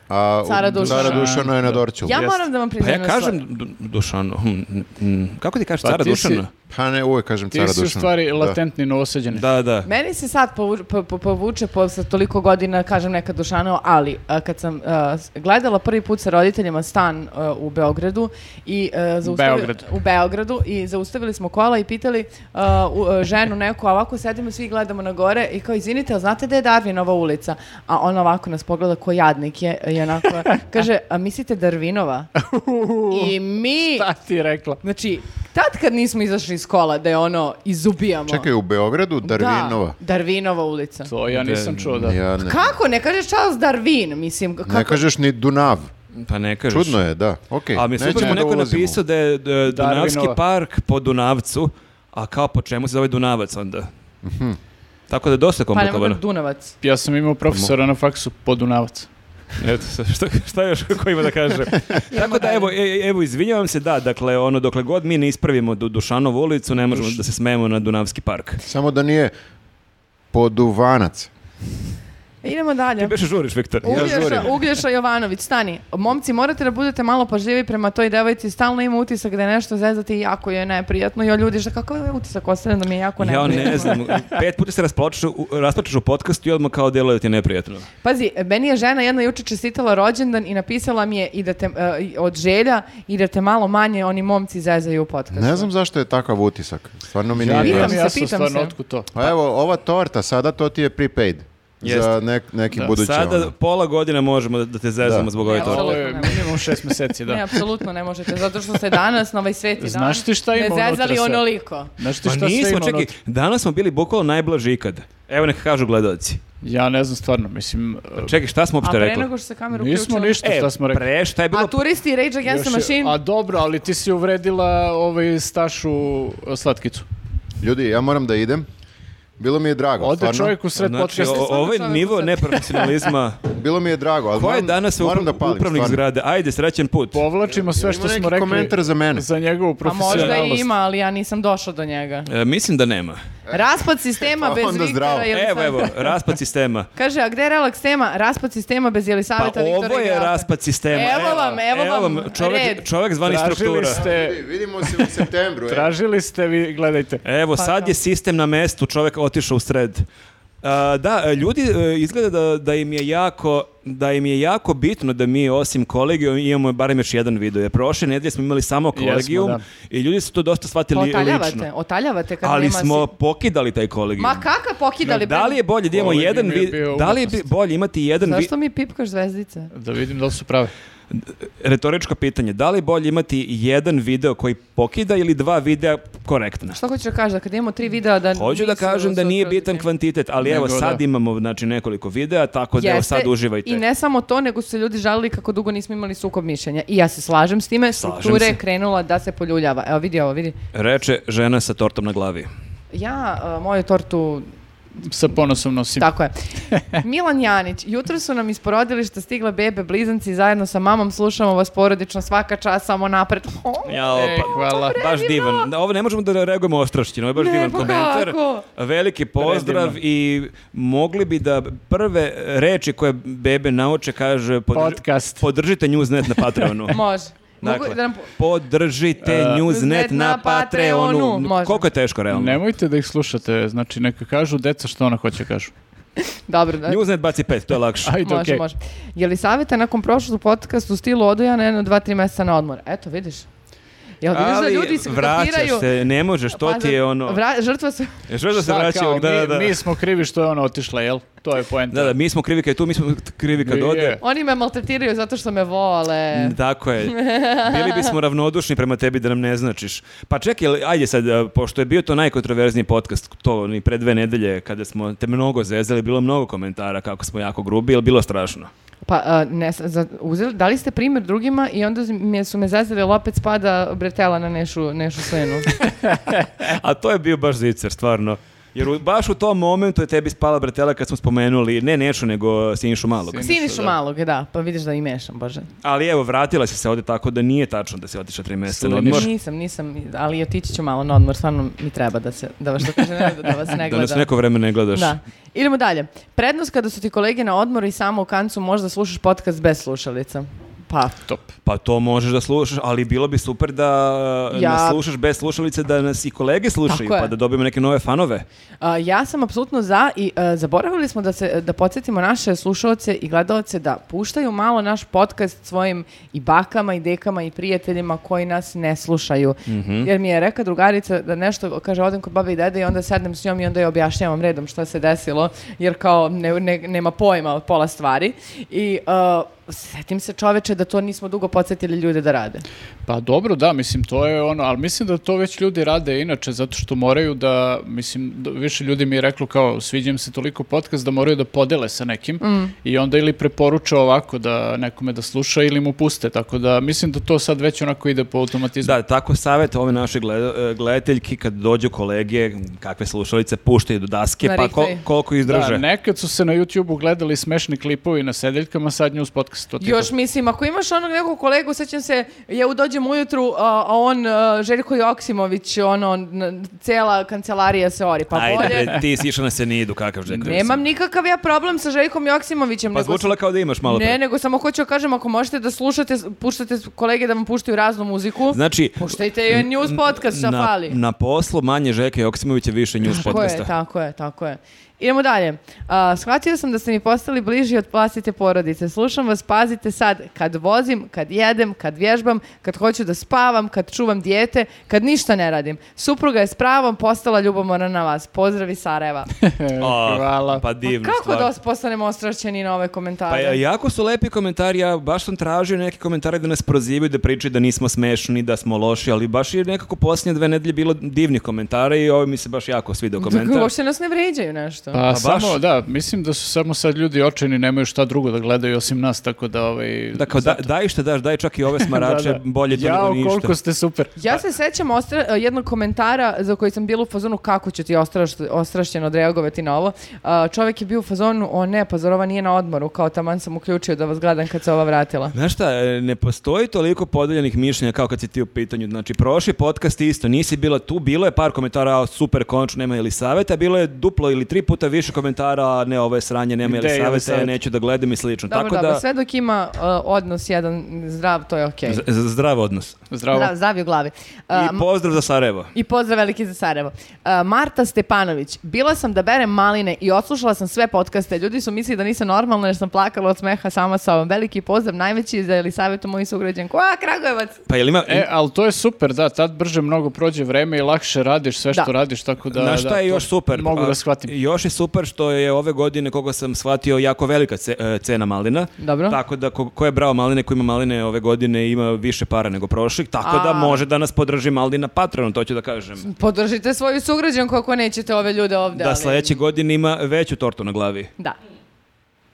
Speaker 3: A u-
Speaker 4: Cara Dušana.
Speaker 3: Cara Dušana je na Dorćolu.
Speaker 4: Ja moram da vam
Speaker 1: Pa
Speaker 4: priznam
Speaker 1: ja
Speaker 4: jednu stvar.
Speaker 1: kažem Du- Dušano, hm, hm, kako ti kažeš,
Speaker 2: Pa
Speaker 1: cara
Speaker 2: ti si-
Speaker 1: Dušana?
Speaker 3: Pa ne, uvek kažem
Speaker 2: Ti
Speaker 3: Cara
Speaker 2: si
Speaker 3: Dušana.
Speaker 2: u stvari
Speaker 3: Da.
Speaker 2: latentni novoseđeni.
Speaker 1: Da, da.
Speaker 4: Meni se sad povu- po- po- povuče posle toliko godina, kažem nekad Dušanova, ali a, kad sam a, s- gledala prvi put sa roditeljima stan a, u Beogradu i a, zaustavi-
Speaker 2: Beogradu.
Speaker 4: u Beogradu i zaustavili smo kola i pitali a, u- a, ženu neku, a ovako sedimo svi i gledamo na gore i kao izvinite, ali znate da je Darvinova ulica? A ona ovako nas pogleda ko jadnik je i onako kaže, a mislite Darvinova? I mi,
Speaker 2: Šta ti je rekla?
Speaker 4: znači, tad kad nismo izašli iz kola da je ono izubijamo.
Speaker 3: Čekaj, u Beogradu, Darvinova.
Speaker 4: Da, Darvinova ulica.
Speaker 2: To ja nisam čuo da.
Speaker 3: Ja ne,
Speaker 4: Kako? Ne kažeš Charles Darwin, mislim. Kako?
Speaker 3: ne kažeš ni Dunav.
Speaker 1: Pa ne kažeš.
Speaker 3: Čudno je, da. Okej.
Speaker 1: A mi je super
Speaker 3: E, nećemo
Speaker 1: mu
Speaker 3: da
Speaker 1: neko
Speaker 3: ulazimo.
Speaker 1: napisao da je e, Dunavski
Speaker 2: Darwinova.
Speaker 1: park po Dunavcu, a kao po čemu se zove Dunavac onda?
Speaker 3: Mhm.
Speaker 1: Tako da je dosta
Speaker 4: Pa ne mogu
Speaker 1: komplikovano.
Speaker 4: Dunavac.
Speaker 2: Ja sam imao profesora na faksu podunavac.
Speaker 1: Eto, šta, šta još ko ima da kaže? Tako da, evo, e- evo, izvinjavam se, da, dakle, ono, dokle god mi ne ispravimo du Dušanovu ulicu, ne možemo da se smejemo na Dunavski park.
Speaker 3: Samo da nije poduvanac.
Speaker 4: E, Idemo dalje.
Speaker 1: Ti E, beše žuriš, Viktor.
Speaker 4: Uglješa, Uglješa Jovanović, stani. Momci, morate da budete malo pažljivi prema toj devojci. Stalno ima utisak da je nešto zezati i jako je neprijatno. Jo, ljudi, šta, kakav je utisak? Ostavljam da mi je jako
Speaker 1: Ja
Speaker 4: neprijatno.
Speaker 1: ne znam, pet puta se rasplačeš u, rasplačeš u podcastu i odmah kao delo da ti je neprijatno.
Speaker 4: Pazi, meni je žena jedna juče čestitala rođendan i napisala mi je i da te, e, od želja i da te malo manje oni momci zezaju u podcastu.
Speaker 3: Ne znam zašto je takav utisak. Stvarno mi
Speaker 2: Ja,
Speaker 3: nije
Speaker 4: Pitam
Speaker 2: ja,
Speaker 3: jasno.
Speaker 4: se,
Speaker 2: ja sam
Speaker 4: pitam
Speaker 2: stvarno
Speaker 4: se.
Speaker 2: otkud to.
Speaker 3: Pa evo, ova torta sada, to ti je prepaid. Za
Speaker 1: Jeste.
Speaker 3: nek- neki
Speaker 2: Da.
Speaker 3: budući
Speaker 1: Sada
Speaker 3: ono.
Speaker 1: pola godine možemo da, da te zezamo
Speaker 3: Da.
Speaker 1: zbog ove
Speaker 4: Ja,
Speaker 1: torte.
Speaker 2: Ovo je
Speaker 4: Apsolutno ne.
Speaker 2: minimum šest meseci,
Speaker 4: Ne,
Speaker 2: da.
Speaker 4: apsolutno ne možete, zato što se danas na ovaj sveti dan
Speaker 2: Znaš ti šta ima
Speaker 4: ne
Speaker 2: unutra
Speaker 4: zezali
Speaker 2: sve?
Speaker 4: onoliko.
Speaker 2: Znaš ti
Speaker 1: Pa
Speaker 2: šta sve ono-
Speaker 1: nismo,
Speaker 2: ima
Speaker 1: čekaj,
Speaker 2: unutra?
Speaker 1: danas smo bili bukvalno najblaži ikad. Evo neka kažu gledalci.
Speaker 2: Ja ne znam stvarno, mislim... e,
Speaker 3: Pa-
Speaker 1: Čekaj, šta smo
Speaker 4: A
Speaker 1: uopšte
Speaker 4: pre
Speaker 1: rekli? E,
Speaker 4: nego što se kamera
Speaker 2: Nismo
Speaker 4: uključila...
Speaker 2: ništa šta smo rekli.
Speaker 1: pre, šta je bilo?
Speaker 4: A turisti i Rage Against the
Speaker 2: Još je-
Speaker 4: Machine?
Speaker 2: A dobro, ali ti si uvredila ovaj Stašu e, slatkicu.
Speaker 3: Ljudi, ja moram da idem. Bilo mi je drago,
Speaker 2: Ode
Speaker 3: stvarno.
Speaker 2: čovjek u sred
Speaker 1: Znači,
Speaker 2: podcasta.
Speaker 1: o- ovaj
Speaker 4: čovjek
Speaker 1: nivo
Speaker 4: sad.
Speaker 1: neprofesionalizma.
Speaker 3: Bilo mi je drago, ali
Speaker 1: Ko je
Speaker 3: moram,
Speaker 1: danas
Speaker 3: moram da
Speaker 1: upra-
Speaker 3: palim,
Speaker 1: upravnik
Speaker 3: stvarno.
Speaker 1: zgrade? Ajde, srećen put.
Speaker 2: Povlačimo sve
Speaker 3: Ima
Speaker 2: što
Speaker 3: neki
Speaker 2: smo rekli.
Speaker 3: komentar za mene?
Speaker 2: Za njegovu
Speaker 4: Pa možda
Speaker 2: profesionalnost.
Speaker 4: i ima, ali ja nisam došao do njega.
Speaker 1: E, mislim da nema.
Speaker 4: Raspad sistema
Speaker 3: Pa
Speaker 4: bez
Speaker 3: onda
Speaker 4: Viktora
Speaker 3: zdravo.
Speaker 4: ili
Speaker 1: Evo, evo, raspad sistema.
Speaker 4: Kaže, a gde je relaks tema? Raspad sistema bez
Speaker 1: Pa
Speaker 4: Jelisaveta, Viktora
Speaker 1: ovo
Speaker 4: i
Speaker 1: je
Speaker 4: Grafa.
Speaker 1: raspad sistema.
Speaker 4: Evo vam, evo vam red.
Speaker 1: čovjek, čovjek zvani
Speaker 2: Tražili
Speaker 1: struktura.
Speaker 2: ste,
Speaker 3: Ljudi, Vidimo se u septembru. e.
Speaker 2: tražili ste, vi gledajte.
Speaker 4: Pa
Speaker 1: Evo, sad je sistem na mestu, čovjek otišao u sred. A, da, e, ljudi e, izgleda da, da im je jako da im je jako bitno da mi osim kolegijum imamo barem još jedan video. Jer prošle nedelje smo imali samo
Speaker 2: Jesmo,
Speaker 1: kolegijum
Speaker 2: da.
Speaker 1: i ljudi su to dosta shvatili
Speaker 4: Pa otaljavate,
Speaker 1: lično.
Speaker 4: otaljavate kad
Speaker 1: Ali
Speaker 4: nema
Speaker 1: smo
Speaker 4: si-
Speaker 1: pokidali taj kolegijum.
Speaker 5: Ma kaka pokidali?
Speaker 1: Da li je bolje da imamo
Speaker 2: Kolegijum
Speaker 1: jedan
Speaker 2: je
Speaker 1: vid-
Speaker 2: bio
Speaker 1: Da li je bi-
Speaker 2: užasno.
Speaker 1: bolje imati jedan vi-
Speaker 4: Zašto mi pipkaš zvezdice?
Speaker 2: Da vidim da li su prave.
Speaker 1: retoričko pitanje, da li je bolje imati jedan video koji pokida ili dva videa korektna?
Speaker 4: Što hoćeš da kažeš, da kad imamo tri videa da...
Speaker 1: Pa Hoću da
Speaker 4: nisu
Speaker 1: kažem da nije bitan
Speaker 4: suprotni?
Speaker 1: kvantitet, ali evo
Speaker 2: Nego,
Speaker 1: sad
Speaker 2: da.
Speaker 1: imamo znači nekoliko videa, tako da evo
Speaker 4: Jeste,
Speaker 1: sad uživajte.
Speaker 4: I ne samo to, nego su se ljudi žalili kako dugo nismo imali sukob mišljenja. I ja se slažem s time,
Speaker 1: Slažem
Speaker 4: struktura je
Speaker 1: se.
Speaker 4: krenula da se poljuljava. Evo vidi ovo, vidi.
Speaker 1: Reče žena sa tortom na glavi.
Speaker 4: Ja e, moju tortu
Speaker 2: Sa ponosom nosim.
Speaker 4: Tako je. Milan Janić, jutro su nam iz porodilišta stigle bebe blizanci zajedno sa mamom slušamo vas porodično svaka čas samo napred.
Speaker 1: Ja,
Speaker 2: E, hvala.
Speaker 1: Baš divan. Da, Ovo ne možemo da reagujemo ostrašćeno, ovo je baš
Speaker 4: Nego
Speaker 1: divan komentar.
Speaker 4: pa kako?
Speaker 1: Veliki pozdrav
Speaker 2: Predivno.
Speaker 1: i mogli bi da prve reči koje bebe nauče kaže podrži-
Speaker 2: Podcast.
Speaker 1: podržite Newsnet na Patreonu.
Speaker 4: Može. Mogu
Speaker 1: Dakle,
Speaker 4: da nam...
Speaker 1: podržite Newsnet
Speaker 4: Newsnet
Speaker 1: na
Speaker 4: na Patreonu.
Speaker 1: Patreonu.
Speaker 4: Može.
Speaker 1: Koliko je teško realno?
Speaker 2: Nemojte da ih slušate, znači neka kažu deca što ona hoće kažu.
Speaker 4: Dobro, da.
Speaker 1: Newsnet baci pet, to je lakše.
Speaker 2: Ajde,
Speaker 4: Može,
Speaker 2: okej.
Speaker 4: može. Je li savjeta nakon prošlog podcasta u stilu odu ja na jedno, dva, tri mjeseca na odmor? Eto, vidiš. Jel Pa vidiš da ljudi se
Speaker 1: vraćaš se, ne možeš, to ti je ono...
Speaker 4: Pa Vra, žrtva su...
Speaker 1: Što da se
Speaker 2: Šta,
Speaker 1: vraća
Speaker 2: kao,
Speaker 1: ovog, da, da,
Speaker 2: mi,
Speaker 1: da.
Speaker 2: mi smo krivi što je ona otišla, jel? To je poenta.
Speaker 1: Da, da, mi smo krivi kad je tu, mi smo krivi kad
Speaker 2: Je.
Speaker 1: ode.
Speaker 4: Oni me maltretiraju zato što me vole.
Speaker 1: Tako je. Bili bismo ravnodušni prema tebi da nam ne značiš. Pa čekaj, jel- ajde sad, a, pošto je bio to najkontroverzniji podcast, to ni pre dve nedelje, kada smo te mnogo zezali, bilo je mnogo komentara kako smo jako grubi, ili bilo strašno?
Speaker 4: Pa, a, ne, s- za, uzeli, dali ste primjer drugima i onda mi su me zazeli, ali opet spada bretela na nešu, nešu slenu.
Speaker 2: E.
Speaker 1: A to je bio baš zicer, stvarno. Jer u- baš u tom momentu je tebi spala bretela kad smo spomenuli, ne Nešu, nego Sinišu Malog.
Speaker 2: Sin-
Speaker 4: Sinišu malog, da, pa vidiš da i mešam, bože.
Speaker 1: Ali evo, vratila si se ovdje tako da nije tačno da si otišla tri mjeseca na
Speaker 2: Sliniš.
Speaker 1: odmor.
Speaker 4: Nisam, nisam, ali otići ću malo na odmor, stvarno mi treba da se, da vas, što kaže, Nenad, da vas ne
Speaker 1: Da nas
Speaker 4: gleda.
Speaker 1: neko vreme ne gledaš.
Speaker 4: Da. Idemo dalje. Prednost kada su ti kolege na odmoru i samo u kancu možda slušaš podcast bez slušalica. Pa,
Speaker 2: Top.
Speaker 1: Pa to možeš da slušaš, ali bilo bi super da e,
Speaker 4: Ja-
Speaker 1: nas slušaš bez slušalice, da nas i kolege slušaju,
Speaker 4: Tako je.
Speaker 1: pa da dobijemo neke nove fanove.
Speaker 4: A, ja sam apsolutno za i e, zaboravili smo da se e, da podsjetimo naše slušaoce i gledaoce da puštaju malo naš podcast svojim i bakama i dekama i prijateljima koji nas ne slušaju. Jer mi je reka drugarica da nešto kaže odem kod babe i dede i onda sednem s njom i onda je objašnjavam redom šta se desilo jer kao ne, ne- nema pojma od pola stvari i e, setim se čoveče da to nismo dugo podsjetili ljude da rade.
Speaker 2: Pa dobro, da, mislim, to je ono, ali mislim da to već ljudi rade inače, zato što moraju da, mislim, da- više ljudi mi je reklo kao, sviđa im se toliko podcast da moraju da podele sa nekim i onda ili preporuče ovako da nekome da sluša ili mu puste, tako da mislim da to sad već onako ide po automatizmu.
Speaker 1: Da, tako savjet ove naše gleda- e, gledateljki kad dođu kolege, kakve slušalice puštaju do daske,
Speaker 4: Na
Speaker 1: pa
Speaker 4: riktaj.
Speaker 1: kol- koliko izdrže.
Speaker 2: Da, nekad su se na YouTube-u gledali smešni klipovi na sedeljkama, sad nju uz podcast to ti
Speaker 4: Još mislim, ako imaš onog nekog kolegu, sećam se, ja u dođem ujutru, a, a on, a, Željko Joksimović, ono, n- cela kancelarija se ori, pa
Speaker 1: Ajde,
Speaker 4: bolje.
Speaker 1: bre, ti si išao na senidu, kakav žek.
Speaker 4: Nemam nikakav ja problem sa Željkom Joksimovićem.
Speaker 1: Pa
Speaker 4: nego
Speaker 1: zvučalo je kao da imaš malo
Speaker 4: Ne,
Speaker 1: pre.
Speaker 4: nego samo hoću da kažem, ako možete da slušate, puštate kolege da vam puštaju raznu muziku,
Speaker 1: Znači,
Speaker 4: puštajte i news podcast, šta
Speaker 1: na,
Speaker 4: fali.
Speaker 1: na poslu manje Žeka Joksimovića, više news
Speaker 4: Tako je,
Speaker 1: podcasta.
Speaker 4: tako je, tako je. Idemo dalje. A, shvatio sam da ste mi postali bliži od vlastite porodice. Slušam vas, pazite sad, kad vozim, kad jedem, kad vježbam, kad hoću da spavam, kad čuvam dijete, kad ništa ne radim. Supruga je s pravom postala ljubomorna na vas. Pozdravi Sarajeva.
Speaker 1: A,
Speaker 2: Hvala.
Speaker 1: Pa divno,
Speaker 4: Kako
Speaker 1: stvarno.
Speaker 4: da os- postanemo ostrašćeni na ove komentare?
Speaker 1: Pa e, jako su lepi komentari, ja baš sam tražio neke komentare da nas prozivaju, da pričaju da nismo smešni, da smo loši, ali baš je nekako posljednje dve nedelje bilo divnih komentara i ovo mi se baš jako svidio komentar.
Speaker 4: Uopšte nas ne vređaju nešto.
Speaker 2: Pa,
Speaker 1: baš.
Speaker 2: samo, da, mislim da su samo sad ljudi očajni, nemaju šta drugo da gledaju osim nas, tako da ovaj...
Speaker 1: Da, kao, da, daj što daš, daj čak i ove smarače, bolje to
Speaker 2: Jao,
Speaker 1: nego ništa.
Speaker 2: koliko ste super.
Speaker 1: Pa-
Speaker 4: Ja se sećam ostra- e, jednog komentara za koji sam bila u fazonu kako će ti ostraš- ostrašćeno odreagovati na ovo. A, Čovjek je bio u fazonu, o ne, pa zar ova nije na odmoru, kao taman sam uključio da vas gledam kad se ova vratila.
Speaker 1: Znaš šta, e, ne postoji toliko podeljenih mišljenja kao kad si ti u pitanju. Znači, prošli podcast isto, nisi bila tu, bilo je par komentara, "A, super, končno, nema ili saveta, bilo je duplo ili tri puta više komentara, ne, ovo je sranje, nema je
Speaker 2: Gde
Speaker 1: li
Speaker 2: je
Speaker 1: savete,
Speaker 2: savjet?
Speaker 1: neću da gledam i slično.
Speaker 4: Dobro,
Speaker 1: Tako
Speaker 4: dobro,
Speaker 1: da,
Speaker 4: sve dok ima uh, odnos jedan zdrav, to je okej.
Speaker 1: z- z- zdrav odnos.
Speaker 2: Zdravo.
Speaker 4: Zdrav, zdrav je u glavi. Uh,
Speaker 1: I pozdrav za Sarajevo.
Speaker 4: I pozdrav veliki za Sarajevo. E, Marta Stepanović, bila sam da berem maline i odslušala sam sve podcaste. Ljudi su mislili da nisam normalna jer sam plakala od smeha sama sa ovom. Veliki pozdrav, najveći za Elisavetu moju sugrađanku. A, Kragujevac!
Speaker 1: Pa jel ima...
Speaker 2: E, ali to je super, da, tad brže mnogo prođe vreme i lakše radiš sve što
Speaker 4: Da.
Speaker 2: radiš, tako da...
Speaker 1: Znaš šta
Speaker 2: da,
Speaker 1: je
Speaker 2: to
Speaker 1: još super? Pa,
Speaker 2: Mogu
Speaker 1: A,
Speaker 2: da shvatim.
Speaker 1: Još je super što je ove godine, koga sam shvatio, jako velika ce- e, cena malina.
Speaker 4: Dobro.
Speaker 1: Tako da ko, ko je brao maline, ko ima maline ove godine, ima više para nego prošlih, tako
Speaker 4: A.
Speaker 1: da može da nas podrži malina patronu, to ću da kažem.
Speaker 4: Podržite svoju sugrađanku ako nećete ove ljude ovde.
Speaker 1: Da
Speaker 4: ali-
Speaker 1: sledeće godine ima veću tortu na glavi.
Speaker 4: Da.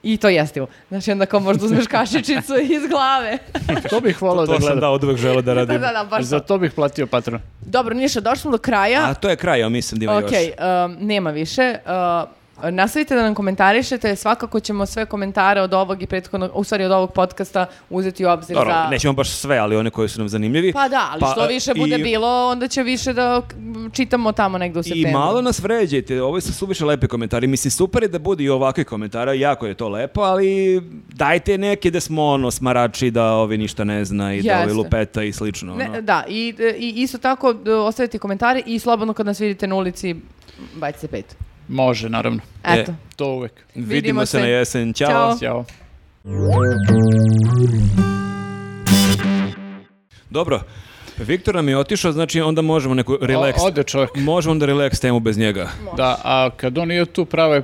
Speaker 4: I to jestivo. Znači, onda kao možda uzmeš kašičicu iz glave.
Speaker 2: To bih volao
Speaker 1: To
Speaker 2: da
Speaker 1: sam
Speaker 2: gledam.
Speaker 1: da od uvek želeo da
Speaker 4: da,
Speaker 1: radim.
Speaker 4: da, da, baš
Speaker 2: Za
Speaker 4: to.
Speaker 2: to bih platio patron.
Speaker 4: Dobro, Niša, došli smo do kraja.
Speaker 1: A to je kraj, ja mislim da ima
Speaker 4: Ok,
Speaker 1: još.
Speaker 4: um, nema više. Uh, nastavite da nam komentarišete, svakako ćemo sve komentare od ovog i prethodnog, u stvari od ovog podcasta uzeti u obzir
Speaker 1: Dobro,
Speaker 4: za...
Speaker 1: nećemo baš sve, ali one koji su nam zanimljivi.
Speaker 4: Pa da, ali što
Speaker 1: e,
Speaker 4: više bude
Speaker 1: i-
Speaker 4: bilo, onda će više da k- čitamo tamo negde u
Speaker 1: I
Speaker 4: septembru.
Speaker 1: malo nas vređajte, ovo su suviše lepi komentari. Mislim, super je da bude i ovakvih komentara, jako je to lepo, ali dajte neke da smo ono smarači, da ovi ništa ne zna i da
Speaker 4: Jeste.
Speaker 1: ovi lupeta i slično.
Speaker 4: Ne,
Speaker 1: ono.
Speaker 4: da, i, e, i isto tako d- ostavite komentare i slobodno kad nas vidite na ulici, bajte se pet.
Speaker 2: Može, naravno.
Speaker 4: Eto.
Speaker 1: E.
Speaker 2: To uvek.
Speaker 1: Vidimo,
Speaker 4: vidimo
Speaker 1: se
Speaker 4: se.
Speaker 1: na jesen. Ćao.
Speaker 4: Ćao.
Speaker 2: Ćao.
Speaker 1: Dobro, Viktor nam je otišao, znači onda možemo neku relax.
Speaker 2: O- Ode čovjek.
Speaker 1: Možemo onda relax temu bez njega.
Speaker 2: Da, a kad on nije tu prave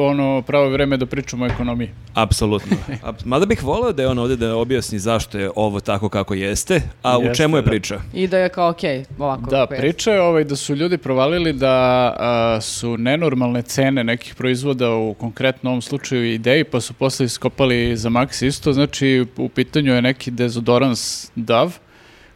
Speaker 2: ono pravo vreme da pričamo o ekonomiji.
Speaker 1: Apsolutno. Ap- Mada bih voleo da je on ovdje da objasni zašto je ovo tako kako jeste, a u
Speaker 2: Jeste,
Speaker 1: čemu je
Speaker 2: da.
Speaker 1: priča.
Speaker 4: I da je kao okej, ovako.
Speaker 2: Da,
Speaker 4: kako je.
Speaker 2: priča je ovaj, da su ljudi provalili da a, su nenormalne cene nekih proizvoda u konkretno ovom slučaju ideji, pa su posle iskopali za Max isto. Znači, u pitanju je neki dezodorans DAV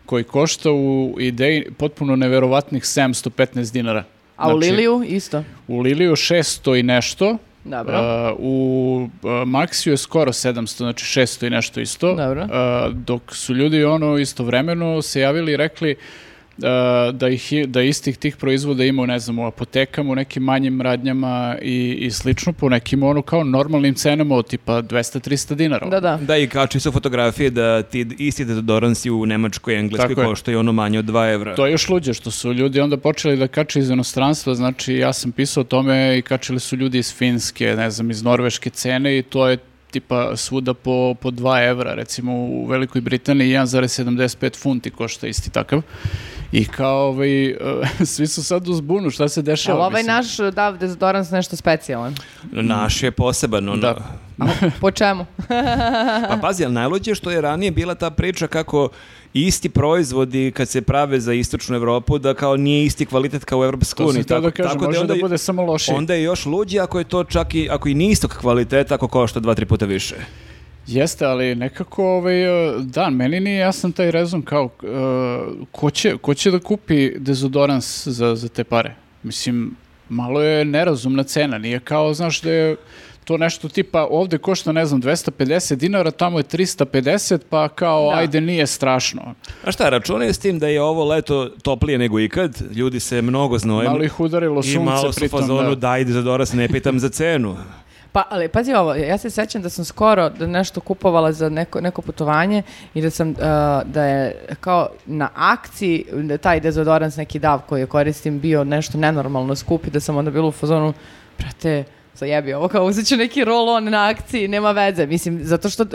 Speaker 2: koji košta u ideji potpuno neverovatnih 715 dinara.
Speaker 4: A u
Speaker 2: Znači,
Speaker 4: Liliju isto.
Speaker 2: U Liliju 600 i nešto.
Speaker 4: Dobro.
Speaker 2: Uh, u uh, Maxiju je skoro 700, znači 600 i nešto isto.
Speaker 4: Dobro.
Speaker 2: Uh, dok su ljudi ono istovremeno se javili i rekli uh, da, ih, je- da istih tih proizvoda ima, u, ne znam, u apotekama, u nekim manjim radnjama i, i slično, po nekim ono kao normalnim cenama od tipa 200-300 dinara.
Speaker 4: Da, da.
Speaker 1: Da, i kači su fotografije da ti isti deodoransi u Nemačkoj i Engleskoj
Speaker 2: Tako je.
Speaker 1: koštaju ono manje od 2 evra.
Speaker 2: To je još luđe što su ljudi onda počeli da kače iz inostranstva, znači ja sam pisao o tome i kačili su ljudi iz Finske, ne znam, iz Norveške cene i to je tipa svuda po, po 2 evra, recimo u Velikoj Britaniji 1,75 funti košta isti takav. I kao ovaj, e, svi su sad u zbunu, šta se dešava?
Speaker 4: Ali ovaj
Speaker 2: mislim.
Speaker 4: naš Dav Dezodorans nešto specijalan.
Speaker 1: Naš je poseban. Ono.
Speaker 2: Da.
Speaker 4: Po čemu?
Speaker 1: Pa pazi, ali najluđe je što je ranije bila ta priča kako isti proizvodi kad se prave za istočnu Evropu da kao nije isti kvalitet kao u Evropskoj
Speaker 2: To sam
Speaker 1: uniji.
Speaker 2: htio da kažem, može da bude samo lošiji.
Speaker 1: Onda je još luđe ako je to čak i, ako i nije istog kvaliteta, ako košta dva, tri puta više.
Speaker 2: Jeste, ali nekako, ovaj, e, da, meni nije jasan taj rezon kao, e, ko, će, ko će da kupi dezodorans za, za te pare? Mislim, malo je nerazumna cena, nije kao, znaš, da je to nešto tipa ovde košta, ne znam, 250 dinara, tamo je 350, pa kao,
Speaker 4: Da.
Speaker 2: ajde, nije strašno.
Speaker 1: A šta, računaj s tim da je ovo leto toplije nego ikad, ljudi se mnogo znoje.
Speaker 2: Malo ih udarilo
Speaker 1: I
Speaker 2: sunce,
Speaker 1: malo su u
Speaker 2: pritom,
Speaker 1: fazonu,
Speaker 2: da.
Speaker 1: daj deodoras, ne pitam za cenu.
Speaker 4: Pa, ali pazi ovo, ja se sećam da sam skoro da nešto kupovala za neko, neko putovanje i da sam, uh, da je kao na akciji da taj dezodorans neki dav koji je koristim bio nešto nenormalno skup i da sam onda bila u fazonu, brate, zajebi ovo, kao uzet ću neki roll-on na akciji, nema veze, mislim, zato što uh,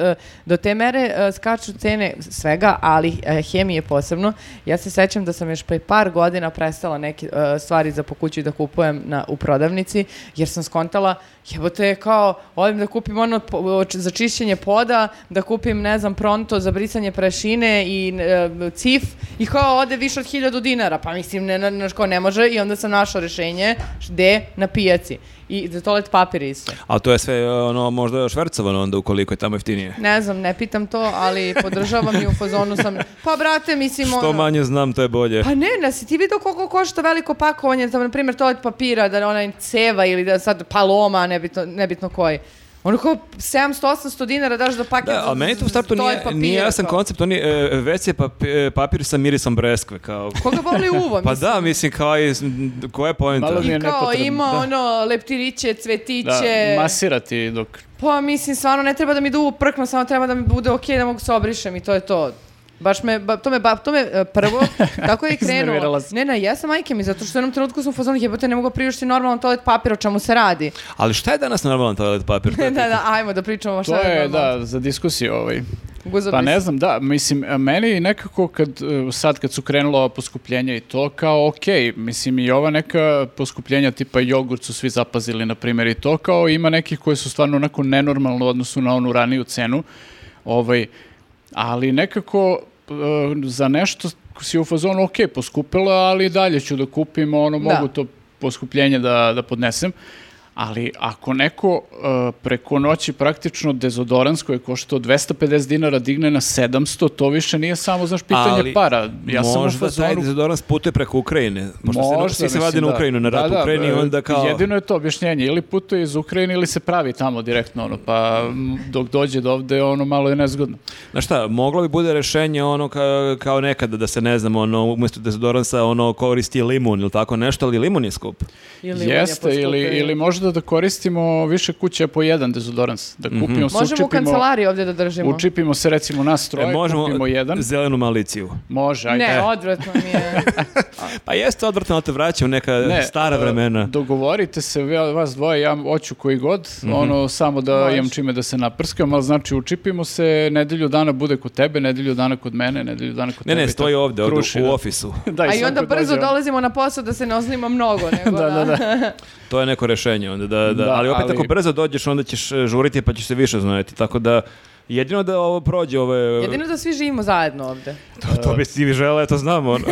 Speaker 4: do te mere uh, skaču cene svega, ali uh, hemije posebno. Ja se sećam da sam još pre par godina prestala neke uh, stvari za po kući da kupujem na, u prodavnici, jer sam skontala, jebote, kao, odem da kupim ono po- oč- za čišćenje poda, da kupim, ne znam, pronto za brisanje prašine i e, cif, i kao ode više od hiljadu dinara, pa mislim, ne, ne, ne, kao ne može, i onda sam našla rešenje, š- gde? Na pijaci. I za toalet papir isto.
Speaker 1: A to je sve e, ono možda švercovano onda ukoliko je tamo jeftinije.
Speaker 4: Ne znam, ne pitam to, ali podržavam i u fazonu sam, pa brate, mislim,
Speaker 1: Što
Speaker 4: ono-
Speaker 1: manje znam, to je bolje.
Speaker 4: Pa ne, ne, si ti vidio koliko košta veliko pakovanje, za, na primjer, toalet papira, da onaj ceva ili da sad paloma, nebitno, nebitno koji. Ono kao 700-800 dinara daš da paket
Speaker 1: Da,
Speaker 4: za-
Speaker 1: a meni to u startu
Speaker 4: za stoj
Speaker 1: nije,
Speaker 4: papira,
Speaker 1: nije jasan
Speaker 4: kao.
Speaker 1: koncept, on je e, WC papi- e, papir sa mirisom breskve, kao...
Speaker 4: Koga boli uvo,
Speaker 1: Pa
Speaker 4: mislim.
Speaker 1: da, mislim, kao i, koja je poenta?
Speaker 2: Malo mi je
Speaker 4: I kao
Speaker 2: nepotrebno,
Speaker 4: ima
Speaker 2: da.
Speaker 4: ono leptiriće, cvetiće.
Speaker 2: Da, masirati dok...
Speaker 4: Pa mislim, stvarno ne treba da mi duvo prkno, samo treba da mi bude okej da mogu se obrišem i to je to. Baš me, ba- to me, ba- to me e, prvo, tako je i krenulo.
Speaker 2: Iznervirala si.
Speaker 4: Ne, ne, ja sam majke mi, zato što u jednom trenutku sam u fazonu, jebote, ne mogu priušti normalan toalet papir, o čemu se radi.
Speaker 1: Ali šta je danas normalan toalet papir? To
Speaker 4: da,
Speaker 1: je
Speaker 4: da, ajmo da pričamo
Speaker 2: To
Speaker 4: šta
Speaker 2: je,
Speaker 4: normalan.
Speaker 2: da, za diskusiju ovaj.
Speaker 4: Guzo
Speaker 2: Pa ne
Speaker 4: bris.
Speaker 2: znam, da, mislim, meni nekako kad, e, sad kad su krenula ova poskupljenja i to, kao ok, mislim i ova neka poskupljenja tipa jogurt su svi zapazili, na primjer, i to kao ima nekih koje su stvarno onako nenormalno u odnosu na onu raniju cenu, ovaj, ali nekako e, za nešto si u fazonu, ok, poskupila, ali i dalje ću da kupim, ono,
Speaker 4: Da.
Speaker 2: mogu to poskupljenje da, da podnesem, ali ako neko e, preko noći praktično dezodorans koji je koštao 250 dinara digne na 700, to više nije samo, znaš, pitanje
Speaker 1: Ali
Speaker 2: para. Ja sam u
Speaker 1: možda taj
Speaker 2: fazonu...
Speaker 1: dezodorans putuje preko Ukrajine. Pošto
Speaker 2: Možda,
Speaker 1: se, svi se
Speaker 2: mislim,
Speaker 1: vadi na
Speaker 2: da.
Speaker 1: Ukrajinu, na rat
Speaker 2: Da, da,
Speaker 1: u Ukrajini,
Speaker 2: e,
Speaker 1: onda kao...
Speaker 2: Jedino je to objašnjenje, ili putuje iz Ukrajine ili se pravi tamo direktno, ono, pa m, dok dođe do ovde, ono, malo je nezgodno.
Speaker 1: Znaš šta, moglo bi bude rešenje ono ka, kao nekada da se ne znam, ono, umjesto dezodoransa ono koristi limun ili tako nešto, ali limun je skup.
Speaker 4: Ili on je
Speaker 2: Jeste, ili,
Speaker 4: poskupio.
Speaker 2: ili možda da koristimo više kuće po jedan dezodorans, da
Speaker 1: Mhm.
Speaker 2: kupimo, se
Speaker 4: Možemo u
Speaker 2: učipimo,
Speaker 4: kancelariji ovdje da držimo.
Speaker 2: učipimo se recimo nas troje,
Speaker 1: E,
Speaker 2: kupimo jedan,
Speaker 1: zelenu maliciju.
Speaker 2: može, ajde.
Speaker 4: Ne, odvratno mi je.
Speaker 1: Pa jeste odvrtno, ali te vraćam u neka
Speaker 2: Ne,
Speaker 1: stara
Speaker 2: e,
Speaker 1: vremena.
Speaker 2: Dogovorite se, vi- vas dvoje, ja hoću koji god,
Speaker 1: Mhm.
Speaker 2: ono, samo da
Speaker 4: Može.
Speaker 2: imam čime da se naprskam, ali znači učipimo se, nedelju dana bude kod tebe, nedelju dana kod mene, nedelju dana kod
Speaker 1: Ne,
Speaker 2: tebe.
Speaker 1: ne,
Speaker 2: i
Speaker 1: stoji
Speaker 2: tako.
Speaker 1: ovdje, ovdje
Speaker 2: Kruši,
Speaker 1: u
Speaker 2: da.
Speaker 1: ofisu.
Speaker 2: Da,
Speaker 4: A i
Speaker 2: sad
Speaker 4: onda
Speaker 2: kad
Speaker 4: brzo
Speaker 2: dođe on-
Speaker 4: dolazimo na posao da se ne oznimo mnogo. Nego,
Speaker 2: Da, da, da.
Speaker 1: To je neko rešenje onda, da, da.
Speaker 2: Da,
Speaker 1: ali opet
Speaker 2: ali-
Speaker 1: ako brzo dođeš, onda ćeš e, žuriti pa ćeš se više znojati, tako da... Jedino da ovo prođe, ove...
Speaker 4: Jedino da svi živimo zajedno ovdje.
Speaker 1: To, to bi svi žele, to znamo, ono.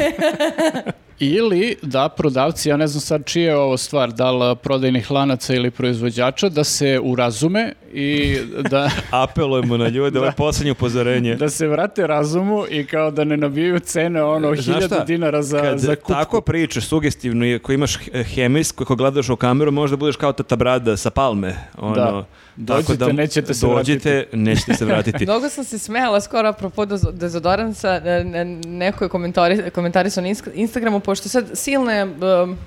Speaker 2: Ili da prodavci, ja ne znam sad čije je ovo stvar, da li a, prodajnih lanaca ili proizvođača, da se urazume i da,
Speaker 1: Apelujemo na ljude, ovo je posljednje upozorenje.
Speaker 2: da se vrate razumu i kao da ne nabijaju cene ono
Speaker 1: Znaš
Speaker 2: hiljada
Speaker 1: šta,
Speaker 2: dinara za,
Speaker 1: Kad
Speaker 2: za kupku.
Speaker 1: tako pričaš sugestivno i ako imaš he- hemijsku, ako gledaš u kameru, možda budeš kao tata brada sa palme. Ono,
Speaker 2: Da.
Speaker 1: tako
Speaker 2: Dođite, nećete se
Speaker 1: dođite, nećete se vratiti.
Speaker 4: Mnogo sam se smejala skoro apropo dezo- dezodoransa, e, ne- neko je komentari, komentarisao na Inst- Instagramu, pošto sad silne... um,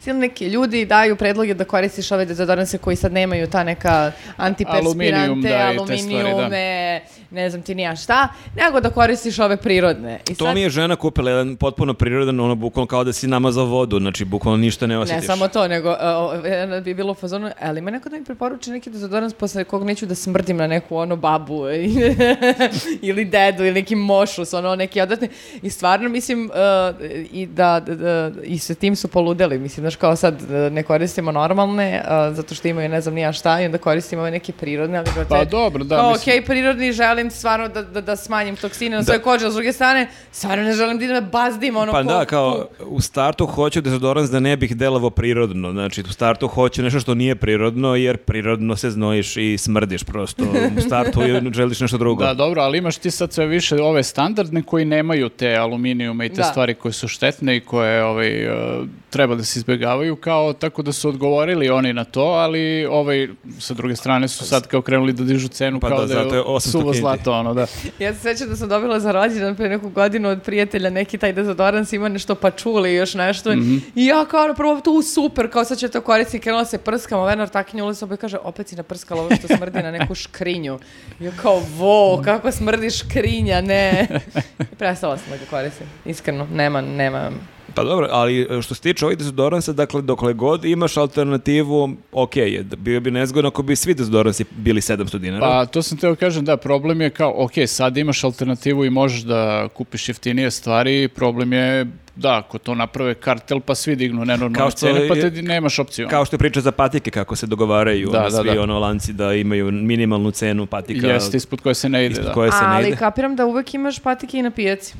Speaker 4: silne neki ljudi daju predloge da koristiš ove dezodoranse koji sad nemaju ta neka
Speaker 2: Aluminijum,
Speaker 4: antiperspirante,
Speaker 2: da, i te stvari, da.
Speaker 4: aluminijume, ne znam ti nija šta, nego da koristiš ove prirodne. I
Speaker 1: To
Speaker 4: sad-
Speaker 1: mi je žena kupila jedan potpuno prirodan, ono bukvalno kao da si namazao vodu, znači bukvalno ništa ne
Speaker 4: Ne
Speaker 1: osjetiš.
Speaker 4: samo to, nego e, o, e, bi bilo u fazonu, e, ali ima neko da mi preporuči neki dezodorans posle kog neću da smrdim na neku ono babu e, ili dedu ili neki mošus, ono neki odatni. I stvarno mislim e, i da, da- da- i sa tim su poludeli, mislim, znaš kao sad e, ne koristimo normalne e, zato što imaju ne znam nija šta i onda koristimo ove neke prirodne, ali brate,
Speaker 2: Pa dobro, da,
Speaker 4: kao,
Speaker 2: mislim-
Speaker 4: okej, prirodni, želim stvarno da, da, da smanjim toksine na svoje kože, a s druge strane, stvarno ne želim da me bazdim, ono,
Speaker 1: Pa
Speaker 4: ko-
Speaker 1: da,
Speaker 4: ko-
Speaker 1: kao u startu hoću dezodorans da ne bih delovo prirodno, znači u startu hoću nešto što nije prirodno jer prirodno se znojiš i smrdiš prosto, u startu želiš nešto drugo.
Speaker 2: Da, dobro, ali imaš ti sad sve više ove standardne koji nemaju te aluminijume i te
Speaker 4: Da.
Speaker 2: stvari koje su štetne i koje ovaj, e, treba da se izbjegavaju, kao tako da su odgovorili oni na to, ali ovaj, sa druge strane su sad kao krenuli da dižu cenu
Speaker 1: Pa
Speaker 2: kao
Speaker 1: da,
Speaker 2: da,
Speaker 1: zato je 800
Speaker 2: suvo
Speaker 1: kinti.
Speaker 2: zlato, ono, da.
Speaker 4: Ja se sećam da sam dobila za rođendan pre neku godinu od prijatelja neki taj dezodorans ima nešto pačuli i još nešto.
Speaker 1: Mhm.
Speaker 4: I ja kao ono, prvo tu super, kao sad će to koristiti, krenula se prskama, Venar taknjula se i kaže, opet si naprskala ovo što smrdi na neku škrinju. I ja kao, vo, kako smrdi škrinja, ne. I prestala sam da ga koristim, iskreno, nema, nema.
Speaker 1: Pa dobro, ali e, što se tiče ovih dezodoransa, dakle, dokle god imaš alternativu, ok je, D- bio bi nezgodno ako bi svi dezodoransi bili 700 dinara.
Speaker 2: Pa to sam teo kažem, da, problem je kao, ok, sad imaš alternativu i možeš da kupiš jeftinije stvari, problem je, da, ako to naprave kartel, pa svi dignu
Speaker 1: Kao
Speaker 2: nenormalne
Speaker 1: što
Speaker 2: cene, pa
Speaker 1: je-
Speaker 2: te di- nemaš opciju.
Speaker 1: Kao što je priča za patike, kako se dogovaraju
Speaker 2: Da,
Speaker 1: ono,
Speaker 2: da,
Speaker 1: svi
Speaker 2: da.
Speaker 1: ono lanci da imaju minimalnu cenu patika
Speaker 2: Jeste, ispod koje se ne ide,
Speaker 1: ispod
Speaker 2: da.
Speaker 1: koje se ne
Speaker 4: Ali
Speaker 1: ide.
Speaker 4: kapiram da uvek imaš patike i na pijaci.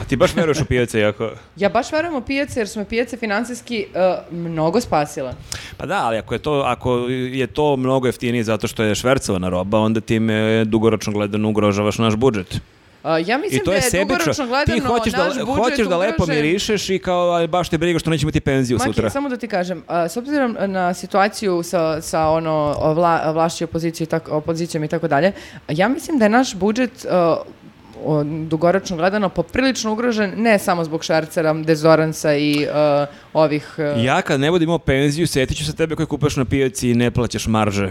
Speaker 1: A ti baš veruješ u pijace jako...
Speaker 4: Ja baš verujem u pijace jer su me pijace financijski eh, mnogo spasile.
Speaker 1: Pa da, ali ako je to, ako je to mnogo jeftinije zato što je švercovana roba, onda time dugoročno gledano ugrožavaš naš budžet.
Speaker 4: A, ja mislim
Speaker 1: I to je
Speaker 4: da je
Speaker 1: sebično.
Speaker 4: dugoročno gledano
Speaker 1: Ti hoćeš da,
Speaker 4: naš budžet
Speaker 1: hoćeš da lepo
Speaker 4: ugrožen.
Speaker 1: mirišeš i kao aj, baš te briga što neće imati penziju
Speaker 4: Maki,
Speaker 1: sutra.
Speaker 4: samo da ti kažem, a, s obzirom na situaciju sa, sa ono, vla, vlašću opoziciju, i tako, opozicijom i tako dalje, ja mislim da je naš budžet a, o, dugoročno gledano poprilično ugrožen, ne samo zbog Šarcera, Dezoransa i a, ovih... e, a,
Speaker 1: Ja kad ne budem imao penziju, setit ću se tebe koji kupaš na pijaci i ne plaćaš marže.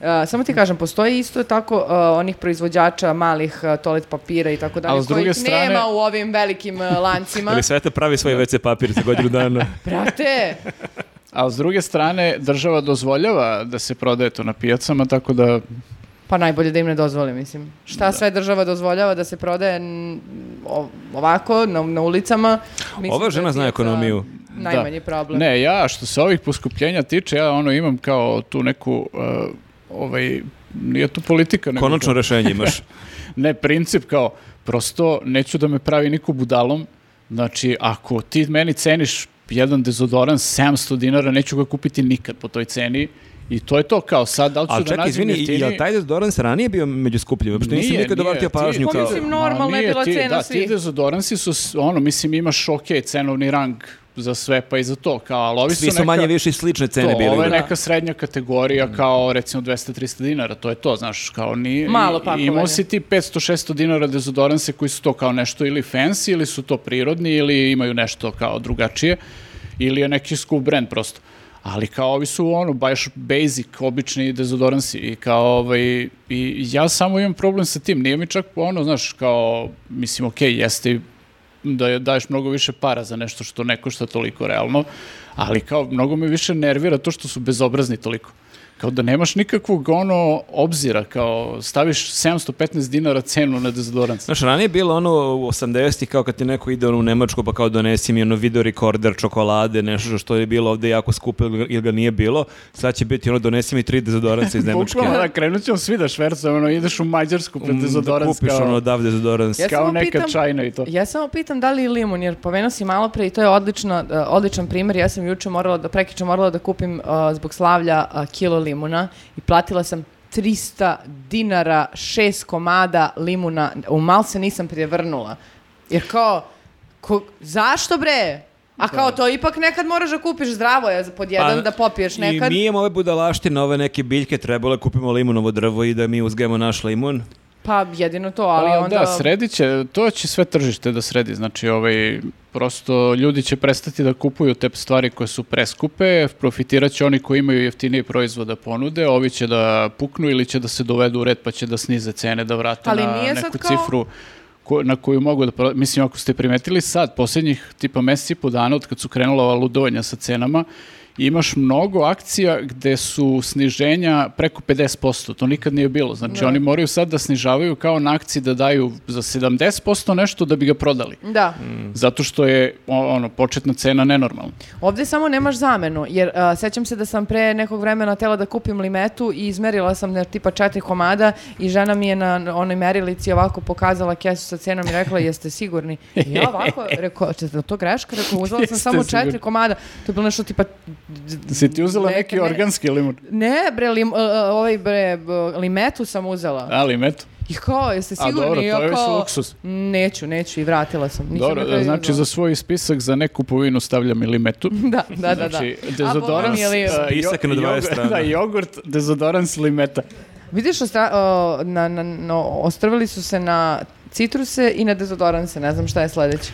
Speaker 4: a, e, samo ti kažem, postoji isto tako a, onih proizvođača malih a, toalet papira i tako
Speaker 2: Ali
Speaker 4: dalje,
Speaker 2: s druge
Speaker 4: kojih
Speaker 2: strane-
Speaker 4: nema u ovim velikim a, lancima.
Speaker 1: Ali sve te pravi svoj WC papir za godinu dana.
Speaker 4: Brate,
Speaker 2: Ali s druge strane, država dozvoljava da se prodaje to na pijacama, tako da
Speaker 4: Pa najbolje da im ne dozvole, mislim. Šta sve država dozvoljava da se prodaje n- o- ovako, na, na ulicama? Mislim
Speaker 1: Ova
Speaker 4: da
Speaker 1: žena
Speaker 4: je
Speaker 1: zna
Speaker 4: pijaca
Speaker 1: ekonomiju.
Speaker 4: Najmanji
Speaker 2: Da.
Speaker 4: problem.
Speaker 2: Ne, ja što se ovih poskupljenja tiče, ja ono imam kao tu neku uh, ovaj nije tu politika nego
Speaker 1: Konačno rešenje imaš.
Speaker 2: ne princip kao prosto neću da me pravi niko budalom. Znači ako ti meni ceniš jedan dezodoran 700 dinara, neću ga kupiti nikad po toj ceni i to je to kao sad da li ću
Speaker 1: Ali
Speaker 2: da
Speaker 1: čekaj,
Speaker 2: nađem
Speaker 1: izvini, i-
Speaker 2: jeftiniji-
Speaker 1: jel taj Dorans ranije bio među skupljima? Uopšte nisam
Speaker 2: Nije,
Speaker 1: nikad
Speaker 2: nije,
Speaker 1: obratio
Speaker 2: ti-
Speaker 1: pažnju
Speaker 4: Pa
Speaker 1: kao...
Speaker 4: mislim, normalna je
Speaker 2: Ma, nije
Speaker 4: bila
Speaker 2: ti,
Speaker 4: cena
Speaker 2: da,
Speaker 4: svih.
Speaker 2: ti dezodoransi su, s- ono, mislim, imaš ok cenovni rang za sve, pa i za to, kao, ali ovi
Speaker 1: Svi
Speaker 2: su
Speaker 1: su
Speaker 2: neka-
Speaker 1: manje više slične cene
Speaker 2: to,
Speaker 1: bili.
Speaker 2: Ovo je
Speaker 1: da.
Speaker 2: neka srednja kategorija kao recimo 200-300 dinara, to je to, znaš, kao nije...
Speaker 4: Malo
Speaker 2: i-
Speaker 4: pakovanje.
Speaker 2: Imao si ti 500-600 dinara dezodoranse koji su to kao nešto ili fancy ili su to prirodni ili imaju nešto kao drugačije ili je neki skup brand prosto. Ali kao ovi su ono, baš basic, obični dezodoransi i kao ovaj, i ja samo imam problem sa tim, nije mi čak ono, znaš, kao, mislim, okej, jeste i da je- daješ mnogo više para za nešto što ne košta toliko realno, ali kao mnogo me više nervira to što su bezobrazni toliko. Kao da nemaš nikakvog ono obzira, kao staviš 715 dinara cenu na dezodorans.
Speaker 1: Znaš, ranije je bilo ono u 80-ih kao kad ti neko ide ono u Nemačku pa kao donesi mi ono video rekorder čokolade, nešto što je bilo ovde jako skupo ili ili ga nije bilo. Sad će biti ono donesi mi tri dezodoranca iz Nemačke.
Speaker 2: Bukvalno da krenut ćemo svi da švercujemo, ono, ideš u Mađarsku pred
Speaker 1: Mm, Da
Speaker 2: dezodorans
Speaker 1: kupiš
Speaker 2: kao,
Speaker 1: ono odavde dezodorans.
Speaker 4: Ja
Speaker 2: kao
Speaker 4: samo
Speaker 2: neka
Speaker 4: pitam-
Speaker 2: čajna i to.
Speaker 4: Ja samo pitam da li je limun, jer pomenuo si malo pre i to je odlično, e, odličan primjer. Ja sam juče morala, da, prekiče morala da kupim e, zbog slavlja e, kilo limuna i platila sam 300 dinara, šest komada limuna. U mal se nisam prijevrnula. Jer kao, ko- zašto bre? A kao to ipak nekad moraš da kupiš zdravo, je, pod jedan
Speaker 2: Pa
Speaker 4: da popiješ nekad.
Speaker 1: Pa I mi imamo ove budalaštine, ove neke biljke, trebalo je kupimo limunovo drvo i da mi uzgajemo naš limun.
Speaker 4: Pa jedino to, ali
Speaker 2: Pa
Speaker 4: onda...
Speaker 2: Da, sredit će, to će sve tržište da sredi, znači ovaj, prosto ljudi će prestati da kupuju te stvari koje su preskupe, profitirat će oni koji imaju jeftinije proizvoda ponude, ovi će da puknu ili će da se dovedu u red pa će da snize cene, da vrate
Speaker 4: Pa Ali
Speaker 2: na
Speaker 4: nije sad
Speaker 2: neku
Speaker 4: kao-
Speaker 2: cifru ko- na koju mogu da... pro- Mislim, ako ste primetili sad, posljednjih tipa meseci i po dana od kad su krenula ova ludovanja sa cenama, imaš mnogo akcija gde su sniženja preko 50%, to nikad nije bilo. Znači, oni moraju sad da snižavaju kao na akciji da daju za 70% nešto da bi ga prodali.
Speaker 4: Da.
Speaker 2: Zato što je o- ono, početna cena nenormalna.
Speaker 4: Ovdje samo nemaš zamenu, jer a, sećam se da sam pre nekog vremena tela da kupim limetu i izmerila sam na tipa četiri komada i žena mi je na onoj merilici ovako pokazala kesu sa cenom i rekla jeste sigurni. I ja ovako, rekao, "Če- je to greška? Rekao, uzela
Speaker 2: Jeste
Speaker 4: sam samo
Speaker 2: sigurni.
Speaker 4: četiri komada. To je bilo nešto tipa...
Speaker 2: Si ti uzela
Speaker 4: Mm. Ne,
Speaker 2: neki
Speaker 4: ne.
Speaker 2: organski limun?
Speaker 4: Ne, bre, lim- e, e, ovaj bre, b- limetu sam uzela.
Speaker 2: Ali, eto.
Speaker 4: I kao, jeste
Speaker 2: A
Speaker 4: sigurni?
Speaker 2: dobro,
Speaker 4: I ja
Speaker 2: to je već
Speaker 4: kao,
Speaker 2: luksuz.
Speaker 4: Neću, neću i vratila sam. Nisam na
Speaker 2: Dobro,
Speaker 4: kraju
Speaker 2: znači za
Speaker 4: uzela.
Speaker 2: svoj spisak za nekupovinu stavljam ilimetu.
Speaker 4: Da, da, da. da.
Speaker 2: Znači,
Speaker 4: A Boga mi
Speaker 2: dezodorans,
Speaker 4: je li-
Speaker 2: uh, jo-
Speaker 1: Spisak na 20
Speaker 2: jogurt-
Speaker 1: strana.
Speaker 2: Da, jogurt, dezodorans, limeta.
Speaker 4: Vidiš, ostra, o, na, na, no, ostrvili su se na citruse i na dezodoranse, ne znam šta je sledeće.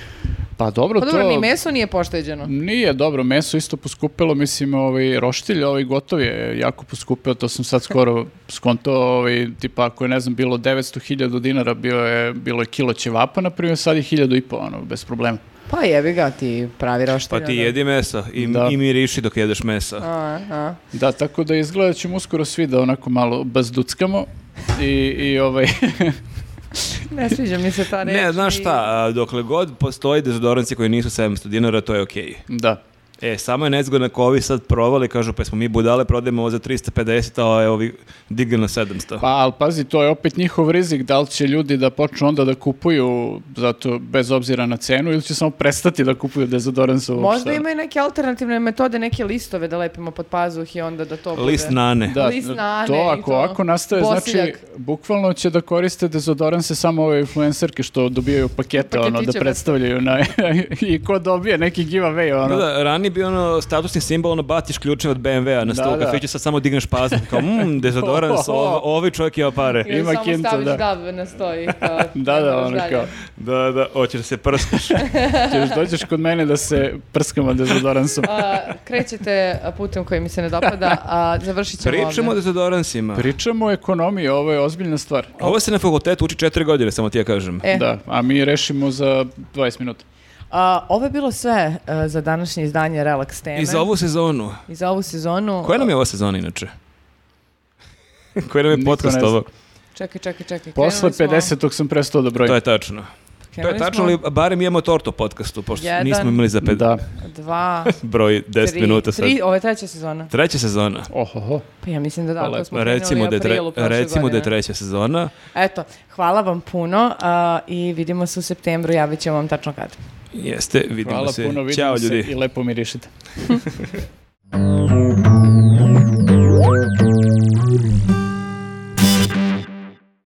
Speaker 2: Pa dobro,
Speaker 4: Pa dobro,
Speaker 2: to...
Speaker 4: ni meso nije pošteđeno.
Speaker 2: Nije dobro, meso isto poskupilo, mislim, ovaj, roštilj, ovaj gotov je jako poskupio, to sam sad skoro skonto, ovaj, tipa ako je, ne znam, bilo 900.000 dinara, bio je, bilo je kilo ćevapa, na primjer, sad je 1000 i po, ono, bez problema.
Speaker 4: Pa jebi ga ti pravi roštilj.
Speaker 1: Pa ti
Speaker 4: onda.
Speaker 1: jedi mesa i,
Speaker 2: Da.
Speaker 1: i miriši dok jedeš mesa.
Speaker 4: A, a.
Speaker 2: Da, tako da izgleda ćemo uskoro svi da onako malo bazduckamo i, i ovaj...
Speaker 4: Ne sviđa mi se ta reč.
Speaker 1: Ne, znaš
Speaker 4: i-
Speaker 1: šta, a, dokle god postoji dezodoranci koji nisu 700 dinara, to je okej.
Speaker 2: da.
Speaker 1: E, samo je nezgodno ako ovi sad provali, kažu, pa smo mi budale, prodajemo ovo za 350, a evo vi digli na 700.
Speaker 2: Pa, ali pazi, to je opet njihov rizik, da li će ljudi da počnu onda da kupuju, zato bez obzira na cenu, ili će samo prestati da kupuju dezodorans uopšte.
Speaker 4: Možda imaju neke alternativne metode, neke listove da lepimo pod pazuh i onda da to bude.
Speaker 1: List nane.
Speaker 2: Da,
Speaker 4: List nane
Speaker 2: to
Speaker 4: i
Speaker 2: ako
Speaker 4: to.
Speaker 2: ovako nastave, znači,
Speaker 4: Bosiljak.
Speaker 2: bukvalno će da koriste dezodoranse samo ove influencerke što dobijaju pakete, ono, da
Speaker 4: Paketiće,
Speaker 2: predstavljaju na, i ko dobije neki giveaway,
Speaker 1: Da,
Speaker 2: ono.
Speaker 1: da, ranije bi ono statusni simbol, ono batiš ključe od BMW-a na stolu
Speaker 2: da.
Speaker 1: kafiću, sad samo digneš pazu, kao, mmm, dezodorans, ovo, ovaj čovjek ima pare.
Speaker 4: Ili
Speaker 2: Ima
Speaker 4: samo
Speaker 2: kinta,
Speaker 4: staviš
Speaker 2: da.
Speaker 4: dab na stoji. Kao,
Speaker 2: Da, da,
Speaker 4: moraš
Speaker 2: ono
Speaker 4: dalje.
Speaker 2: kao,
Speaker 1: Da, da, hoćeš da se prskaš.
Speaker 2: ćeš dođeš kod mene da se prskamo dezodoransom.
Speaker 4: A, krećete putem koji mi se ne dopada, a završit ćemo
Speaker 1: Pričamo o
Speaker 4: ovde.
Speaker 1: dezodoransima.
Speaker 2: Pričamo o ekonomiji, ovo je ozbiljna stvar.
Speaker 1: Ovo se na fakultetu uči četiri godine, samo ti ja kažem.
Speaker 4: E.
Speaker 2: Da, a mi rešimo za 20 minuta.
Speaker 4: A, ovo je bilo sve e, za današnje izdanje Relax teme.
Speaker 1: I za ovu sezonu.
Speaker 4: I za ovu sezonu.
Speaker 1: Koja nam je ova sezona inače? Koji nam je
Speaker 2: Niko ne
Speaker 1: podcast
Speaker 2: zna.
Speaker 1: ovo?
Speaker 4: Čekaj, čekaj, čekaj.
Speaker 2: Posle
Speaker 4: krenuli smo-
Speaker 2: 50 sam prestao da brojim.
Speaker 1: To je tačno. To je
Speaker 4: krenuli
Speaker 1: tačno,
Speaker 4: smo-
Speaker 1: ali barem imamo torto podcastu, pošto
Speaker 4: Jedan.
Speaker 1: nismo imali za pet
Speaker 2: Da.
Speaker 4: Dva,
Speaker 1: broj 10
Speaker 4: tri,
Speaker 1: minuta sad.
Speaker 4: tri, ovo je treća sezona.
Speaker 1: Treća sezona.
Speaker 2: Ohoho.
Speaker 4: Pa ja mislim da da, ako smo
Speaker 1: Recimo
Speaker 4: krenuli
Speaker 1: da, je
Speaker 4: u
Speaker 1: tre-
Speaker 4: aprilu prošle
Speaker 1: recimo da je
Speaker 4: godine.
Speaker 1: treća sezona.
Speaker 4: Eto, hvala vam puno a, i vidimo se u septembru, javit ćemo vam tačno kad.
Speaker 1: Jeste, vidimo
Speaker 2: Hvala
Speaker 1: se.
Speaker 2: puno, vidimo
Speaker 1: Ćao
Speaker 2: se
Speaker 1: ljudi.
Speaker 2: i lepo mirišite.